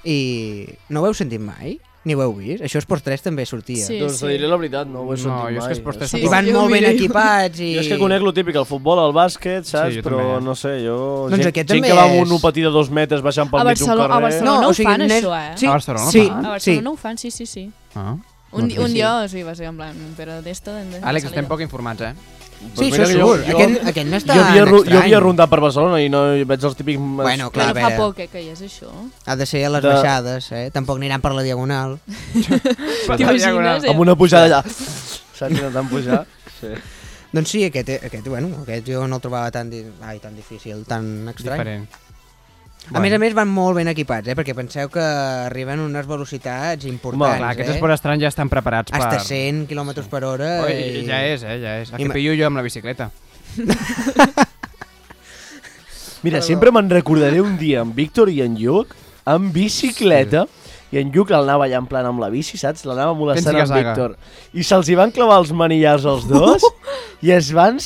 B: I no ho heu sentit mai? Ni ho heu vist? Això és Esports 3 també sortia.
D: Sí, doncs sí. diré la veritat, no ho he sentit
A: jo és
D: mai.
A: que Esports tres
B: Sí, tampoc. van molt ben equipats i-
D: Jo és que conec lo típic, el futbol, el bàsquet, saps?
A: Sí, jo
D: però
A: també.
D: no sé, jo...
A: Doncs
D: gent,
A: aquest
D: gent
A: també
D: que va
A: és-
D: amb un opatí de dos metres baixant pel
C: A
D: mig d'un
C: Barcelona-
D: carrer...
C: a Barcelona
B: No,
C: ho
B: o sigui,
C: fan,
B: n'és-
C: això, eh?
B: sí,
A: A Barcelona
B: sí,
A: fan?
C: A Barcelona sí. ho fan, sí, sí, sí.
A: Ah.
C: Un,
A: Doncs
C: di- un
A: sí.
C: dia sí. va ser en plan, però d'esto... de- de
A: Àlex,
C: salida.
A: estem poc informats, eh?
B: Sí,
D: Mira
B: això
D: que jo-
B: segur.
D: jo-
B: Aquest, aquest no està
D: jo havia, ru- jo
B: estrany.
D: havia rondat per Barcelona i no hi veig els típics...
B: Bueno, clar,
C: Però
B: a
C: fa
B: veure.
C: poc, eh, que ja és això.
B: Ha de ser a les
D: De-
B: de... baixades, eh? Tampoc aniran per la diagonal.
C: T'imagines, eh?
D: Amb una pujada allà. Saps? Intentant pujar. Sí.
B: Doncs sí, aquest, aquest, bueno, aquest jo no el trobava tan, di... Ai, tan difícil, tan estrany.
A: Diferent.
B: A més a més van molt ben equipats, eh? perquè penseu que arriben a unes velocitats importants.
A: Home, clar, aquests
B: eh?
A: esports estranys ja estan preparats per...
B: Hasta 100 km per hora.
A: Oi, ja és, eh, ja és. El que
B: Ima-
A: pillo jo amb la bicicleta.
D: Mira, sempre me'n recordaré un dia amb Víctor i en Lluc, amb bicicleta, i en Lluc l'anava allà en plan amb la bici, saps? L'anava molestant
A: Pensi que
D: amb
A: saga.
D: Víctor. I se'ls hi van clavar els manillars als dos i es van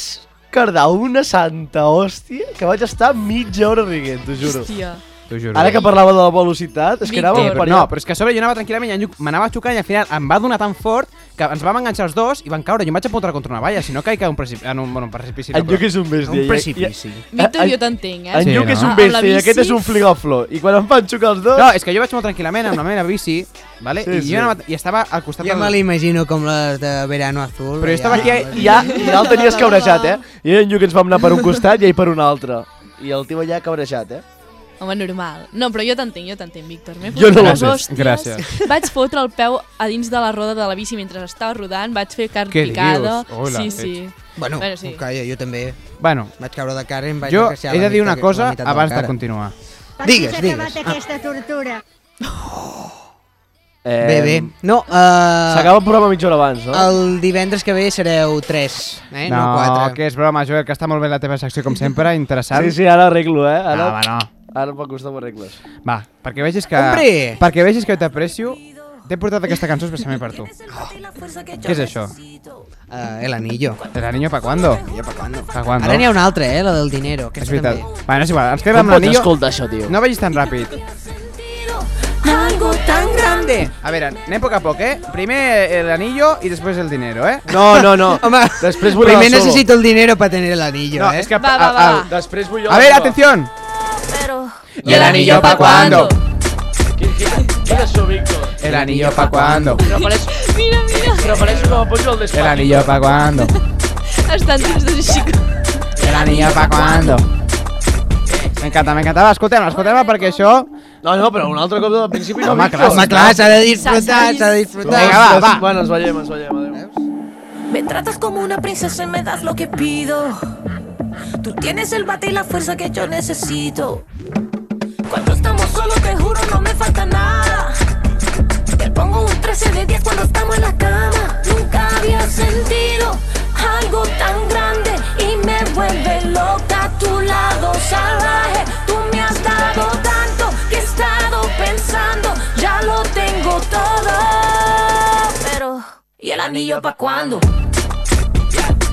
D: cardar una santa hòstia que vaig estar mitja hora riguent, t'ho juro.
C: Hòstia.
A: T'ho juro.
D: Ara que parlava de la velocitat, és que anava
A: Sí,
D: un
A: però, no, però és que a sobre jo anava tranquil·lament i en Lluc m'anava xocant i al final em va donar tan fort que ens vam enganxar els dos i van caure. Jo em vaig apuntar contra una valla, si no caic a un precipici. En un, bueno, un precipici
D: En Lluc és un bèstia. i-
A: Un
D: i-
A: precipici.
C: Víctor, jo t'entenc, eh?
D: En Lluc és un bèstia i aquest és un fligaflor. I quan em van xocar els dos...
A: No, és que jo vaig molt tranquil·lament amb la meva bici, vale?
D: Sí,
A: Sí, I,
D: sí.
A: jo anava, i estava al costat
B: Jo me l'imagino com les de Verano Azul.
A: Però jo estava aquí
D: eh, I ja, i ja el tenies cabrejat, eh? I en Lluc ens vam anar per un costat i ell per un altre. I el tio allà cabrejat, eh?
C: Home, normal. No, però jo t'entenc, jo t'entenc, Víctor. M'he
D: Jo
C: fotut
D: no
C: les
D: l'entenc.
C: hòsties,
D: Gràcies.
C: Vaig fotre el peu a dins de la roda de la bici mentre estava rodant, vaig fer carn
B: Què
C: picada.
B: dius? Hola,
C: sí,
B: ets-
C: sí.
B: Bueno,
C: sí.
B: Calla, jo també.
A: Bueno.
B: Vaig caure de cara i em vaig
A: Jo
B: acariciar
A: he
B: la
A: de dir
B: mica
A: una
B: que-
A: cosa
B: la meitat la
A: abans de
B: cara.
A: continuar.
B: Digues,
V: s'ha
B: digues. Ah.
V: acabat aquesta tortura.
D: Eh,
B: Bé, bé. No, uh,
D: S'acaba el programa mitja hora abans, no?
B: El divendres que ve sereu 3, eh? No,
A: no,
B: 4.
A: que és broma, Joel, que està molt bé la teva secció, com sempre, interessant.
D: Sí, sí, ara arreglo, eh? Ara,
A: No, Ah, va, no.
D: Ara pel costat ho arregles.
A: Va, perquè vegis que...
D: Hombre!
A: Perquè vegis que t'aprecio, t'he portat aquesta cançó especialment per tu. Què és això?
B: Uh, el anillo.
A: El anillo pa cuando?
B: Jo pa cuando.
A: Pa cuando?
B: Ara n'hi ha una altra, eh? La del dinero. Aquesta
A: És veritat.
B: També.
A: Bueno, és igual, ens quedem
B: Com
A: amb
B: pots
A: l'anillo.
B: escoltar això, tio?
A: No vagis tan ràpid.
V: Algo tan grande.
A: A veure, anem a poc a poc, eh? Primer el anillo i després el dinero, eh?
D: No, no, no.
A: Home,
D: després
A: voler
B: Primer
A: solo.
B: necesito el dinero para tener el anillo,
A: No,
B: eh?
A: és que Va, va, a- va. al-
D: Després vull
A: A ver, atención.
B: ¿Y el anillo pa' cuándo?
D: Quina això, Víctor?
A: El anillo pa cuando?
C: Mira, mira.
D: Però pareix que em poso el
A: El anillo pa cuando?
C: Estan dins de xico.
A: El anillo pa cuando? M'encanta, m'encantava. Escoltem-la, escoltem-la perquè això...
D: No, no, però un altre cop del principi no,
A: Home,
D: Víctor.
A: clar, home, clar, s'ha de disfrutar,
B: s'ha de disfrutar.
D: Ostres,
A: Vinga, va, va.
D: Bueno, ens veiem, ens veiem, adéu.
V: Me tratas como una princesa y me das lo que pido. Tú tienes el bate y la fuerza que yo necesito. Cuando estamos solos, te juro, no me falta nada. Te pongo un 13 de 10 cuando estamos en la cama. Nunca había sentido algo tan grande y me vuelve loca a tu lado salvaje. Tú me has dado tanto que he estado pensando, ya lo tengo todo. Pero, ¿y el anillo pa' cuándo?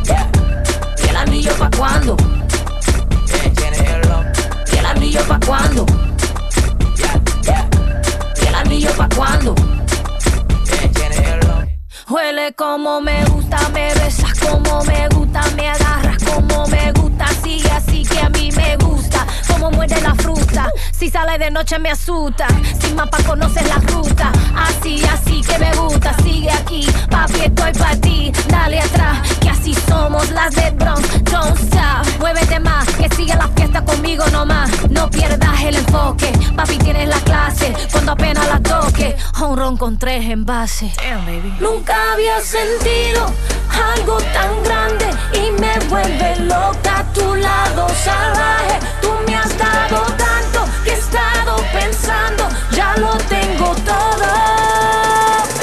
V: ¿Y el anillo pa' cuándo? ¿Y el anillo pa' cuándo? ¿Y el anillo pa' cuándo? Huele como me gusta, me besas como me gusta, me agarras como me gusta, sigue así que a mí me gusta, como muerde la fruta, si sale de noche me asusta, sin mapa conoces la ruta, así, así que me gusta, sigue aquí, papi estoy para ti, dale atrás, que así somos las de Bronx, don't stop, muévete más, que sigue la fiesta conmigo nomás, no pierdas el enfoque, papi tienes la clase, cuando apenas la toque, un ron con tres envases. Nunca había sentido algo tan grande y me vuelve loca a tu lado salvaje. Tú me has dado tanto que he estado pensando, ya lo tengo todo.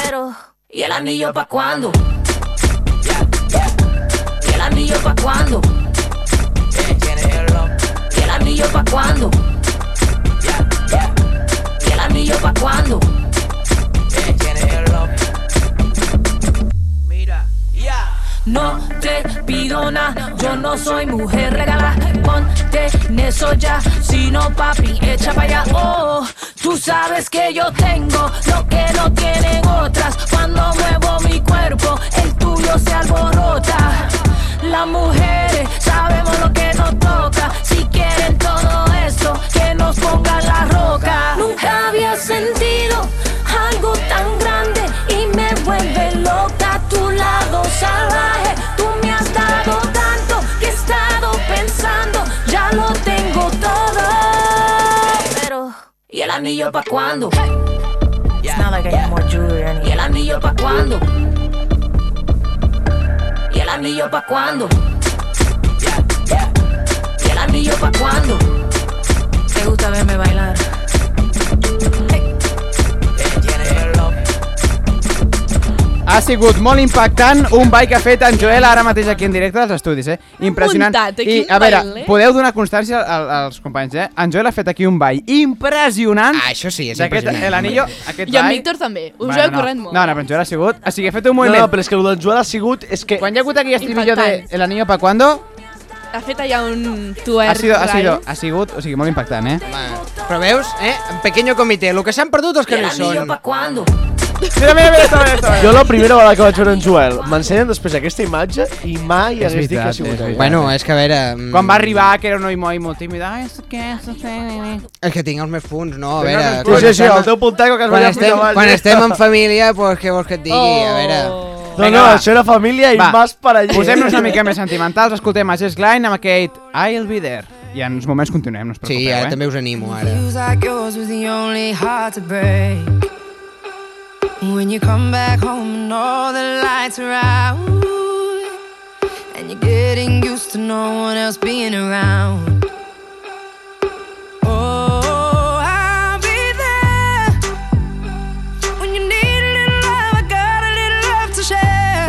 V: Pero, ¿y el anillo pa' cuándo? ¿Y el anillo pa' cuándo? ¿Y el anillo pa' cuándo? ¿Y el anillo pa' cuándo? No te pido nada, yo no soy mujer regala. Ponte en eso ya, si no papi, echa para allá. Oh, tú sabes que yo tengo lo que no tienen otras. Cuando muevo mi cuerpo, el tuyo se alborota. Las mujeres sabemos lo que nos toca. Si quieren todo esto, que nos pongan la roca. Nunca había sentido algo tan grande y me vuelve loca a tu lado salvaje. Tú me has dado tanto que he estado pensando, ya lo tengo todo. Pero, ¿y el anillo pa' cuándo? It's not like I need more jewelry or anything. ¿Y el anillo pa' cuándo? ¿Y el anillo pa' cuándo? ¿Y el anillo pa' cuándo? ¿Te gusta verme bailar?
A: Ha sigut molt impactant un ball que ha fet en Joel ara mateix aquí en directe dels estudis, eh? Impressionant.
C: muntat, eh?
A: I,
C: Quin
A: a veure,
C: baile.
A: podeu donar constància al- als companys, eh? En Joel ha fet aquí un ball impressionant. Ah,
B: això sí, és
A: Aquest,
B: impressionant.
A: l'anillo, aquest
C: I en
A: ball...
C: Víctor també. Us
A: Bueno,
C: bueno, heu
A: no.
C: corrent molt.
A: No, no, però en Joel ha sigut... O sigui, ha fet un moviment...
D: no, però és que el del Joel ha sigut... És que...
A: Quan hi ha hagut aquí estribillo de El anillo pa cuando,
C: Ha fet allà un tuer.
A: ha, sido, ha, sido, ha sigut, o sigui, molt impactant, eh?
B: Però veus, eh? En pequeño comité, lo que s'han perdut els que no hi són.
A: Mira, mira, mira, mira, mira.
D: Jo la primera vegada que vaig veure en Joel m'ensenyen després aquesta imatge i mai
B: És
D: hagués dit que
B: veritat,
D: ha sigut
B: és
D: ell.
B: veritat. Bueno, és que a veure... mm,
A: Quan va arribar, que era un noi molt, molt tímid, ai, és que... és que-"
B: És que tinc els meus punts, no? A
A: Tinc els
B: veure...
A: meus punts. Sí, sí, sí,
B: quan
A: el teu puntaco que has
B: quan
A: guanyat
B: estem,
A: fins avall.
B: quan estem en família, pues, què vols que et digui? A veure...
A: No, no, això
D: era família
A: i vas
D: per
B: allí.
A: Posem-nos una mica més sentimentals, escoltem a Jess Glein amb aquest I'll be there. I en uns moments continuem, no us preocupeu, sí, eh? Sí,
B: també us animo, ara.
Y: Feels like yours was the only heart to break. When you come back home and all the lights are out, and you're getting used to no one else being around. Oh, I'll be there when you need a little love. I got a little love to share.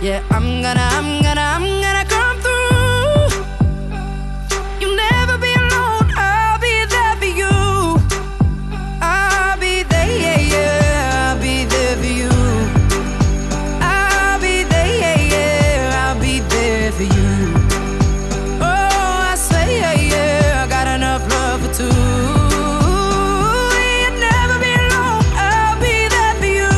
Y: Yeah, I'm gonna, I'm gonna, I'm gonna come through. You'll never be alone. I'll be there for you. I'll be there, yeah, yeah. I'll be there for you. I'll be there, yeah, yeah. I'll be there for you. Oh, I say, yeah, yeah. I got enough love for two. You'll never be alone. I'll be there for you.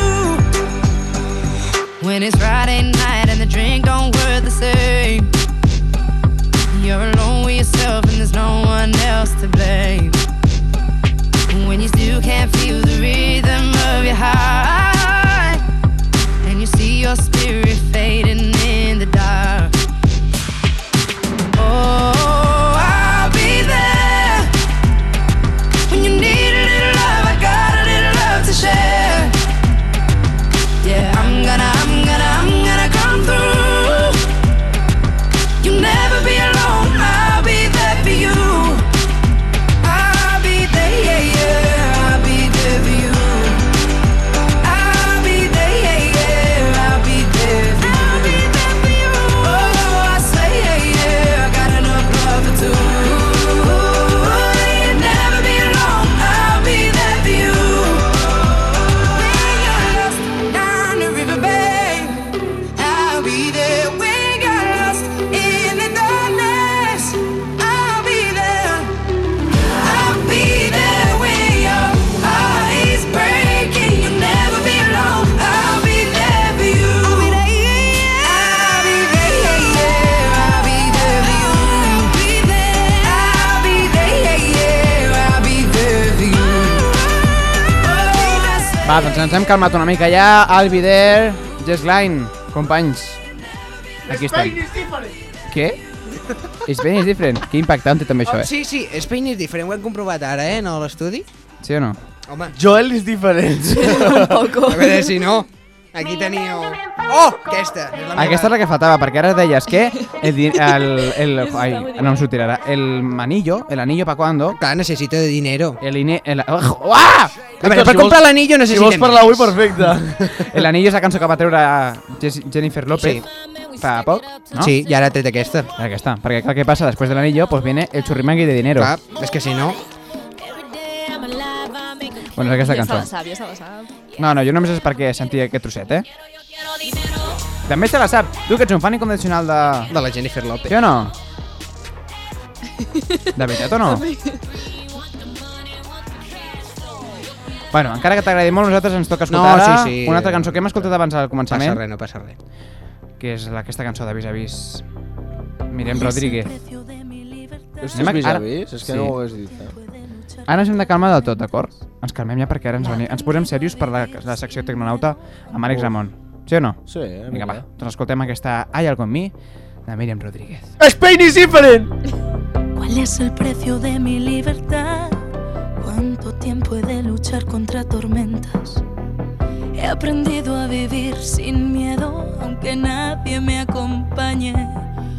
Y: When it's Friday night and the drink don't work the same. You're alone with yourself and there's no one else to blame. When you still can't feel the rhythm of your heart, and you see your spirit fading in the dark. Oh, I'll be there when you need a little love. I got a little love to share. Yeah, I'm gonna, I'm gonna, I'm gonna come through. You'll never be alone. I'll be there for you. I'll be there, yeah, yeah. I'll be there for you. I'll be there, yeah, yeah. I'll be there for you. I'll be there for you. Oh, I say, yeah, yeah. I got enough love for two. You'll never be alone. I'll be there for you. When you're lost down the riverbed, I'll be there when you're lost in the darkness. I'll be there. I'll be there when your heart is breaking. You'll never be alone. I'll be there for you. I'll be there, yeah. I'll be there for you. I'll be there, yeah, yeah. I'll be there for you. Oh, I say-
A: Va, doncs ens hem calmat una mica ja. Albi there, Jess Glein, companys. Aquí estem. Què? Is Spain is different. Que impactant té també això,
B: Oh,
A: eh?
B: sí, sí, Spain is different, ho hem comprovat ara, eh, no, a l'estudi.
A: Sí o no?
B: Home.
D: Joel és diferent.
B: Un poco. A veure si no. Aquí teníeu... Oh, aquesta. És la
A: Aquesta és la que faltava, perquè ara deies que el, di- el, el, ai, no em sortirà ara, el manillo, el anillo pa cuando...
B: Clar, necessito de dinero.
A: El ine... El, oh, ah!
B: A veure, per comprar l'anillo necessitem
A: Si vols parlar avui,
B: diners.
A: perfecte. El anillo és la cançó que va treure Jess- Jennifer López sí. fa poc, no?
B: Sí, i ara ha tret aquesta.
A: Aquesta, perquè clar, què passa? Després de l'anillo, pues viene el churrimangui de dinero.
B: Clar, és que si no...
A: Bueno, és aquesta
C: Ja se
A: cançó.
C: la sap, ja se la sap.
A: No, no, jo només és perquè sentia aquest trosset, eh? També se la sap. Tu que ets un fan incondicional de...
B: De la Jennifer López.
A: Jo no? De veritat o no? Bueno, encara que t'agradi molt, nosaltres ens toca
B: No,
A: escoltar ara
B: sí, sí.
A: una altra cançó que hem escoltat abans al començament.
B: Passa res, no passa res.
A: Que és la- aquesta cançó de Vis a Vis. Mirem
D: Mirem
A: Rodríguez.
D: Ostres, vis a vis? És que no ho hagués dit. eh.
A: Ara ens hem de calmar del tot, d'acord? Ens calmem ja perquè ara ens, venim, ens posem serios per la, la secció Tecnonauta amb Àlex
D: Oh.
A: Ramon. Sí o no?
D: Sí, eh,
A: Vinga,
D: mira.
A: va. Doncs escoltem aquesta Hay algo en mi de Míriam Rodríguez.
D: Spain is different!
K: ¿Cuál es el precio de mi libertad? ¿Cuánto tiempo he de luchar contra tormentas? He aprendido a vivir sin miedo, aunque nadie me acompañe.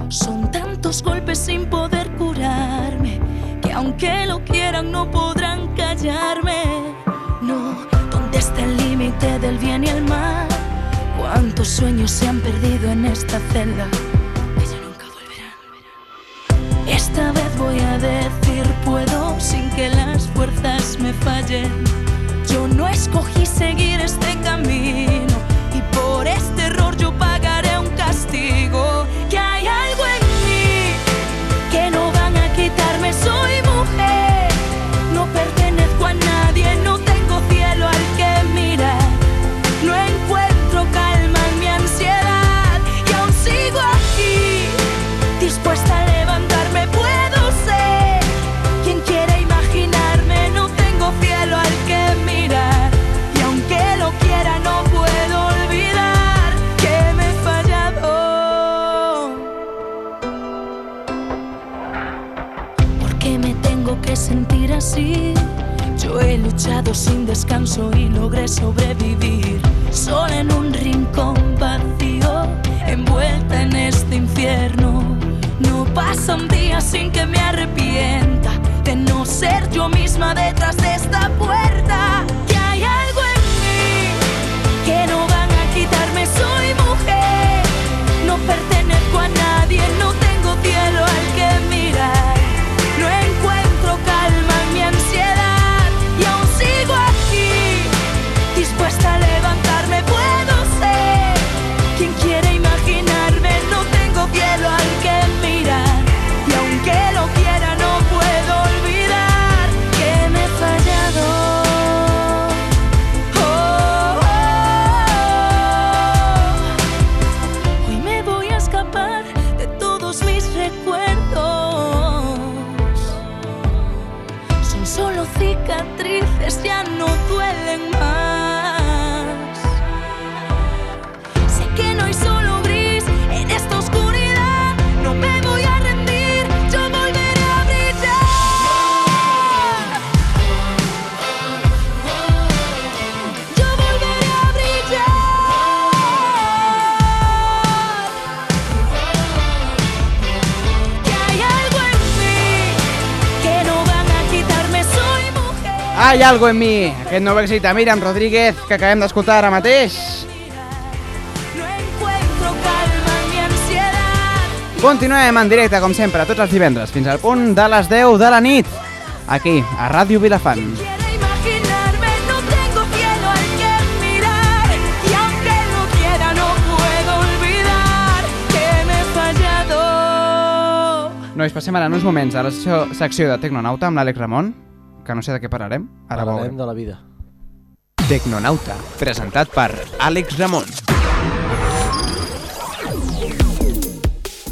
K: Son tantos golpes sin poder curarme, que aunque lo quieran no podrán callarme. No, ¿dónde está el límite? límite del bien y el mal. Cuántos sueños se han perdido en esta celda. Esta vez voy a decir puedo sin que las fuerzas me fallen. Yo no escogí seguir este camino y por este error yo pagaré un castigo. Que hay algo en mí que no van a quitarme, soy mujer. No pertenezco a nadie, no tengo cielo al que mirar. No encuentro calma en mi ansiedad y aún sigo aquí dispuesta a levantarme puedo ser quien quiera imaginarme no tengo cielo al que mirar y aunque lo quiera no puedo olvidar que me he fallado ¿Por qué me tengo que sentir así? Yo he luchado sin descanso y logré sobrevivir sola en un rincón vacío envuelta en este infierno no pasa un día sin que me arrepienta de no ser yo misma detrás de esta puerta. Que hay algo en mí que no van a quitarme, soy mujer. No pertenezco a nadie, no tengo cielo al que mirar. No encuentro calma en mi ansiedad y aún sigo aquí, dispuesta a levantarme, puedo ser. Quien quiere imaginarme, no tengo cielo al que mirar. Y aunque lo quiera, no puedo olvidar que me he fallado. Oh,
Y: oh.
K: oh, oh. Hoy me voy a escapar de todos mis recuerdos. Son solo cicatrices, ya no duelen más. Sé que no hay solo gris en esta oscuridad. No me voy a rendir, yo volveré a brillar. Yo volveré a brillar. Que hay algo en mí que no van a quitarme. Soy mujer.
A: Hay algo en mi, aquest nou èxit de Miriam Rodríguez que acabem d'escoltar ara mateix. Continuem en directe, com sempre, tots els divendres, fins al punt de les 10 de la nit, aquí, a Ràdio Vilafant.
K: No tengo cielo al que mirar y aunque lo quiera no puedo olvidar que me he fallado.
A: Nois, passem ara en uns moments a la secció, secció de Tecnonauta amb l'Àlex Ramon, que no sé de què parlarem. Ara
D: Parlarem de la vida.
A: Tecnonauta, presentat per Àlex Ramon.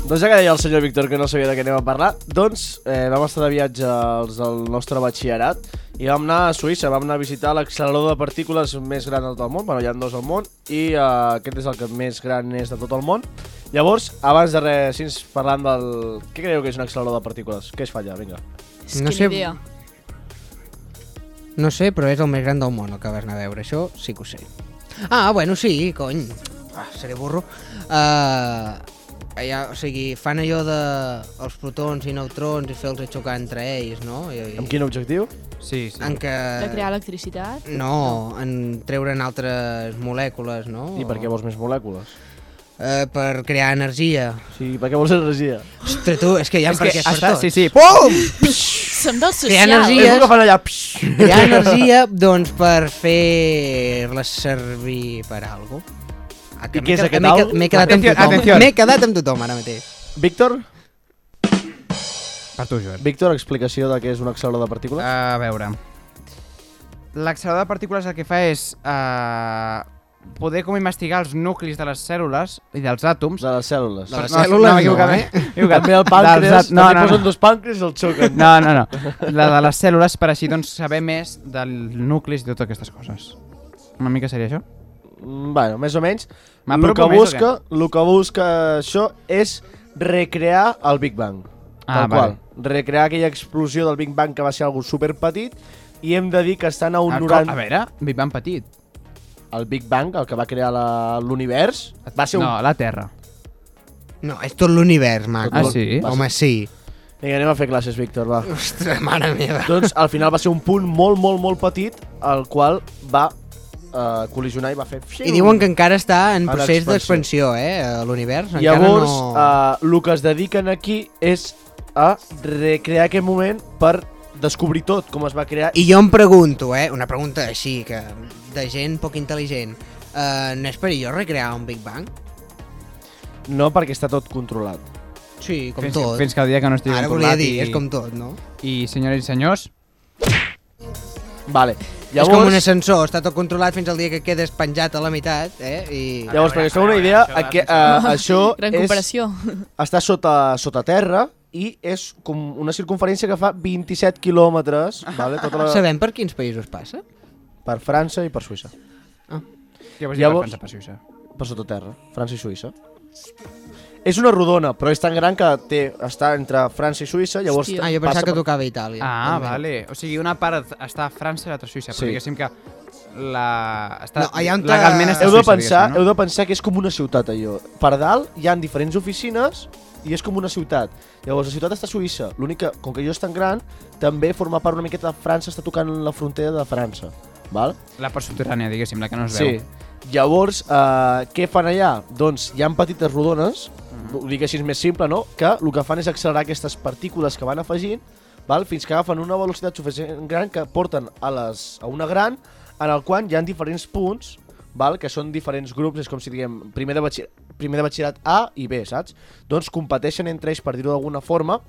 D: Doncs ja que deia el senyor Víctor que no sabia de què anem a parlar, doncs eh, vam estar de viatge els del nostre batxillerat i vam anar a Suïssa, vam anar a visitar l'accelerador de partícules més gran del món, bueno, hi ha dos al món, i eh, aquest és el que més gran és de tot el món. Llavors, abans de res, si ens parlant del... Què creieu que és un accelerador de partícules? Què es fa allà? Vinga.
B: No sé, no sé, però és el més gran del món el que vas anar a veure, això sí que ho sé. Ah, bueno, sí, cony. Ah, seré burro. Uh, allà, o sigui, fan allò de els protons i neutrons i fer-los xocar entre ells, no? I,
D: Amb quin objectiu?
A: Sí,
B: sí. En que...
C: De crear electricitat?
B: No, en treure'n altres molècules, no?
D: I per què vols més molècules?
B: Uh, per crear energia.
D: Sí, per què vols energia?
B: Ostres, tu, és que hi ha
A: És que
B: perquè
A: està- sí, sí.
B: Pum!
C: Som del social.
B: Crear energies...
D: És el que fan allà.
B: Crear energia, doncs, per fer-la servir per algo. Ah, que
D: I
B: m'he
D: què és
B: quedat-
D: aquest
B: m'he
D: algo?
B: quedat- M'he quedat amb
D: Atenció,
B: tothom.
D: atenció.
B: M'he quedat amb tothom ara mateix.
D: Víctor?
A: Per tu, Joan.
D: Víctor, explicació de què és un accelerador de partícules?
A: A veure. L'accelerador de partícules el que fa és eh, poder com investigar els nuclis de les cèl·lules i dels àtoms.
D: De les cèl·lules.
B: De les cèl·lules no, eh?
D: També el pàncreas, no, no, posen dos pàncreas i el xoquen.
A: No, no, no. La de les cèl·lules per així doncs saber més del nuclis i totes aquestes coses. Una mica seria això?
D: Mm, Bueno, més o menys. El
A: M'apropo
D: que,
A: més o
D: busca, el que busca això és recrear el Big Bang.
A: Ah,
D: tal qual.
A: vale.
D: Recrear aquella explosió del Big Bang que va ser algo super petit i hem de dir que estan a un
A: Ah, com-
D: 90...
A: A veure, Big Bang petit.
D: El Big Bang, el que va crear la- l'univers, va ser un...
A: No, la Terra.
B: No, és tot l'univers, maco.
A: Ah, sí?
B: Home, sí.
D: Vinga, anem a fer classes, Víctor, va.
B: Ostres, mare meva.
D: Doncs al final va ser un punt molt, molt, molt petit, el qual va eh, col·lisionar i va fer...
B: I diuen que encara està en
D: A
B: procés
D: l'expansió.
B: d'expansió, eh, a l'univers. encara
D: Llavors,
B: no...
D: eh, el que es dediquen aquí és a recrear aquest moment per descobrir tot, com es va crear.
B: I jo em pregunto, eh, una pregunta així, que de gent poc intel·ligent, eh, no és perillós recrear un Big Bang?
D: No, perquè està tot controlat.
B: Sí, com
A: fins,
B: tot.
A: Fins que el dia que no estigui
B: Ara volia
A: controlat
B: dir,
A: i...
B: és com tot, no?
A: I senyores i senyors...
D: Vale.
B: Llavors... És com un ascensor, està tot controlat fins al dia que quedes penjat a la meitat, eh? I...
D: Llavors, perquè us feu
C: Ah,
D: una idea, aquí, uh, això
C: Gran comparació.
D: és, està sota, sota terra i és com una circunferència que fa 27 quilòmetres. Vale, tota la...
B: Sabem per quins països passa?
D: Per França i per Suïssa.
B: Ah.
A: Què vols dir per França, per Suïssa?
D: Per sota terra, França i Suïssa. És una rodona, però és tan gran que té, està entre França i Suïssa, llavors...
A: Hòstia. Ah, jo pensava
D: passa
A: que
D: per-
B: tocava Itàlia.
A: Ah, vale. O sigui, una part està a França i l'altra a Suïssa,
D: Sí.
A: però diguéssim que la... Està...
D: No, allà on
A: legalment està a
D: heu de
A: Suïssa,
D: pensar,
A: diguéssim, no?
D: Heu de pensar que és com una ciutat, allò. Per dalt hi han diferents oficines i és com una ciutat. Llavors, la ciutat està a Suïssa. L'únic que, com que jo és tan gran, també forma part una miqueta de França, està tocant la frontera de França. Val?
A: La part subterrània, diguéssim, la que no es
D: Sí.
A: veu.
D: Llavors, eh, què fan allà? Doncs hi han petites rodones,
A: Mhm.
D: ho dic així més simple, no? Que el que fan és accelerar aquestes partícules que van afegint val? fins que agafen una velocitat suficient gran que porten a, les, a una gran en el qual hi ha diferents punts val? que són diferents grups, és com si diguem primer de, batxillerat, primer de batxillerat A i B, saps? Doncs competeixen entre ells, per dir-ho d'alguna forma,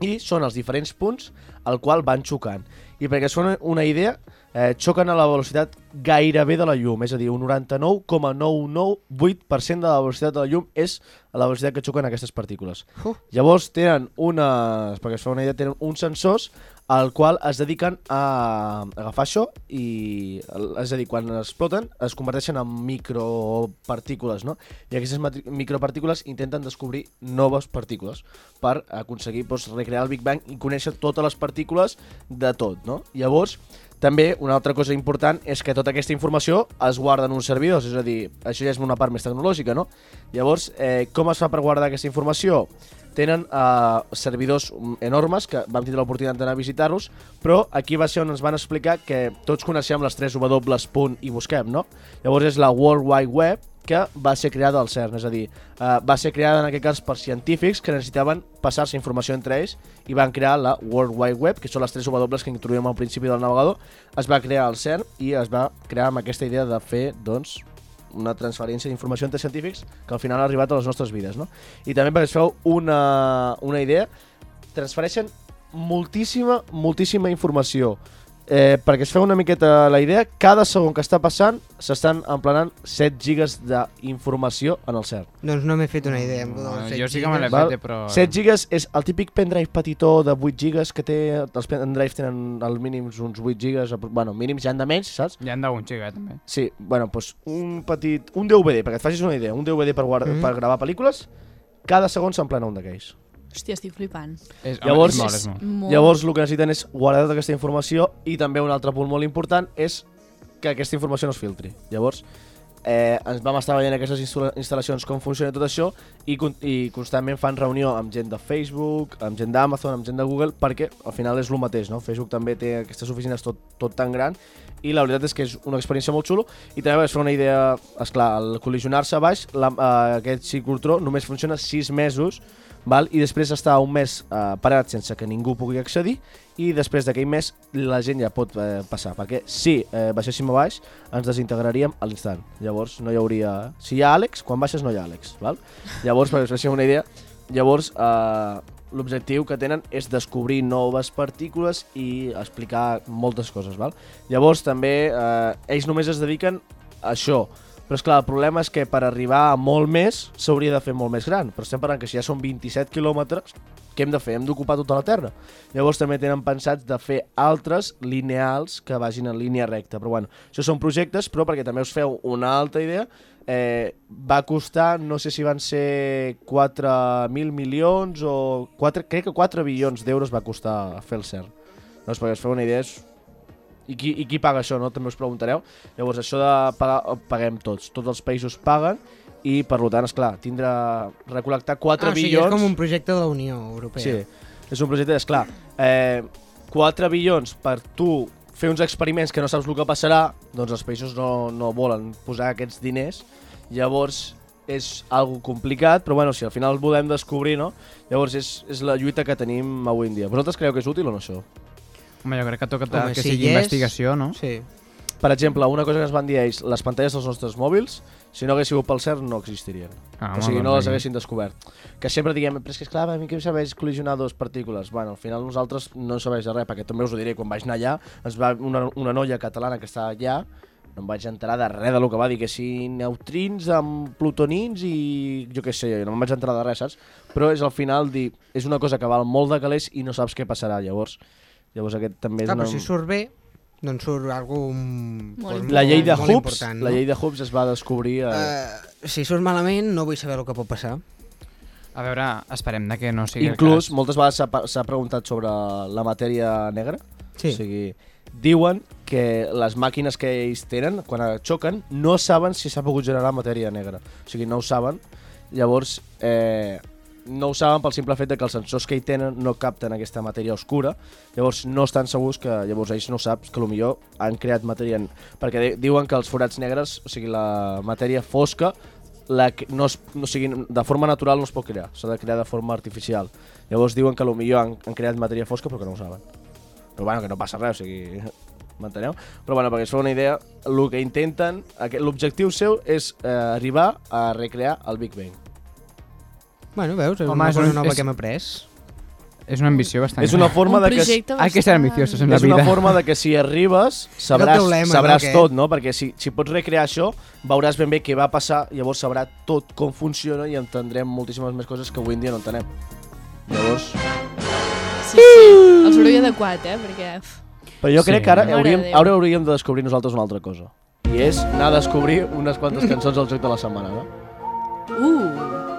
D: i són els diferents punts al qual van xocant. I perquè es fan una idea, eh, xoquen a la velocitat gairebé de la llum, és a dir, un 99,998% de la velocitat de la llum és a la velocitat que xoquen aquestes partícules.
B: Uh.
D: Llavors tenen una, perquè es fa una idea, tenen uns sensors al qual es dediquen a agafar això i, és a dir, quan exploten es converteixen en micropartícules, no? I aquestes matri- micropartícules intenten descobrir noves partícules per aconseguir doncs, recrear el Big Bang i conèixer totes les partícules de tot, no? Llavors, també, una altra cosa important és que tota aquesta informació es guarda en uns servidors, és a dir, això ja és una part més tecnològica, no? Llavors, eh, com es fa per guardar aquesta informació? Tenen eh, servidors mm, enormes, que vam tindre l'oportunitat d'anar a visitar-los, però aquí va ser on ens van explicar que tots coneixem les 3 W punt i busquem, no? Llavors és la World Wide Web, que va ser creada al CERN, és a dir, eh, va ser creada en aquest cas per científics que necessitaven passar-se informació entre ells i van crear la World Wide Web, que són les tres W que introduïm al principi del navegador, es va crear al CERN i es va crear amb aquesta idea de fer, doncs, una transferència d'informació entre científics que al final ha arribat a les nostres vides, no? I també perquè es feu una, una idea, transfereixen moltíssima, moltíssima informació. Eh, perquè es feu una miqueta la idea, cada segon que està passant s'estan emplenant 7 gigas d'informació en el CERN.
B: Doncs no m'he fet una idea. Amb no,
A: jo sí que me l'he fet, eh, però-
D: 7 gigas és el típic pendrive petitó de 8 gigas que té... Els pendrives tenen al mínim uns 8 gigas, apro- bueno, mínims ja han de menys, saps?
A: Ja han d'un giga, també.
D: Sí, bueno, doncs un petit... Un DVD, perquè et facis una idea, un DVD per, guarda,
C: Mhm.
D: per gravar pel·lícules, cada segon s'emplena un d'aquells.
C: Hòstia, estic flipant.
A: És,
D: Llavors,
C: molt.
D: llavors el que necessiten és guardar tota aquesta informació i també un altre punt molt important és que aquesta informació no es filtri. Llavors, eh, ens vam estar veient aquestes instal- instal·lacions, com funciona tot això, i, con- i constantment fan reunió amb gent de Facebook, amb gent d'Amazon, amb gent de Google, perquè al final és el mateix, no? Facebook també té aquestes oficines tot, tot tan gran, i la veritat és que és una experiència molt xulo, i també vas fer una idea, esclar, al col·lisionar-se a baix, la, eh, aquest ciclotró només funciona 6 mesos, val? i després està un mes eh, parat sense que ningú pugui accedir i després d'aquell mes la gent ja pot eh, passar, perquè si eh, baixéssim a baix ens desintegraríem a l'instant. Llavors no hi hauria... Si hi ha Àlex, quan baixes no hi ha Àlex. Val? Llavors, perquè us faci una idea, llavors eh, l'objectiu que tenen és descobrir noves partícules i explicar moltes coses. Val? Llavors també eh, ells només es dediquen a això, però és clar, el problema és que per arribar a molt més s'hauria de fer molt més gran. Però estem parlant que si ja són 27 quilòmetres, què hem de fer? Hem d'ocupar tota la Terra. Llavors també tenen pensats de fer altres lineals que vagin en línia recta. Però bueno, això són projectes, però perquè també us feu una altra idea, eh, va costar, no sé si van ser 4.000 milions o... 4, crec que 4 bilions d'euros va costar fer el CERN. Doncs perquè us feu una idea, és i qui, I qui paga això, no? També us preguntareu. Llavors, això de pagar, ho paguem tots. Tots els països paguen i, per lo tant, esclar, tindre... Recol·lectar 4
B: ah, sí,
D: bilions...
B: és com un projecte de la Unió Europea.
D: Sí, és un projecte, és clar. Eh, 4 bilions per tu fer uns experiments que no saps el que passarà, doncs els països no, no volen posar aquests diners. Llavors és algo complicat, però bueno, si al final volem descobrir, no? Llavors és, és la lluita que tenim avui en dia. Vosaltres creieu que és útil o no això?
A: Home, jo crec que toca Home, que si sigui hi és, investigació, no?
D: Sí. Per exemple, una cosa que ens van dir ells, les pantalles dels nostres mòbils, si no hagués sigut pel CERN, no existirien.
A: Ah,
D: o sigui,
A: molt
D: no
A: bé.
D: les haguessin descobert. Que sempre diguem, però és que esclar, a mi què em serveix col·lisionar dues partícules? Bueno, al final nosaltres no ens serveix de res, perquè també us ho diré, quan vaig anar allà, ens va una, una noia catalana que estava allà, no em vaig enterar de res del que va dir, que si neutrins amb plutonins i jo què sé, no em vaig enterar de res, saps? Però és al final dir, és una cosa que val molt de calés i no saps què passarà, llavors. Llavors aquest també és
B: Clar,
D: una...
B: però si surt bé, doncs surt algú molt,
D: La llei de
B: molt
D: Hoops,
B: important,
D: la llei de Hoops es va descobrir... Eh...
B: Eh, si surt malament, no vull saber el que pot passar.
A: A veure, esperem de que no sigui el
D: Inclús, moltes vegades s'ha pa- s'ha preguntat sobre la matèria negra. Sí. O sigui, diuen que les màquines que ells tenen, quan xoquen, no saben si s'ha pogut generar matèria negra. O sigui, no ho saben. Llavors, eh, no ho saben pel simple fet de que els sensors que hi tenen no capten aquesta matèria oscura. Llavors, no estan segurs que... Llavors, ells no saps que millor han creat matèria... n- Perquè de- diuen que els forats negres, o sigui, la matèria fosca, la que no es, no, o sigui, de forma natural no es pot crear, s'ha de crear de forma artificial. Llavors diuen que potser han, han creat matèria fosca però que no ho saben. Però bueno, que no passa res, o sigui, m'enteneu? Però bueno, perquè es fa una idea, el que intenten, aquest- l'objectiu seu és eh, arribar a recrear el Big Bang.
B: Bueno, veus, és
A: Home,
B: Home, una
A: és
B: cosa
A: un-
B: nova
A: és-
B: que hem après.
A: És una ambició bastant
D: És una
A: gran.
D: forma de que...
A: Hay que ser ambiciosos en la
D: és
A: vida.
D: una forma de que si arribes
A: És
D: sabràs,
A: el problema,
D: sabràs
A: no, aquest?
D: tot, no? Perquè si, si pots recrear això, veuràs ben bé què va passar, llavors sabrà tot com funciona i entendrem moltíssimes més coses que avui en dia no entenem. Llavors...
C: Sí, sí. El soroll adequat, eh? Perquè... uf. eh,
D: Però jo sí, crec que ara
C: Mare
D: hauríem,
C: de Déu.
D: ara hauríem de descobrir nosaltres una altra cosa. I és anar a descobrir unes quantes cançons al joc de la setmana, no?
B: Uh!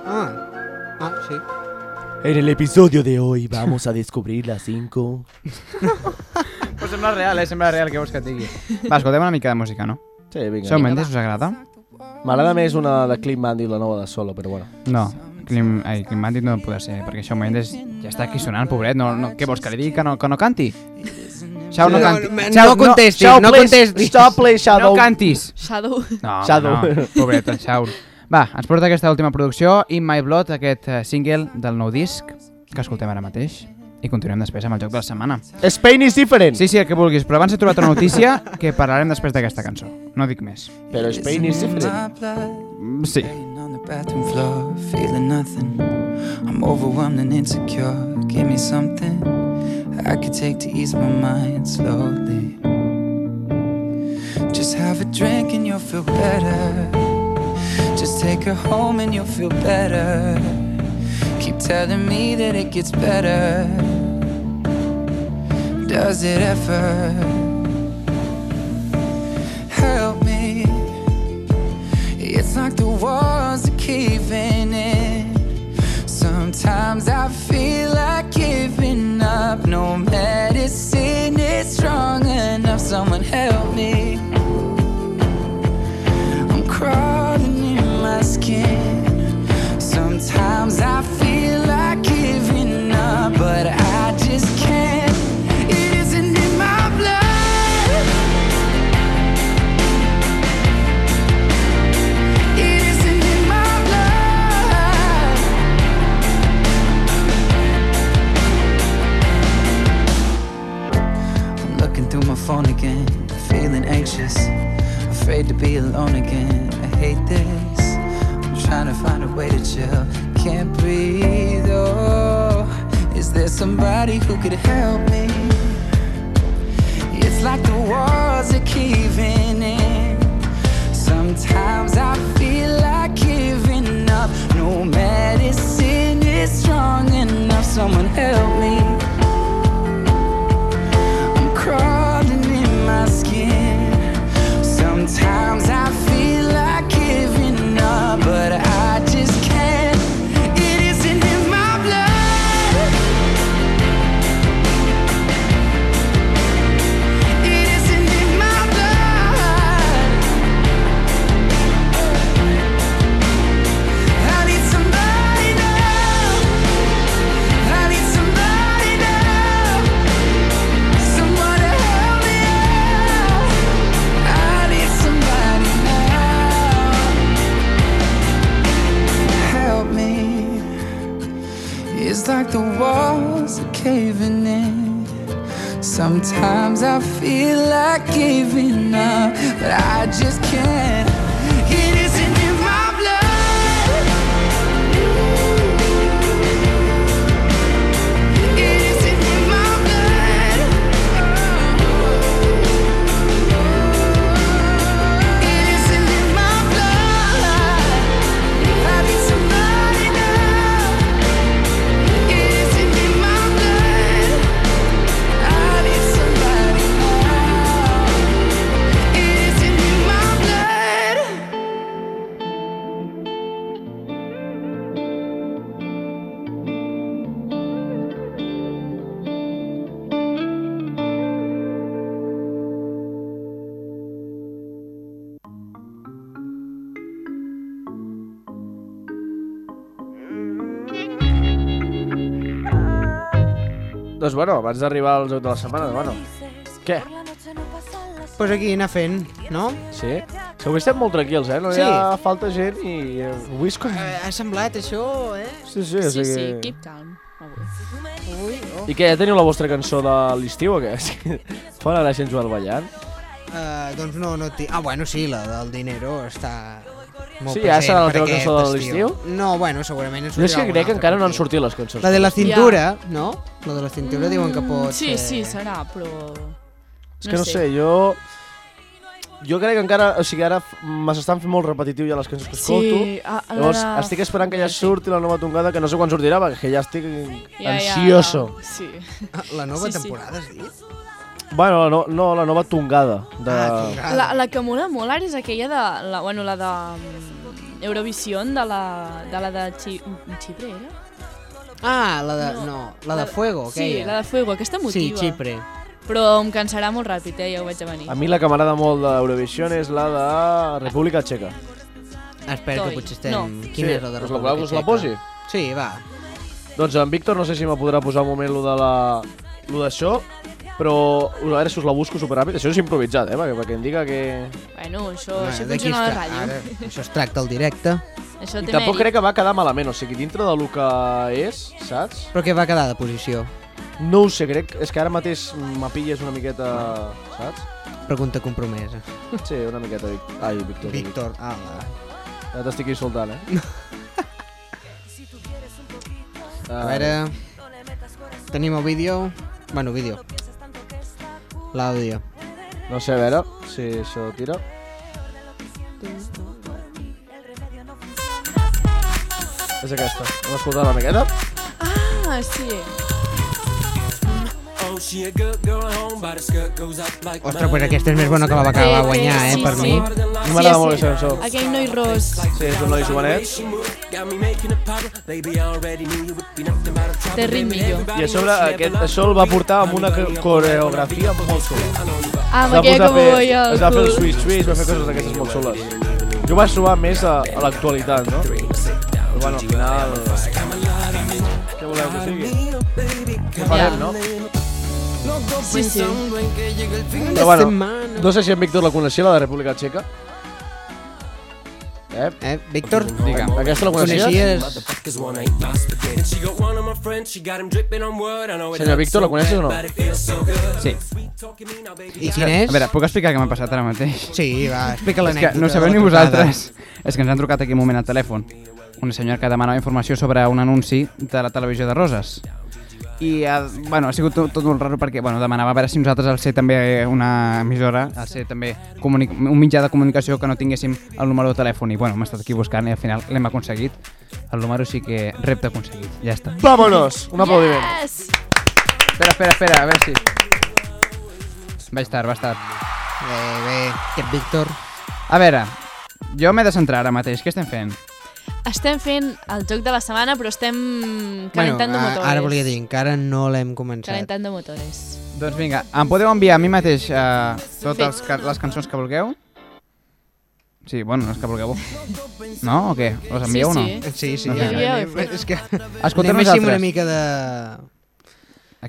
B: Ah, ah sí.
D: En el episodio de hoy vamos a descobrir las 5.
A: Pues sembla real, eh? Sembla real que vols que et digui. Va, escoltem una mica de música, no?
D: Sí, vinga.
A: Som
D: Vinga,
A: Mendes,
D: va.
A: us agrada?
D: M'agrada més una de Clint Mandy, la nova de Solo, però bueno.
A: No, clim, ai, climàtic no podrà ser, perquè això Mendes ja està aquí sonant, pobret. No, no, què vols, que li digui que no, que no canti? Xau, no
B: No,
A: canti.
B: no,
A: Xau,
B: no contestis,
A: Xau,
B: no
A: please,
B: contestis.
A: Stop, please, No
B: Shadow.
A: cantis.
C: Shadow.
A: No,
D: Shadow.
A: Shadow. no, pobret, el Xau. Va, ens porta aquesta última producció, In My Blood, aquest eh, single del nou disc, que escoltem ara mateix. I continuem després amb el joc de la setmana.
D: Spain is different!
A: Sí, sí, el que vulguis, però abans he trobat una notícia que parlarem després d'aquesta cançó. No dic més.
D: Però Spain is different.
A: Mm, Sí.
M: bathroom floor, feeling nothing. I'm overwhelmed and insecure. Give me something I could take to ease my mind slowly. Just have a drink and you'll feel better. Just take her home and you'll feel better. Keep telling me that it gets better. Does it ever? Help me. It's like the walls are caving in. Sometimes I feel like giving up. No medicine is strong enough. Someone help me. I'm crawling in my skin. Sometimes I feel like giving up, but I just can't. It isn't in my blood. It isn't in my blood. I'm looking through my phone again, feeling anxious, afraid to be alone again. I hate this. I'm trying to find a way to chill, can't breathe. Oh, is there somebody who could help me? It's like the walls are caving in. Sometimes I feel like giving up. No medicine is strong enough. Someone help me. I'm crawling in my skin. Sometimes I feel like giving up, but I just can't. It isn't in my blood. It isn't in my blood. I need somebody now. I need somebody. Sometimes I feel like giving up, but I just can't. It isn't in my blood. It isn't in my blood. It isn't in my blood. I need somebody now. It isn't in my blood. I need somebody now. It isn't in my blood.
D: Doncs bueno, abans d'arribar al joc de la setmana, doncs bueno. Què?
B: Pues aquí anar fent, no?
D: Sí? Que avui estem molt tranquils, eh? No hi
B: Sí.
D: ha falta gent i eh, avui és com...
B: Ha semblat això, eh?
D: Sí, sí, o Sí, sigui- sí, keep
C: calm.
B: Ui, oh.
D: I què, ja teniu la vostra cançó de l'estiu o què? És que Fa la gràcia en Joel ballant.
B: Eh, doncs no, no tinc... Ah, bueno, sí, la del dinero està... Molt
D: Sí, ja serà la
B: present per
D: teva cançó
B: aquest
D: de
B: estiu. No, bueno, segurament ens
D: Jo és que
B: sortirà alguna
D: crec que
B: altra.
D: encara no han sortit les cançons.
B: La de la cintura, no? La de la cintura diuen que pot
C: Mm, Sí,
B: ser...
C: sí, serà, però...
D: És que no sé, jo... Jo crec que encara, o sigui, ara f- me s'estan fent molt repetitiu ja les cançons que
C: Sí,
D: escolto.
C: a- a
D: Llavors,
C: l'hora-
D: estic esperant que ja surti la nova tongada, que no sé quan sortirà, perquè ja estic
C: Ja, ja,
D: ansioso.
C: no, Sí.
B: Ah, La nova
C: Sí, sí.
B: temporada, has dit?
D: Bueno, la no, no, la nova tongada. De...
B: Ah, tongada.
C: La, la que mola molt ara és aquella de... La, bueno, la de... mm, Eurovisión, de la de, la de Chi, mm, Xipre, era?
B: Ah, la de... No, la de Fuego,
C: sí,
B: aquella.
C: la de Fuego, aquesta motiva.
B: Sí, Xipre. Ah.
C: Però em cansarà molt ràpid, eh? Ja ho veig a venir.
D: A mi la que m'agrada molt d'Eurovision és la de República Txeca.
B: Espera, que
C: Toi.
B: potser estem...
C: No.
B: Quina
D: Sí,
B: és la de
D: us la
B: República
D: voleu que us la
B: Txeca?
D: posi?
B: Sí, va.
D: Doncs en Víctor no sé si me podrà posar un moment lo de la... lo d'això, però a veure si us la busco superràpid. Això és improvisat, eh? Perquè, perquè em diga que...
C: Bueno, això,
B: Bueno,
C: això
B: d'aquí
C: funciona a la
B: està,
C: ràdio.
B: ara. Això es tracta al directe.
C: Això
D: I
C: té
D: tampoc
C: mèrit.
D: crec que va quedar malament, o sigui, dintre del que és, saps?
B: Però què va quedar de posició?
D: No ho sé, crec, és que ara mateix me pilles una miqueta, saps?
B: Pregunta compromesa.
D: Sí, una miqueta, Víctor. Ai, Víctor.
B: Víctor, ala.
D: Ja t'estic insultant, eh?
O: Ah,
B: A
D: eh.
B: veure... Tenim el vídeo... Bueno, vídeo. L'àudio.
D: No sé, a veure si això tira. És aquesta. Hem escoltat una miqueta.
C: Ah, sí.
O: Oh,
B: Ostres, pues
D: este
B: aquesta és més bona que la que va guanyar, eh, per mi.
D: mi m'agrada molt aquesta cançó.
C: Aquell noi ros.
D: Sí, és un noi jovenet.
C: Té ritmillo.
D: I a sobre aquest, això el va portar amb una co- coreografia molt xula.
C: Ah,
D: Es
C: amb
D: va
C: aquella
D: posar
C: que
D: a fer-
C: vull al
D: Es va fer el
C: cul.
D: switch switch, va fer coses d'aquestes molt xules. Jo vaig trobar més a, a l'actualitat, no? Però bueno, al final... Què voleu que sigui? Què farem, no?
C: Sí, sí.
D: Però bueno, no sé si en Víctor la coneixia, la de República Txeca. Eh?
B: eh Víctor?
D: Digue'm, aquesta la coneixies? Senyor Víctor, la coneixes o no?
A: Sí.
B: I quin és?
A: A veure, puc explicar què m'ha passat ara mateix?
B: Sí, va, explica
A: És que
B: l'anècdota
A: no
B: de
A: sabeu
B: la
A: ni
B: trucada.
A: vosaltres. És que ens han trucat aquí un moment al telèfon. Una senyora que demanava informació sobre un anunci de la televisió de Roses. I, eh, bueno, ha sigut tot, tot molt raro perquè, bueno, demanava a veure si nosaltres al ser també una emissora, al ser també comuni- un mitjà de comunicació que no tinguéssim el número de telèfon. I, bueno, hem estat aquí buscant i al final l'hem aconseguit. El número sí que repte aconseguit. Ja està.
D: Vámonos! Un aplaudiment.
C: Yes!
A: Espera, espera, espera, a veure si... Vaig tard, vaig tard.
B: Bé, bé, aquest Víctor...
A: A veure, jo m'he de centrar ara mateix, què estem fent?
C: Estem fent el joc de la setmana, però estem calentando
B: a-
C: motores.
B: ara volia dir, encara no l'hem començat.
C: Calentando motores.
A: Doncs vinga, em podeu enviar a mi mateix uh, totes els, ca- les cançons que vulgueu? Sí, bueno, les que vulgueu. No, o què? Les envieu o no?
B: Sí, sí,
A: No
B: ja,
A: sé.
B: ja, anem- és que...
A: Escolteu
B: anem així amb una
A: nosaltres.
B: mica de...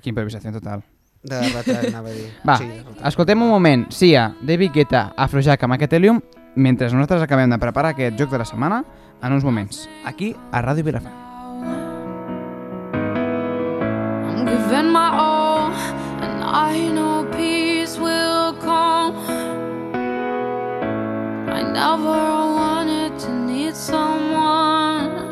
A: Aquí improvisació total.
B: De retard, anava a dir.
A: Va,
B: Sí,
A: sí,
B: de
A: escoltem un moment Sia, David Guetta, Afrojack amb aquest Helium mentre nosaltres acabem de preparar aquest joc de la setmana en uns moments, aquí a Ràdio Vilafant.
O: I'm giving my all, and I I know peace will come. I never wanted to need someone.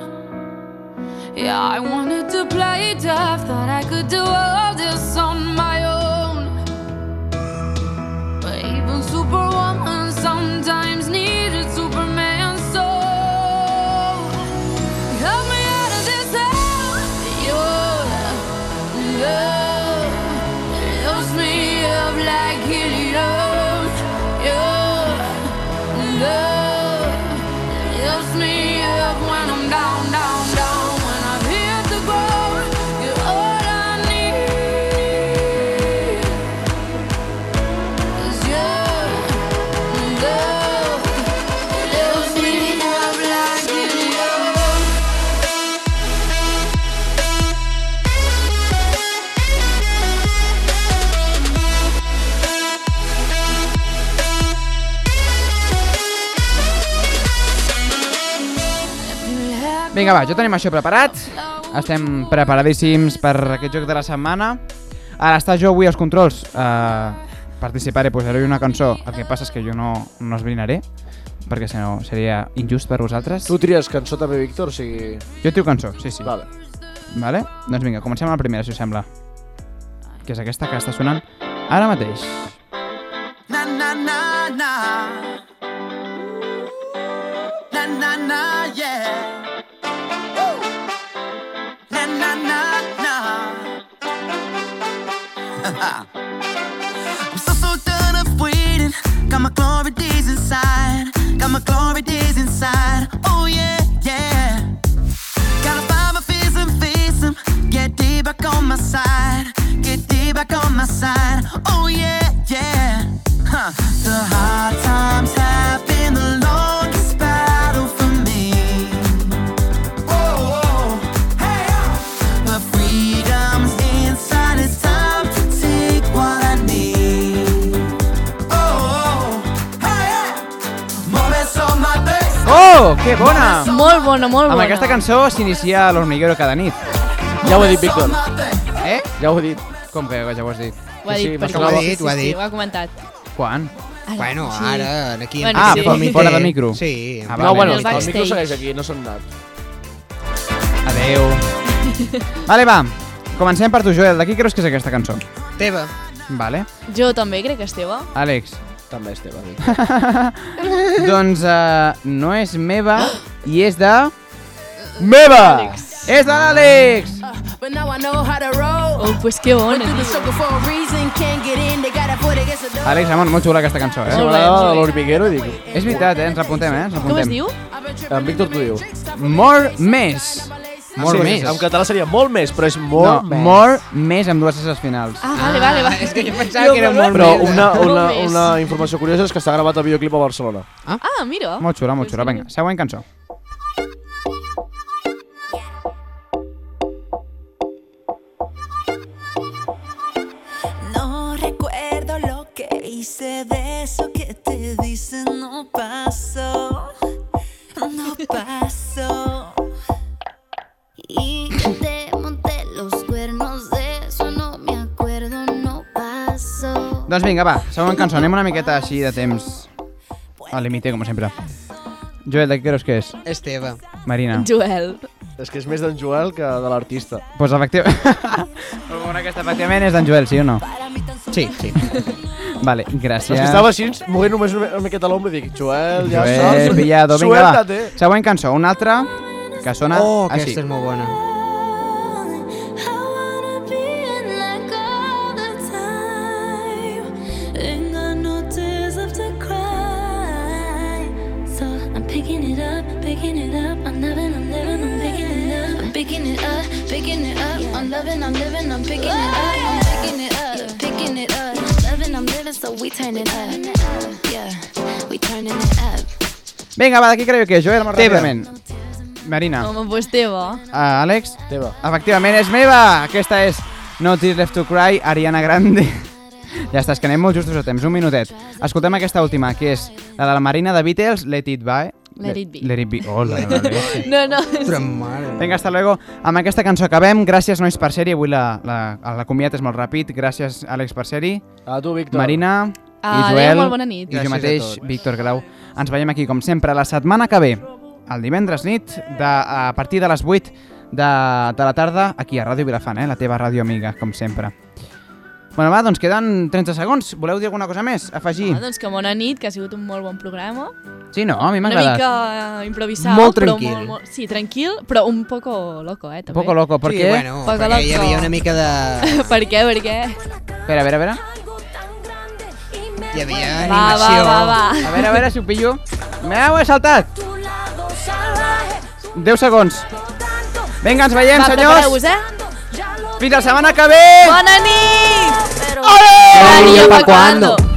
O: Yeah, I wanted to play deaf, thought I could do all this on my own. But even Superwoman sometimes needed Superman, so help me out of this hell. Your love loves me up like it loves your love. Lifts me up when I'm down, down, down. When I've hit the ground, you're all I need. Is your love lifts me up like it loves.
A: Vinga, va, ja tenim això preparat. Estem preparadíssims per aquest joc de la setmana. Ara està jo avui als controls. Uh, participaré, posaré una cançó. El que passa és que jo no, no esbrinaré, perquè si no seria injust per vosaltres.
D: Tu tries cançó també, Víctor, o sigui...
A: Jo trio cançó, sí, sí.
D: Vale.
A: Vale? Doncs vinga, comencem amb la primera, si us sembla. Que és aquesta que està sonant ara mateix.
I: Na na na na. Na na na yeah. Woo. Na na na na. I'm so so done of waiting. Got my glory days inside. Got my glory days inside. Oh yeah yeah. Gotta find my face and face 'em. Get deep back on my side. Get deep back on my side. Oh yeah, yeah. Huh. The hard times have been the longest battle for me. Whoa, whoa. Hey, uh. But freedom's inside. It's time to take what I need. Oh, oh. Hey, uh. Moments on my face.
A: Oh, que bona!
C: Molt bona, molt
A: Amb
C: bona.
A: aquesta cançó s'inicia l'Hormiguero cada nit.
D: Ja ho he dit, Víctor.
A: Eh?
D: Ja ho he dit.
A: Com que ja ho has dit?
C: Ho ha
A: Sí,
C: dit,
A: sí,
C: perquè
A: m'ho sonava.
C: sí, sí, ho ha comentat.
A: Quan?
C: Ara,
B: Bueno,
C: sí.
B: ara, aquí,
C: Bueno,
A: ah,
C: sí.
A: fora, fora de micro.
B: Sí.
A: Ah,
D: No, bueno, el
A: vale.
D: micro segueix aquí, no s'han anat.
A: Adeu. Vale, va. Comencem per tu, Joel. De qui creus que és aquesta cançó?
B: Teva.
A: Vale.
C: Jo també crec que és teva.
A: Àlex.
D: També és teva, Víctor.
A: doncs uh, no és meva i és de... Meva! És de l'Àlex!
P: But now I know how to roll.
C: Oh, pues que bona.
P: Went through the struggle for a reason. Can't get in. They gotta put it against the door.
A: Àlex, Amon, molt xula aquesta cançó, eh?
D: Sí, m'agrada de l'Hormiguero i dic...
A: És veritat, eh? Ens l'apuntem, eh? Ens l'apuntem.
D: En Víctor t'ho diu.
A: More més.
D: sí,
A: More Ah, més.
D: En català seria molt més, però és molt
A: no,
D: més.
A: more més amb dues esses finals.
C: Ah, vale, vale, vale.
B: És que jo pensava que era molt
D: Ah. Però
B: més.
D: una, una,
C: Molt més.
D: una informació curiosa és que s'ha gravat el videoclip a Barcelona.
C: Ah, ah mira.
A: Molt xula, molt xula. Vinga, següent cançó.
P: No recuerdo lo que hice de eso que te dicen no pasó, no pasó.
O: Y te monté los cuernos, de eso no me acuerdo, no pasó.
A: Doncs vinga, va, següent cançó. Anem una miqueta així de temps al límite, com sempre. Joel, de què creus que és?
B: És teva.
A: Marina.
C: Joel.
D: És que és més d'en Joel que de l'artista.
A: Doncs efectivament... aquesta efectivament és d'en Joel, sí o no?
B: Sí, sí.
A: Vale, gràcies.
D: És que estava així, movent només una una miqueta l'ombra i dic, Joel, ja
A: Joel,
D: saps. eh.
A: pillado. Vinga, va.
D: Suéltate.
A: Següent cançó, una altra que sona
B: Oh, aquesta
A: així.
B: és molt bona.
O: In the notice of the cry. So I'm picking it up, picking it up. I'm loving, I'm living, I'm picking it up. I'm picking it up, picking it up. I'm loving, I'm living, I'm picking it up. I'm picking it up, picking it up. Loving, I'm living, so we turn it up. Yeah, we turning it up.
A: Vinga, va, de qui creieu que és, Joel? Molt
B: Teva.
A: ràpidament. Marina.
C: Home, pues teva.
A: Uh, Àlex?
D: Teva.
A: Efectivament, és meva! Aquesta és No Tears Left to Cry, Ariana Grande. ja estàs, que anem molt justos a temps, un minutet. Escoltem aquesta última, que és la de la Marina de Beatles, Let It By.
C: Let it be.
A: Let it be. Hola, la leche.
C: No, no.
A: Vinga, hasta luego. Amb aquesta cançó acabem. Gràcies, nois, per ser-hi. Avui la, la, la comiat és molt ràpid. Gràcies, Àlex, per ser-hi.
D: A tu, Víctor.
A: Marina
C: Ah,
A: i
C: Adéu,
A: Joel.
C: molt bona nit.
A: I
C: Gràcies
A: jo
C: a
A: mateix, Víctor Grau. Ens veiem aquí, com sempre, la setmana que ve, el divendres nit, de, a partir de les 8 de, de la tarda, aquí a Ràdio Vilafant, eh? la teva ràdio amiga, com sempre. Bueno, va, doncs queden 30 segons. Voleu dir alguna cosa més? Afegir?
C: Ah, doncs que bona nit, que ha sigut un molt bon programa.
A: Sí, no? A mi m'ha
C: Una
A: agradat.
C: mica eh, improvisat.
A: Molt
C: però
A: tranquil.
C: Molt, molt, sí, tranquil, però un poco loco, eh, també.
A: Poco loco, per
B: Sí,
A: què?
B: bueno,
C: Poco
B: perquè hi
C: loco.
B: havia una mica de...
C: per què, per què?
A: Espera, a veure, a veure.
B: Hi havia
C: Va, va,
B: animació.
C: va, va.
A: A veure, a veure si ho pillo. M'heu saltat! 10 segons. Vinga, ens veiem,
C: Va,
A: senyors.
C: prepareu-vos, eh?
A: Fins la setmana que ve!
C: Bona nit!
A: ¡Eh! ¡Ole!
C: Niño,
A: ¿pa'
C: ¿pa' cuándo?